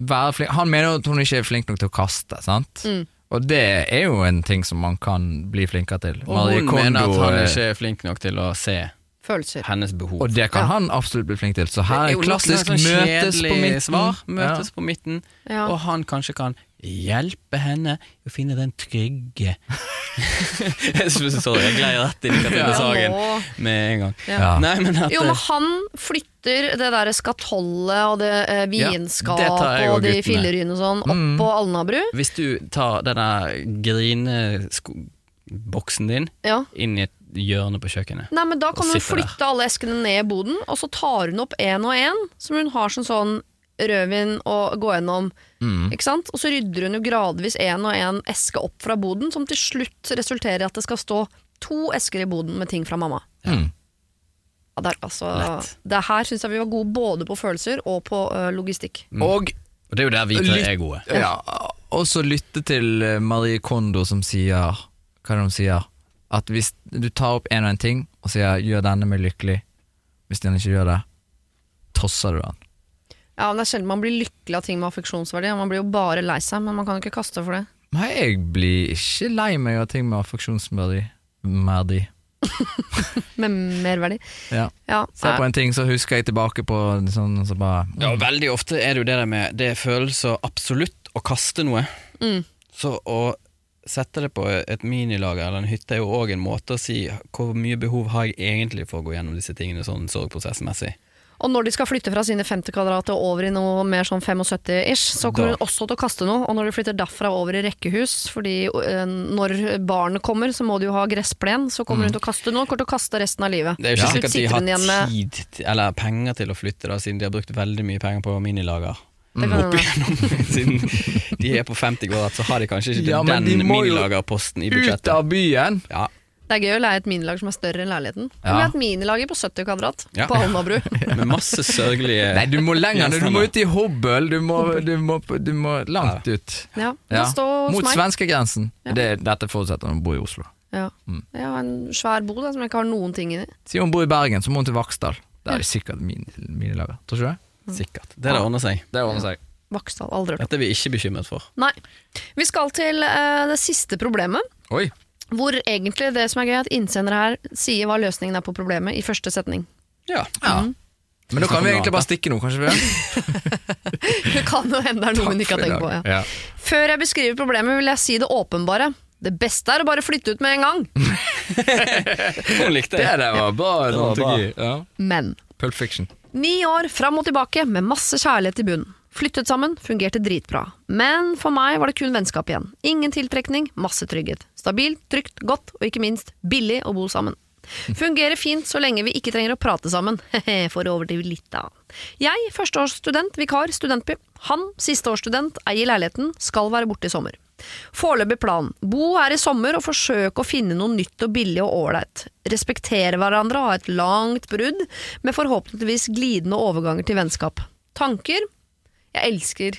Speaker 4: være flink Han mener jo at hun ikke er flink nok til å kaste, sant?
Speaker 3: Mm.
Speaker 4: Og det er jo en ting som man kan bli flinkere til.
Speaker 3: Og hun mener at han
Speaker 4: eh,
Speaker 3: ikke er flink nok til å se
Speaker 2: Følelser.
Speaker 3: hennes behov.
Speaker 4: Og det kan
Speaker 2: Ja.
Speaker 4: han absolutt bli flink til, så her
Speaker 3: Det
Speaker 4: er
Speaker 3: jo
Speaker 4: en
Speaker 3: nok
Speaker 4: klassisk
Speaker 3: noe sånn
Speaker 4: møtes på
Speaker 3: kjedelig
Speaker 4: midten.
Speaker 3: Svar, møtes
Speaker 4: Ja.
Speaker 3: på midten
Speaker 2: Ja.
Speaker 3: Og han kanskje kan hjelpe henne å finne den trygge Jeg synes- Sorry, jeg glei rett inn i Katrine
Speaker 2: Ja,
Speaker 3: Sagen
Speaker 2: nå.
Speaker 3: med en gang.
Speaker 4: Ja.
Speaker 3: Nei, men at eh,
Speaker 2: Jo, men han flytter det der skatollet og det eh,
Speaker 3: Ja,
Speaker 2: vinskap
Speaker 3: det tar jeg og
Speaker 2: og de
Speaker 3: guttene. Mm.
Speaker 2: fillerynene og sånn opp på Alnabru.
Speaker 3: Hvis du tar denne grineboksen din
Speaker 2: Ja.
Speaker 3: inn i et hjørne på kjøkkenet.
Speaker 2: Nei, men Da kan
Speaker 3: Og
Speaker 2: hun
Speaker 3: sitter der.
Speaker 2: flytte alle eskene ned i boden, og så tar hun opp én og én, som hun har som sånn rødvin å gå gjennom.
Speaker 3: Mm.
Speaker 2: Ikke sant? Og så rydder hun jo gradvis én og én eske opp fra boden, som til slutt resulterer i at det skal stå to esker i boden med ting fra mamma. Ja, det, er, altså, det her syns jeg vi var gode både på følelser og på ø, logistikk.
Speaker 4: Og
Speaker 3: Og det er jo der vi tre
Speaker 4: Lytt-
Speaker 3: er gode.
Speaker 4: ja, også lytte til eh, Marie Kondo som sier Hva er det hun sier? At hvis du tar opp en og en ting og sier 'gjør denne meg lykkelig', hvis den ikke gjør det, tosser du den.
Speaker 2: Ja, men Det er sjelden man blir lykkelig av ting med affeksjonsverdi. og Man blir jo bare lei seg, men man kan jo ikke kaste for det.
Speaker 4: Nei, jeg blir ikke lei meg av ting med affeksjonsverdi. Merdi.
Speaker 2: Med merverdi.
Speaker 4: Ja.
Speaker 2: Ja,
Speaker 4: Ser jeg
Speaker 2: nei.
Speaker 4: på en ting, så husker jeg tilbake på en sånn så bare
Speaker 3: Ja, og veldig ofte er det jo det der med Det føles så absolutt å kaste noe.
Speaker 2: Mm.
Speaker 3: Så å sette det på et minilager eller en hytte er jo òg en måte å si hvor mye behov har jeg egentlig for å gå gjennom disse tingene sånn sorgprosessmessig.
Speaker 2: Og når de skal flytte fra sine 50 kvadrat og over i noe mer sånn 75-ish, så kommer
Speaker 3: Da.
Speaker 2: hun også til å kaste noe. Og når de flytter derfra over i rekkehus, fordi ø, når barnet kommer, så må de jo ha gressplen, så kommer hun til å kaste noe, kommer til å kaste resten av livet.
Speaker 3: Det er jo ikke
Speaker 2: Til slutt
Speaker 3: sikkert de
Speaker 2: sitter hun igjen
Speaker 3: har
Speaker 2: med-
Speaker 3: tid til- eller penger til å flytte, da, siden de har brukt veldig mye penger på minilager.
Speaker 2: Det
Speaker 4: Mm.
Speaker 2: kan hende.
Speaker 3: siden de er på 50 kvadrat, så har de kanskje ikke
Speaker 4: Ja, men
Speaker 3: den
Speaker 4: de må jo
Speaker 3: minilagerposten i
Speaker 4: Ut
Speaker 3: budsjettet.
Speaker 4: av byen!
Speaker 3: Ja,
Speaker 2: Det er gøy å leie et minilag som er større enn leiligheten.
Speaker 4: Ja.
Speaker 2: Eller et minilager på 70 kvadrat
Speaker 3: Ja.
Speaker 2: på Alnabru.
Speaker 3: med masse sørgelige
Speaker 4: Nei, du må lenger ned. Du må
Speaker 3: Gjenstander.
Speaker 4: ut i Hobøl. Du må, du må, du må langt ut.
Speaker 2: Ja.
Speaker 4: Ja.
Speaker 2: Det står hos
Speaker 4: Mot
Speaker 2: meg.
Speaker 4: svenskegrensen. Det, dette forutsetter hun bor i Oslo.
Speaker 2: Ja. Jeg har en svær bod da, som jeg ikke har noen ting inni.
Speaker 4: Sier hun bor i Bergen, så må hun til Vaksdal. Der er det sikkert min- minilager. Tror ikke du det?
Speaker 3: Sikkert. Det der ordner seg.
Speaker 4: Det ordner seg.
Speaker 2: Vaksdal, aldri hørt om.
Speaker 3: Dette er vi ikke bekymret for.
Speaker 2: Nei. Vi skal til eh, det siste problemet.
Speaker 4: Oi.
Speaker 2: Hvor egentlig det som er gøy, er at innsendere her sier hva løsningen er på problemet i første setning.
Speaker 3: Ja.
Speaker 4: Ja.
Speaker 2: Mhm.
Speaker 4: Men da kan vi egentlig bare stikke nå, kanskje? vi gjør?
Speaker 2: Det kan jo hende det er noe hun ikke har tenkt på. Ja.
Speaker 4: Ja.
Speaker 2: Før jeg beskriver problemet, vil jeg si det åpenbare. Det beste er å bare flytte ut med en gang.
Speaker 3: Hun likte
Speaker 4: Det der var bra
Speaker 3: var bra.
Speaker 4: dramaturgi. Ja.
Speaker 2: Men
Speaker 4: Pulp Fiction.
Speaker 2: Ni år fram og tilbake med masse kjærlighet i bunnen. Flyttet sammen, fungerte dritbra. Men for meg var det kun vennskap igjen. Ingen tiltrekning, masse trygghet. Stabilt, trygt, godt og ikke minst billig å bo sammen. Fungerer fint så lenge vi ikke trenger å prate sammen, for å overdrive litt, da. Jeg, førsteårsstudent, vikar, studentby. Han, sisteårsstudent, eier leiligheten, skal være borte i sommer. Foreløpig plan. Bo her i sommer og forsøke å finne noe nytt og billig og ålreit. Respektere hverandre og ha et langt brudd, med forhåpentligvis glidende overganger til vennskap. Tanker? Jeg elsker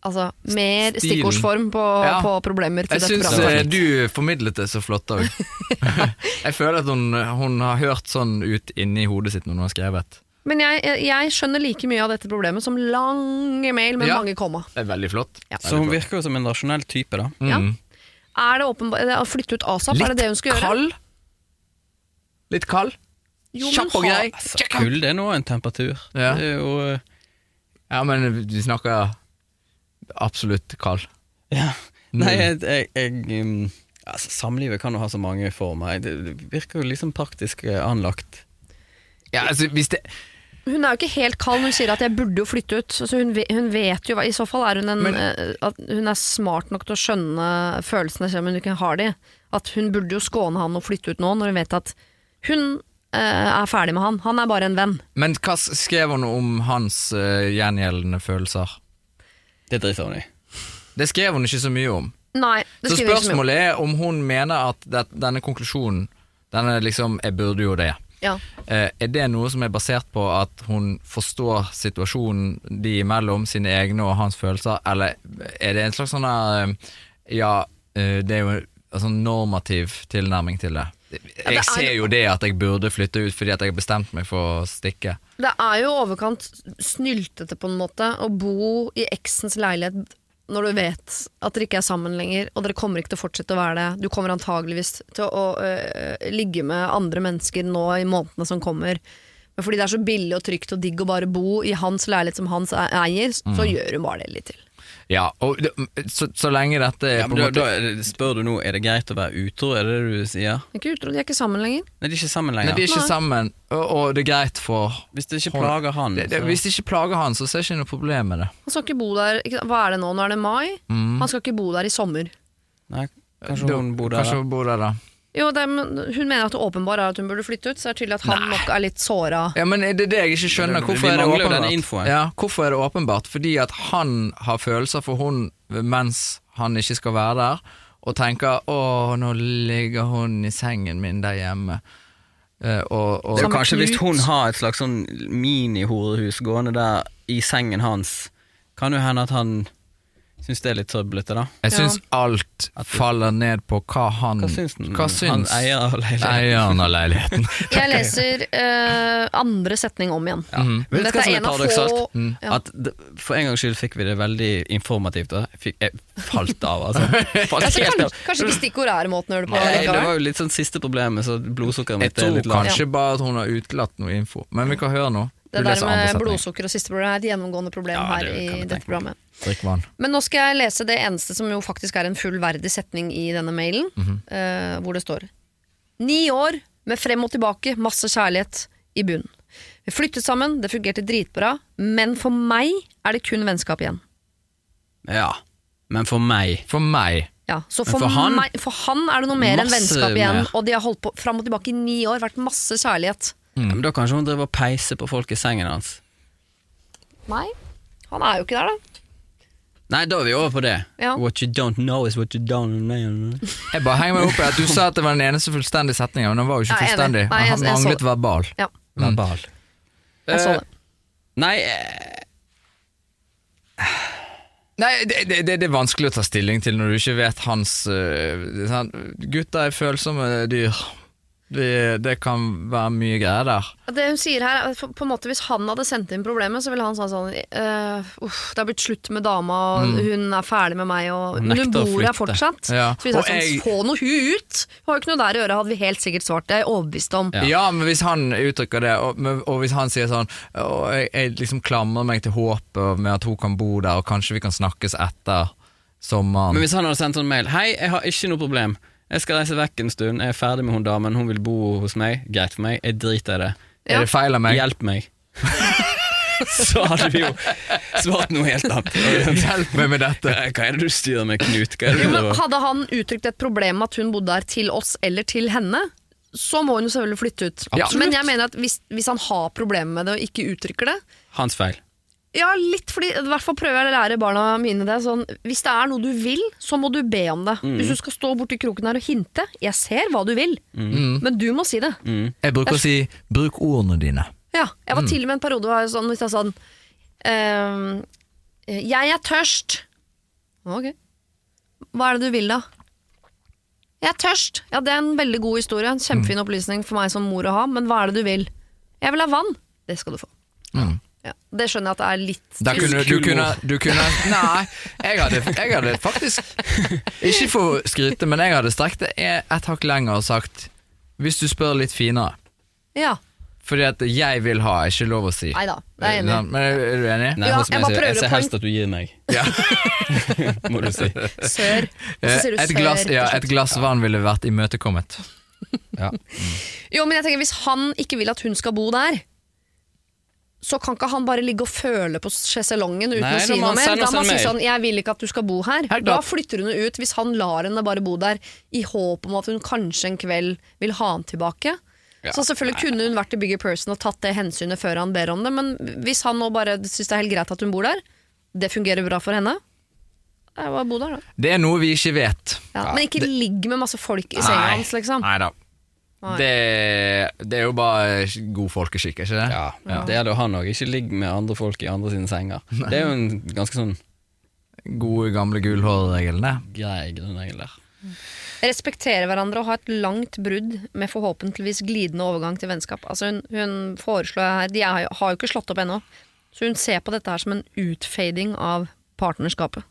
Speaker 2: Altså, mer
Speaker 4: Stilen.
Speaker 2: stikkordsform på,
Speaker 4: Ja.
Speaker 2: på problemer til
Speaker 4: Jeg
Speaker 2: dette
Speaker 4: syns
Speaker 2: programmet.
Speaker 4: eh, du formidlet det så flott òg. jeg føler at hun, hun har hørt sånn ut inni hodet sitt når hun har skrevet.
Speaker 2: Men jeg, jeg skjønner like mye av dette problemet som lange mail med
Speaker 4: Ja.
Speaker 2: mange komma.
Speaker 4: Det er Mm. veldig flott.
Speaker 2: Ja.
Speaker 3: Så hun virker jo som en rasjonell type, da.
Speaker 2: Ja. Er det åpenbart Å flytte ut ASAP, er det det hun skal gjøre?
Speaker 4: kald. Litt kald.
Speaker 2: Jo, men
Speaker 4: Kjapp og
Speaker 2: ha-
Speaker 4: grei.
Speaker 3: Altså, Kulde er nå en temperatur.
Speaker 4: Ja.
Speaker 3: Det er jo eh,
Speaker 4: Ja, men vi snakker absolutt kald.
Speaker 3: ja. Nei, jeg,
Speaker 4: Mm.
Speaker 3: jeg, jeg um, altså, Samlivet kan jo ha så mange former. Det det virker jo liksom praktisk eh, anlagt.
Speaker 4: Ja, altså, hvis det
Speaker 2: Hun er jo ikke helt kald, hun sier at jeg burde jo flytte ut. Så hun, ve- hun vet jo hva I så fall er hun en
Speaker 4: Men-
Speaker 2: eh, at Hun er smart nok til å skjønne følelsene, selv om hun ikke har de. At hun burde jo skåne han og flytte ut nå, når hun vet at hun eh, er ferdig med han. Han er bare en venn.
Speaker 4: Men hva s- skrev hun om hans eh, gjengjeldende følelser?
Speaker 3: Det driter hun i.
Speaker 4: Det skrev hun ikke så mye om.
Speaker 2: Nei, det
Speaker 4: Så
Speaker 2: skriver jeg ikke så mye om.
Speaker 4: spørsmålet er om hun mener at det, denne konklusjonen, denne liksom 'jeg burde jo det',
Speaker 2: Ja.
Speaker 4: eh, er det noe som er basert på at hun forstår situasjonen de imellom, sine egne og hans følelser, eller er det en slags sånn her, eh, Ja, eh, det er jo en sånn normativ tilnærming til det.
Speaker 2: det er-
Speaker 4: Jeg ser jo det at jeg burde flytte ut fordi at jeg har bestemt meg for å stikke.
Speaker 2: Det er jo overkant snyltete på en måte å bo i eksens leilighet når du vet at dere ikke er sammen lenger, og dere kommer ikke til å fortsette å være det. Du kommer antageligvis til å øh, ligge med andre mennesker nå i månedene som kommer. Men fordi det er så billig og trygt og digg å bare bo i hans leilighet som hans e- eier, så gjør hun bare det litt til.
Speaker 4: Ja, og det- så, så lenge dette er
Speaker 3: Ja,
Speaker 4: på
Speaker 3: men
Speaker 4: en
Speaker 3: da,
Speaker 4: måte
Speaker 3: da er det- spør du nå er det greit å være utro, er det det du sier?
Speaker 2: Det er Ikke utro, de er ikke sammen lenger.
Speaker 3: Nei, de er ikke sammen
Speaker 4: Nei,
Speaker 3: lenger.
Speaker 4: de er ikke sammen, og, og det er greit for
Speaker 3: Hvis det ikke
Speaker 4: Hold-
Speaker 3: plager han,
Speaker 4: det, det,
Speaker 3: Mm, så-
Speaker 4: Hvis det ikke plager han, så ser jeg ikke noe problem med det.
Speaker 2: Han skal ikke bo der ikke, sant? Hva er det nå? Nå er det mai. Han skal ikke bo der i sommer.
Speaker 3: Nei, kanskje hun
Speaker 4: Da-
Speaker 3: bor der.
Speaker 4: Kanskje
Speaker 3: da.
Speaker 4: hun bor der, da.
Speaker 2: Jo, det, er- men hun mener at det åpenbare er at hun burde flytte ut, så det er tydelig at han nok er litt såra.
Speaker 4: Ja, men er det er det jeg ikke skjønner.
Speaker 3: Men vi
Speaker 4: Hvorfor er det
Speaker 3: mangler jo
Speaker 4: åpenbart?
Speaker 3: den infoen.
Speaker 4: Ja, hvorfor er det åpenbart? Fordi at han har følelser for hun mens han ikke skal være der, og tenker 'Å, nå ligger hun i sengen min der hjemme'. Eh, og, og,
Speaker 3: Det er
Speaker 2: Samme
Speaker 3: kanskje hvis
Speaker 2: knut.
Speaker 3: hun har et slags sånn mini-horehus gående der i sengen hans, kan jo hende at han syns det er litt trøblete, da.
Speaker 4: jeg syns alt faller ned på hva han
Speaker 3: Hva syns den?
Speaker 4: hva syns
Speaker 3: Han eier av leiligheten.
Speaker 4: eieren av leiligheten?
Speaker 2: Jeg leser eh, andre setning om igjen.
Speaker 3: Ja.
Speaker 4: Mhm.
Speaker 3: Vet du hva som er
Speaker 2: en av
Speaker 3: paradoksalt?
Speaker 2: få-
Speaker 4: Mm.
Speaker 2: ja.
Speaker 3: At d- For en gangs skyld fikk vi det veldig informativt. Da. Fikk, jeg falt av, altså. Falt
Speaker 2: Altså,
Speaker 3: helt
Speaker 2: kan,
Speaker 3: av.
Speaker 2: kanskje ikke stikkord er måten å gjøre det på.
Speaker 3: Nei, det
Speaker 2: likevel.
Speaker 3: var jo litt sånn siste problemet, så blodsukkeret
Speaker 4: Jeg
Speaker 3: mitt er
Speaker 4: tror
Speaker 3: litt lavt.
Speaker 4: kanskje bare at hun har utelatt noe info, men vi kan høre nå.
Speaker 2: Det
Speaker 4: Du
Speaker 2: der
Speaker 4: leser andre
Speaker 2: med
Speaker 4: setning.
Speaker 2: blodsukker og siste problem er et gjennomgående problem
Speaker 3: Ja,
Speaker 2: her
Speaker 3: det kan
Speaker 2: i
Speaker 3: jeg
Speaker 2: dette
Speaker 3: tenke meg.
Speaker 2: programmet.
Speaker 4: Drikk vann.
Speaker 2: Men nå skal jeg lese det eneste som jo faktisk er en fullverdig setning i denne mailen,
Speaker 3: Mhm.
Speaker 2: eh, hvor det står Ni år med frem og tilbake, masse kjærlighet i bunnen. Vi flyttet sammen, det fungerte dritbra, men for meg er det kun vennskap igjen.
Speaker 3: Ja. Men for meg
Speaker 4: For meg
Speaker 2: Ja, så
Speaker 3: Men
Speaker 2: for,
Speaker 3: for han-
Speaker 2: meg, for han er det noe mer enn
Speaker 3: Masse
Speaker 2: vennskap igjen,
Speaker 3: mer.
Speaker 2: og de har holdt på fram og tilbake i ni år, vært masse kjærlighet.
Speaker 4: Mm.
Speaker 3: ja, Men Da kanskje hun driver og peiser på folk i sengen hans.
Speaker 2: Nei, han er jo ikke der, da.
Speaker 3: Nei, da er vi over på det.
Speaker 2: Ja.
Speaker 3: What you don't know is what you don't know.
Speaker 4: Jeg bare henger meg opp i at du sa at det var den eneste fullstendige setningen, men den var jo ikke
Speaker 2: Nei, jeg er enig.
Speaker 4: fullstendig.
Speaker 2: Nei, jeg-
Speaker 4: Han
Speaker 2: jeg så
Speaker 4: manglet
Speaker 2: det.
Speaker 4: verbal.
Speaker 2: Ja,
Speaker 3: Verbal.
Speaker 2: jeg
Speaker 3: Eh,
Speaker 2: så det.
Speaker 3: Nei, eh,
Speaker 4: Nei, det, det, det, det er vanskelig å ta stilling til når du ikke vet hans øh, sånn, Gutter er følsomme dyr. Det, det kan være mye greier der.
Speaker 2: Det hun sier her, er at på på en måte Hvis han hadde sendt inn problemet, så ville han sagt sånn eh, Uff, det har blitt slutt med dama, og hun er ferdig med meg, og
Speaker 3: Hun
Speaker 2: men hun
Speaker 3: Mm. nekter å
Speaker 2: bor her
Speaker 3: flytte.
Speaker 2: fortsatt.
Speaker 4: Ja.
Speaker 2: Så vi sa
Speaker 4: Og
Speaker 2: sånn,
Speaker 4: jeg-
Speaker 2: få noe ut! Hun har jo ikke noe der å gjøre, hadde vi helt sikkert svart. Det er jeg overbevist om.
Speaker 4: Ja.
Speaker 3: Ja.
Speaker 4: men hvis han uttrykker det, og, men- og hvis han sier sånn og jeg, jeg liksom klamrer meg til håpet med at hun kan bo der, og kanskje vi kan snakkes etter sommeren.
Speaker 3: Men hvis han hadde sendt sånn mail Hei, jeg har ikke noe problem. Jeg skal reise vekk en stund. Jeg er ferdig med hun damen. Hun vil bo hos meg. Greit for meg. Jeg driter i det.
Speaker 4: er det feil av meg?
Speaker 3: Hjelp meg. Så hadde vi jo svart noe helt annet.
Speaker 4: Hjelp meg med dette.
Speaker 3: Hva er det du styrer med, Knut? Hva er
Speaker 2: Jo,
Speaker 3: det du
Speaker 2: men
Speaker 3: driver med?
Speaker 2: hadde han uttrykt et problem med at hun bodde der til oss eller til henne, så må hun jo selvfølgelig flytte ut.
Speaker 3: Ja.
Speaker 2: Men jeg mener at hvis, hvis han har problemer med det og ikke uttrykker det,
Speaker 3: Hans feil.
Speaker 2: Ja, litt fordi I hvert fall prøver jeg å lære barna mine det. Sånn, hvis det er noe du vil, så må du be om det. Hvis du skal stå borti kroken her og hinte 'jeg ser hva du vil', men du må si det.
Speaker 4: Jeg bruker å si 'bruk ordene dine'.
Speaker 2: Ja, jeg
Speaker 4: Mm.
Speaker 2: var til og med en periode hvor jeg sånn, hvis jeg sa sånn ehm, 'Jeg er tørst'. Ok. Hva er det du vil, da? Jeg er tørst. Ja, Det er en veldig god historie. En kjempefin
Speaker 4: Mm.
Speaker 2: opplysning for meg som mor å ha, men hva er det du vil? Jeg vil ha vann. Det skal du få.
Speaker 4: Mm.
Speaker 2: Ja, det skjønner jeg at det er litt
Speaker 4: Da kunne, du,
Speaker 3: Kul
Speaker 4: kunne,
Speaker 3: mor.
Speaker 4: du kunne Nei, jeg hadde, jeg hadde faktisk Ikke for å skryte, men jeg hadde strekt det et hakk lenger og sagt Hvis du spør litt finere.
Speaker 2: Ja,
Speaker 4: Fordi at 'jeg vil ha' er ikke lov å si. Eh,
Speaker 2: nei da. Jeg er enig.
Speaker 4: Men er er du enig?
Speaker 3: Nei,
Speaker 2: Ja,
Speaker 3: sånn som
Speaker 2: jeg
Speaker 3: jeg,
Speaker 2: bare prøver
Speaker 3: sier, jeg
Speaker 2: å
Speaker 3: ser
Speaker 2: poeng-
Speaker 3: helst at du gir meg,
Speaker 4: Ja.
Speaker 3: må du si.
Speaker 2: Sør. Og så
Speaker 4: Eh,
Speaker 2: sier du
Speaker 4: Et
Speaker 2: sør.
Speaker 4: glass,
Speaker 2: til
Speaker 4: ja,
Speaker 2: slutt.
Speaker 4: et glass vann ville vært imøtekommet.
Speaker 2: Jo, men jeg tenker Hvis han ikke vil at hun skal bo der, så kan ikke han bare ligge og føle på sjeselongen uten
Speaker 3: Nei,
Speaker 2: å si
Speaker 3: da må
Speaker 2: noe
Speaker 3: han
Speaker 2: mer.
Speaker 3: sende
Speaker 2: Da
Speaker 3: oss
Speaker 2: må han
Speaker 3: en
Speaker 2: si
Speaker 3: mail.
Speaker 2: sånn 'jeg vil ikke at du skal bo her'.
Speaker 4: Helt
Speaker 2: Da
Speaker 4: klart.
Speaker 2: flytter hun ut hvis han lar henne bare bo der i håp om at hun kanskje en kveld vil ha han tilbake.
Speaker 3: Ja.
Speaker 2: Så selvfølgelig kunne hun vært a bigger person og tatt det hensynet før han ber om det, men hvis han nå bare syns det er helt greit at hun bor der, det fungerer bra for henne, da er det bare å bo der, da.
Speaker 4: Det er noe vi ikke vet.
Speaker 2: Ja, men ikke ligg med masse folk i senga
Speaker 4: Nei.
Speaker 2: hans, liksom.
Speaker 4: Nei da.
Speaker 2: Nei.
Speaker 4: Det, det er jo bare god folkeskikk, er ikke det?
Speaker 3: Ja, Det gjelder jo han òg. Ikke ligg med andre folk i andre sine senger. Det er jo en ganske sånn
Speaker 4: Gode, gamle gulhårreglene.
Speaker 3: grei grunnregel der.
Speaker 2: Respektere hverandre og ha et langt brudd med forhåpentligvis glidende overgang til vennskap. Altså hun, hun foreslår her De er, har jo ikke slått opp ennå. Så hun ser på dette her som en utfading av partnerskapet.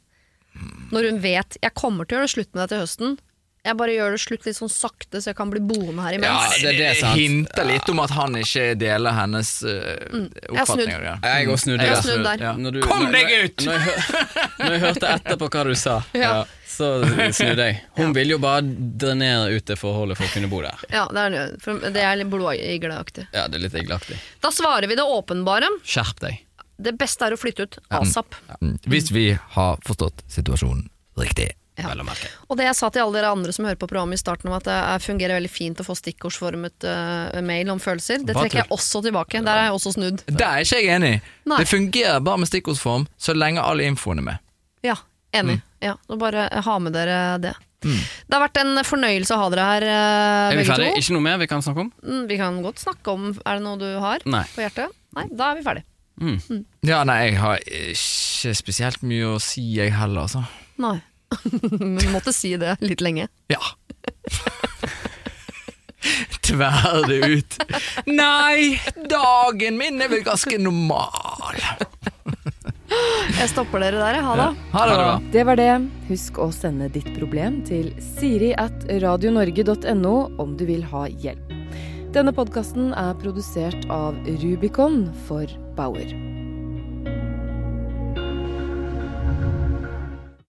Speaker 2: Når hun vet 'jeg kommer til å gjøre slutt med deg til høsten', jeg bare gjør det slutt litt sånn sakte, så jeg kan bli boende her
Speaker 4: Ja,
Speaker 2: imens.
Speaker 4: det,
Speaker 3: det er sant.
Speaker 4: hinter litt om at han ikke deler hennes uh,
Speaker 2: Mm. Jeg har snudd.
Speaker 4: oppfatning. av det.
Speaker 3: Jeg går snudd
Speaker 2: Jeg
Speaker 3: der.
Speaker 2: har snudd der.
Speaker 4: Ja.
Speaker 3: Når du-
Speaker 4: Kom
Speaker 3: når-
Speaker 4: deg ut!
Speaker 3: Når jeg, hør- når jeg hørte etterpå hva du sa,
Speaker 2: Ja.
Speaker 3: så snudde jeg. Hun vil jo bare drenere ut det forholdet for å kunne bo der.
Speaker 2: Ja, det er, det. For det er litt blodigleaktig.
Speaker 3: Ja, det er litt eggelaktig.
Speaker 2: Da svarer vi det åpenbare.
Speaker 3: Skjerp deg.
Speaker 2: Det beste er å flytte ut asap.
Speaker 4: Mm. Hvis vi har forstått situasjonen riktig.
Speaker 2: Ja.
Speaker 3: Vel å merke.
Speaker 2: Og det jeg sa til alle dere andre som hører på programmet i starten om at det er- fungerer veldig fint å få stikkordsformet eh, mail om følelser, det
Speaker 4: Hva
Speaker 2: trekker jeg også tilbake. Der er jeg også snudd.
Speaker 4: Det er ikke jeg enig i.
Speaker 2: Nei.
Speaker 4: Det fungerer bare med stikkordsform så lenge all infoen er med.
Speaker 3: Mm.
Speaker 2: Ja, enig. Ja, så bare eh, ha med dere det. Det har vært en fornøyelse å ha dere her, eh,
Speaker 3: Er vi
Speaker 2: begge
Speaker 3: ferdige?
Speaker 2: to.
Speaker 3: Ikke noe mer vi kan snakke om?
Speaker 2: Mm, Vi kan godt snakke om Er det noe du har
Speaker 3: Nei.
Speaker 2: på hjertet? Nei, da er vi ferdig.
Speaker 3: Mm.
Speaker 4: Ja, nei, jeg har ikke spesielt mye å si, jeg heller, altså.
Speaker 2: Nei. Men du måtte si det litt lenge.
Speaker 4: Ja. Tverr det ut. Nei, dagen min er vel ganske normal.
Speaker 2: Jeg stopper dere der, jeg. ha det.
Speaker 4: Ha det bra.
Speaker 1: Det var det. Husk å sende ditt problem til siri at radionorge.no om du vil ha hjelp. Denne podkasten er produsert av Rubicon for Bauer.